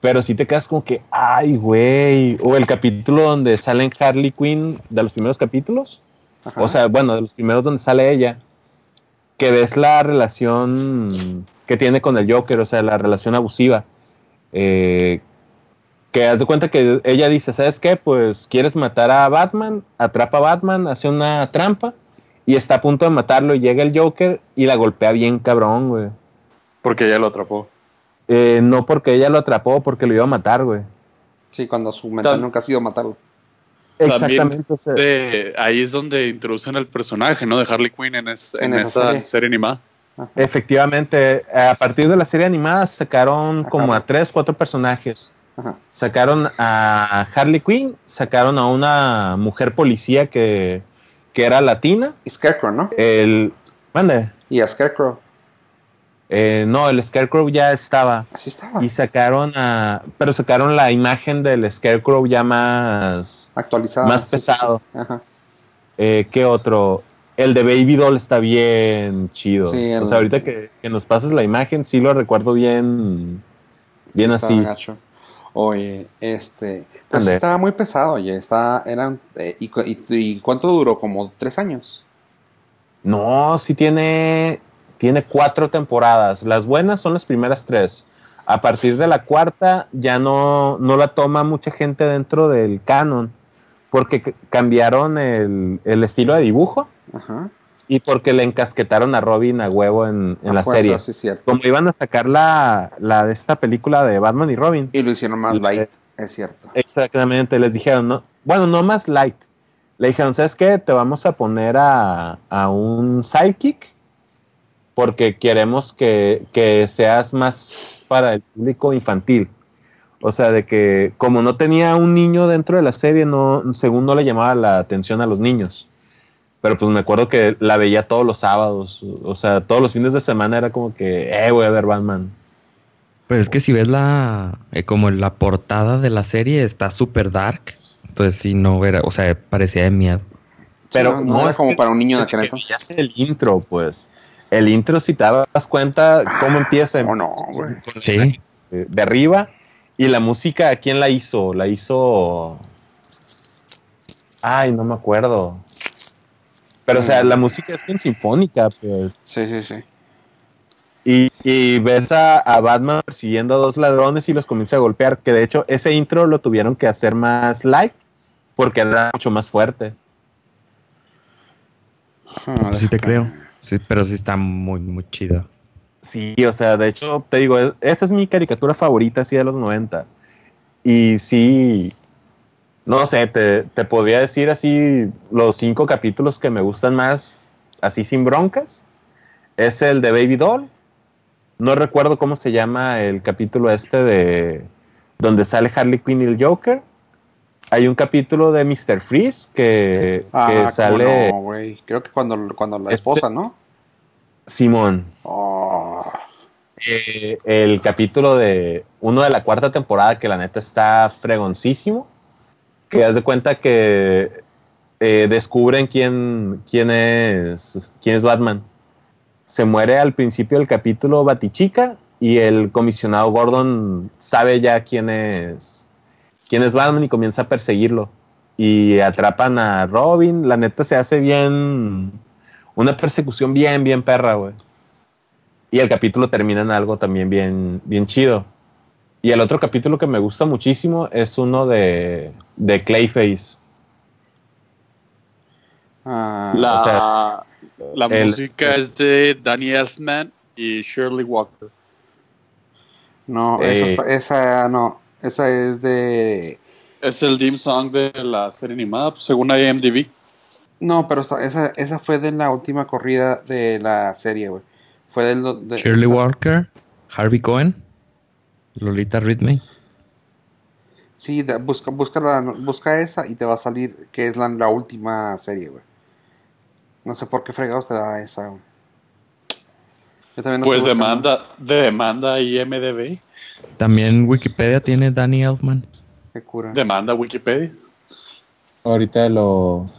[SPEAKER 4] Pero si te quedas como que, ay, güey. O el capítulo donde salen Harley Quinn de los primeros capítulos.
[SPEAKER 5] Ajá.
[SPEAKER 4] O sea, bueno, de los primeros donde sale ella. Que ves la relación que tiene con el Joker, o sea, la relación abusiva. Eh, que haz de cuenta que ella dice, ¿sabes qué? Pues quieres matar a Batman, atrapa a Batman, hace una trampa y está a punto de matarlo y llega el Joker y la golpea bien cabrón, güey.
[SPEAKER 6] Porque ella lo atrapó.
[SPEAKER 4] Eh, no porque ella lo atrapó, porque lo iba a matar, güey.
[SPEAKER 5] Sí, cuando su mental
[SPEAKER 6] Tan-
[SPEAKER 5] nunca ha sido matarlo.
[SPEAKER 6] También
[SPEAKER 4] Exactamente. o sea,
[SPEAKER 6] De, ahí es donde introducen al personaje, ¿no? De Harley Quinn en, es-
[SPEAKER 5] En
[SPEAKER 6] en
[SPEAKER 5] esa
[SPEAKER 6] esa
[SPEAKER 5] serie.
[SPEAKER 6] serie. animada.
[SPEAKER 4] Efectivamente, a partir de la serie animada sacaron
[SPEAKER 5] Ajá.
[SPEAKER 4] como a tres, cuatro personajes.
[SPEAKER 5] Ajá.
[SPEAKER 4] Sacaron a Harley Quinn, sacaron a una mujer policía que, que era latina.
[SPEAKER 5] Y Scarecrow, ¿no?
[SPEAKER 4] El... Mande.
[SPEAKER 5] Y a Scarecrow.
[SPEAKER 4] Eh, no, el Scarecrow ya estaba.
[SPEAKER 5] Así estaba.
[SPEAKER 4] Y sacaron a... Pero sacaron la imagen del Scarecrow ya más...
[SPEAKER 5] Actualizado.
[SPEAKER 4] más
[SPEAKER 5] Sí, sí, sí,
[SPEAKER 4] pesado.
[SPEAKER 5] sí. Ajá.
[SPEAKER 4] Eh, ¿Qué otro? El de Baby Doll está bien chido.
[SPEAKER 5] Sí, el-
[SPEAKER 4] O sea, ahorita que, que nos pases la imagen, sí lo recuerdo bien. Bien
[SPEAKER 5] Sí, estaba
[SPEAKER 4] así.
[SPEAKER 5] gacho. Oye, este, pues
[SPEAKER 4] Ande.
[SPEAKER 5] estaba muy pesado, oye, estaba, eran, eh, y, cu- y- y cuánto duró? Como tres años.
[SPEAKER 4] No, sí tiene. Tiene cuatro temporadas. Las buenas son las primeras tres. A partir de la cuarta ya no, no la toma mucha gente dentro del canon. Porque c- cambiaron el, el estilo de dibujo
[SPEAKER 5] Ajá.
[SPEAKER 4] y porque le encasquetaron a Robin a huevo en, en
[SPEAKER 5] A
[SPEAKER 4] la
[SPEAKER 5] fuerza,
[SPEAKER 4] serie.
[SPEAKER 5] Ah, pues, sí, cierto.
[SPEAKER 4] como iban a sacar la, la de esta película de Batman y Robin,
[SPEAKER 5] Y lo hicieron más
[SPEAKER 4] Y- Eh,
[SPEAKER 5] light, es cierto.
[SPEAKER 4] exactamente les dijeron, no, bueno, no más light, le dijeron, ¿sabes qué? Te vamos a poner a, a un sidekick porque queremos que, que seas más para el público infantil. O sea, de que como no tenía un niño dentro de la serie, no, según no le llamaba la atención a los niños. Pero pues me acuerdo que la veía todos los sábados. O sea, todos los fines de semana era como que, eh, voy a ver Batman.
[SPEAKER 7] Pues es que si ves la eh, como la portada de la serie está súper dark. Entonces si no era, o sea, parecía de miedo.
[SPEAKER 4] Pero
[SPEAKER 5] no, no era
[SPEAKER 4] es
[SPEAKER 5] como
[SPEAKER 4] que-
[SPEAKER 5] para un niño de aquel
[SPEAKER 4] que
[SPEAKER 5] entonces.
[SPEAKER 4] veías el intro, pues. El intro, si te das cuenta cómo empieza
[SPEAKER 5] Oh, no, güey.
[SPEAKER 7] Sí.
[SPEAKER 4] eh, de arriba. Y la música, ¿quién la hizo? La hizo. Ay, no me acuerdo. Pero, o sea,
[SPEAKER 5] Mm.
[SPEAKER 4] la música es bien sinfónica, pues.
[SPEAKER 5] Sí, sí, sí.
[SPEAKER 4] Y, y ves a, a Batman persiguiendo a dos ladrones y los comienza a golpear. Que de hecho, ese intro lo tuvieron que hacer más light porque era mucho más fuerte.
[SPEAKER 5] Ah,
[SPEAKER 7] Pues Sí te
[SPEAKER 5] déjame.
[SPEAKER 7] creo. Sí, pero sí está muy muy chido.
[SPEAKER 4] Sí, o sea, de hecho, te digo, es- esa es mi caricatura favorita, así de los 90. Y sí, no sé, te, te podría decir así los cinco capítulos que me gustan más, así sin broncas. Es el de Baby Doll. No recuerdo cómo se llama el capítulo este de donde sale Harley Quinn y el Joker. Hay un capítulo de Mr. Freeze que,
[SPEAKER 5] Ah,
[SPEAKER 4] que
[SPEAKER 5] ¿cómo
[SPEAKER 4] sale
[SPEAKER 5] no, güey. Creo que cuando, cuando la
[SPEAKER 4] Este-
[SPEAKER 5] esposa, ¿no?
[SPEAKER 4] Simón.
[SPEAKER 5] Oh,
[SPEAKER 4] eh, el capítulo de uno de la cuarta temporada que la neta está fregoncísimo. Que haz de cuenta que eh, descubren quién, quién es quién es Batman. Se muere al principio del capítulo Batichica y el comisionado Gordon sabe ya quién es quién es Batman y comienza a perseguirlo. Y atrapan a Robin. La neta se hace bien. Una persecución bien, bien perra, güey. Y el capítulo termina en algo también bien, bien chido. Y el otro capítulo que me gusta muchísimo es uno de, de Clayface.
[SPEAKER 5] ah,
[SPEAKER 6] La,
[SPEAKER 4] o
[SPEAKER 6] la
[SPEAKER 4] el-
[SPEAKER 6] música es de Danny Elfman y Shirley Walker.
[SPEAKER 5] no, esa
[SPEAKER 4] eh.
[SPEAKER 5] está- esa no. Esa es de.
[SPEAKER 6] Es el theme song de la serie animada, pues, según IMDb.
[SPEAKER 5] No, pero esa- esa, esa fue de la última corrida de la serie, güey. Fue del. do- De,
[SPEAKER 7] Shirley
[SPEAKER 5] esa-
[SPEAKER 7] Walker, Harvey Cohen, Lolita Ridley.
[SPEAKER 5] Sí, da- busca, busca, la- busca esa y te va a salir que es la, la última serie, güey. No sé por qué fregados te da esa, güey. Yo también no
[SPEAKER 6] Pues
[SPEAKER 5] estoy buscando.
[SPEAKER 6] demanda, demanda IMDb,
[SPEAKER 7] También Wikipedia tiene Danny Elfman.
[SPEAKER 5] Qué cura.
[SPEAKER 6] demanda Wikipedia.
[SPEAKER 4] Ahorita lo...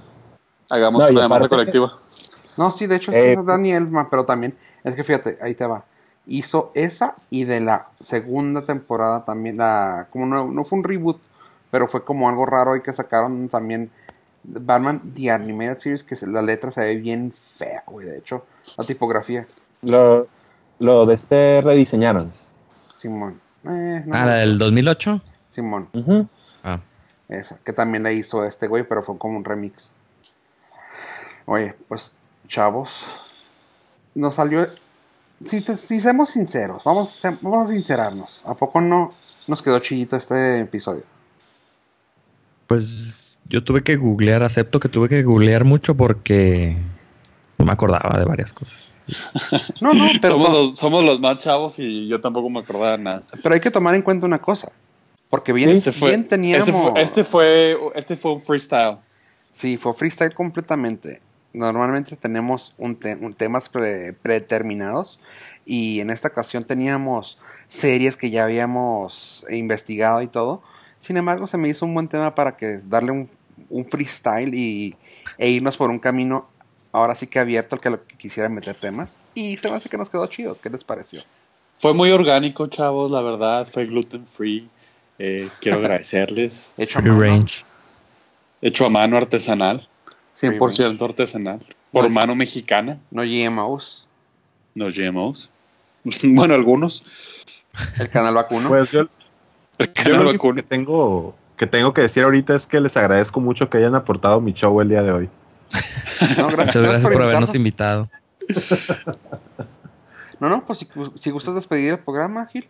[SPEAKER 6] Hagamos
[SPEAKER 4] No, y
[SPEAKER 6] una demanda
[SPEAKER 4] aparte-
[SPEAKER 6] colectiva.
[SPEAKER 5] Ah, No, sí, de hecho sí
[SPEAKER 4] Eh,
[SPEAKER 5] es Danny Elfman, pero también, es que fíjate, ahí te va. Hizo esa y de la segunda temporada también, la, como no, no fue un reboot, pero fue como algo raro y que sacaron también Batman The Animated Series, que se- la letra se ve bien fea, güey, de hecho, la tipografía,
[SPEAKER 4] Lo, lo de este rediseñaron.
[SPEAKER 5] Simón. Eh, no,
[SPEAKER 7] Ah, la del 2008.
[SPEAKER 5] Simón,
[SPEAKER 4] Ujú.
[SPEAKER 7] Ah,
[SPEAKER 5] esa, que también la hizo este güey, pero fue como un remix. Oye, pues, chavos, nos salió. Si, te- si seamos sinceros, vamos, a ser- vamos a sincerarnos. ¿A poco no nos quedó chillito este episodio?
[SPEAKER 7] pues yo tuve que googlear, acepto que tuve que googlear mucho porque no me acordaba de varias cosas.
[SPEAKER 5] No, no, pero, pues-
[SPEAKER 6] Somos los, somos los más chavos y yo tampoco me acordaba de nada.
[SPEAKER 5] pero hay que tomar en cuenta una cosa. Porque bien,
[SPEAKER 6] Ese fue-
[SPEAKER 5] bien teníamos.
[SPEAKER 6] Este fue, este, fue, este fue un freestyle.
[SPEAKER 5] Sí, fue freestyle completamente. Normalmente tenemos un, te- un temas pre- predeterminados y en esta ocasión teníamos series que ya habíamos investigado y todo. Sin embargo, se me hizo un buen tema para que darle un, un freestyle y, e irnos por un camino ahora sí que abierto al que, lo que quisiera meter temas. Y se me hace que nos quedó chido. ¿Qué les pareció?
[SPEAKER 6] Fue muy orgánico, chavos, la verdad. Fue gluten free. Eh, quiero agradecerles.
[SPEAKER 5] Hecho a
[SPEAKER 7] Free
[SPEAKER 5] mano.
[SPEAKER 7] range.
[SPEAKER 6] Hecho a mano artesanal. 100% artesanal. Por
[SPEAKER 5] Bueno.
[SPEAKER 6] mano mexicana,
[SPEAKER 5] No GMOs.
[SPEAKER 6] no GMOs. bueno, algunos.
[SPEAKER 5] El canal vacuno.
[SPEAKER 4] Pues yo, yo
[SPEAKER 6] No
[SPEAKER 4] lo único
[SPEAKER 6] vacuno.
[SPEAKER 4] que tengo, que tengo que decir ahorita es que les agradezco mucho que hayan aportado mi show el día de hoy.
[SPEAKER 5] No,
[SPEAKER 7] Muchas gracias por, habernos
[SPEAKER 5] invitarnos.
[SPEAKER 7] invitado.
[SPEAKER 5] No, no, pues si, si gustas despedir el programa, Gil.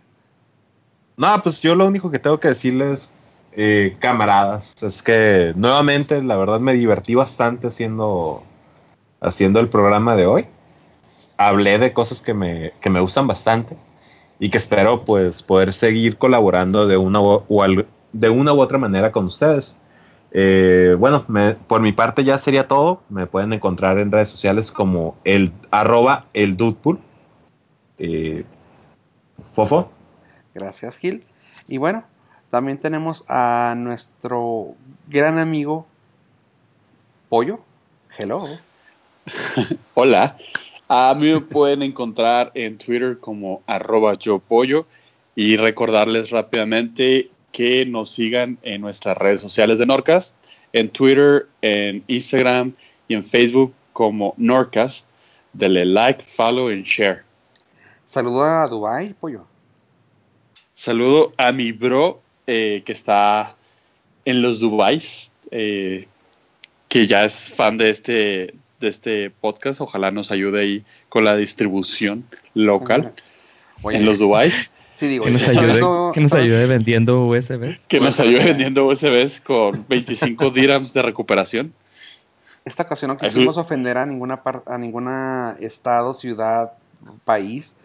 [SPEAKER 4] No, pues yo lo único que tengo que decirles eh, camaradas. Es que nuevamente, la verdad, me divertí bastante haciendo, haciendo el programa de hoy. Hablé de cosas que me, que me gustan bastante y que espero pues poder seguir colaborando de una u, o al- de una u otra manera con ustedes. Eh, bueno, me- por mi parte ya sería todo. Me pueden encontrar en redes sociales como el arroba el Dudpool. Eh, Fofo.
[SPEAKER 5] Gracias, Gil. Y bueno, también tenemos a nuestro gran amigo Pollo. Hello.
[SPEAKER 6] Hola. A mí me pueden encontrar en Twitter como arroba yo pollo y recordarles rápidamente que nos sigan en nuestras redes sociales de Norcast, en Twitter, en Instagram y en Facebook como Norcast. Dele like, follow y share.
[SPEAKER 5] Saluda a Dubai, Pollo.
[SPEAKER 6] Saludo a mi bro eh, que está en los Dubais, eh, que ya es fan de este, de este podcast. Ojalá nos ayude ahí con la distribución local
[SPEAKER 5] Oye,
[SPEAKER 6] en los Dubais,
[SPEAKER 5] Sí, digo,
[SPEAKER 7] Que nos
[SPEAKER 5] ¿sabes
[SPEAKER 7] ayude,
[SPEAKER 5] no-
[SPEAKER 7] que nos
[SPEAKER 5] sabes-
[SPEAKER 7] ayude vendiendo USB.
[SPEAKER 6] que nos
[SPEAKER 5] Ojalá.
[SPEAKER 6] ayude vendiendo USBs con 25 dirhams de recuperación.
[SPEAKER 5] Esta ocasión no
[SPEAKER 6] Así-
[SPEAKER 5] quisimos ofender a ninguna par- a ninguna estado, ciudad, país,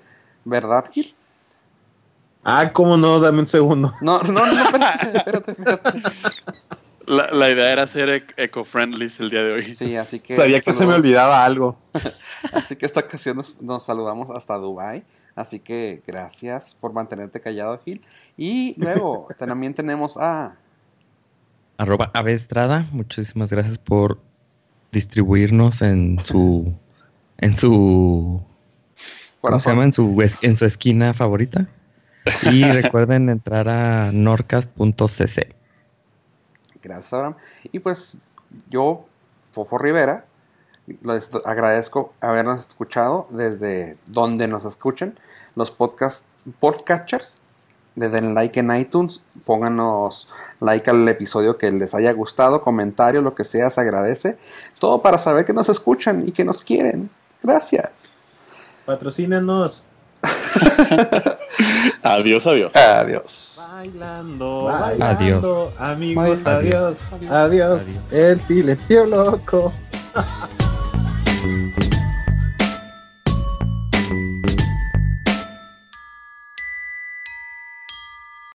[SPEAKER 5] ¿verdad, Gil?
[SPEAKER 4] Ah, cómo no, dame un segundo.
[SPEAKER 5] No, no, no, espérate, espérate, espérate.
[SPEAKER 6] La, la idea era ser ec- eco-friendly el día de hoy.
[SPEAKER 5] Sí, así que.
[SPEAKER 4] Sabía que se me
[SPEAKER 5] saludos.
[SPEAKER 4] olvidaba algo.
[SPEAKER 5] Así que esta ocasión nos, nos saludamos hasta Dubai. Así que gracias por mantenerte callado, Gil. Y luego también tenemos a.
[SPEAKER 7] Arroba Ave Estrada, muchísimas gracias por distribuirnos en su en su ¿cómo se llama? En su es- en su esquina favorita. Y recuerden entrar a norcast.cc.
[SPEAKER 5] Gracias, Abraham. Y pues yo, Fofo Rivera, les agradezco habernos escuchado desde donde nos escuchen. Los podcast, podcatchers, le den like en iTunes, pónganos like al episodio que les haya gustado, comentario, lo que sea, se agradece. Todo para saber que nos escuchan y que nos quieren. Gracias.
[SPEAKER 4] Patrocínanos.
[SPEAKER 6] Adiós, adiós.
[SPEAKER 5] Adiós.
[SPEAKER 4] Bailando,
[SPEAKER 5] Bye.
[SPEAKER 7] bailando,
[SPEAKER 4] amigos,
[SPEAKER 7] adiós.
[SPEAKER 4] adiós. El silencio loco.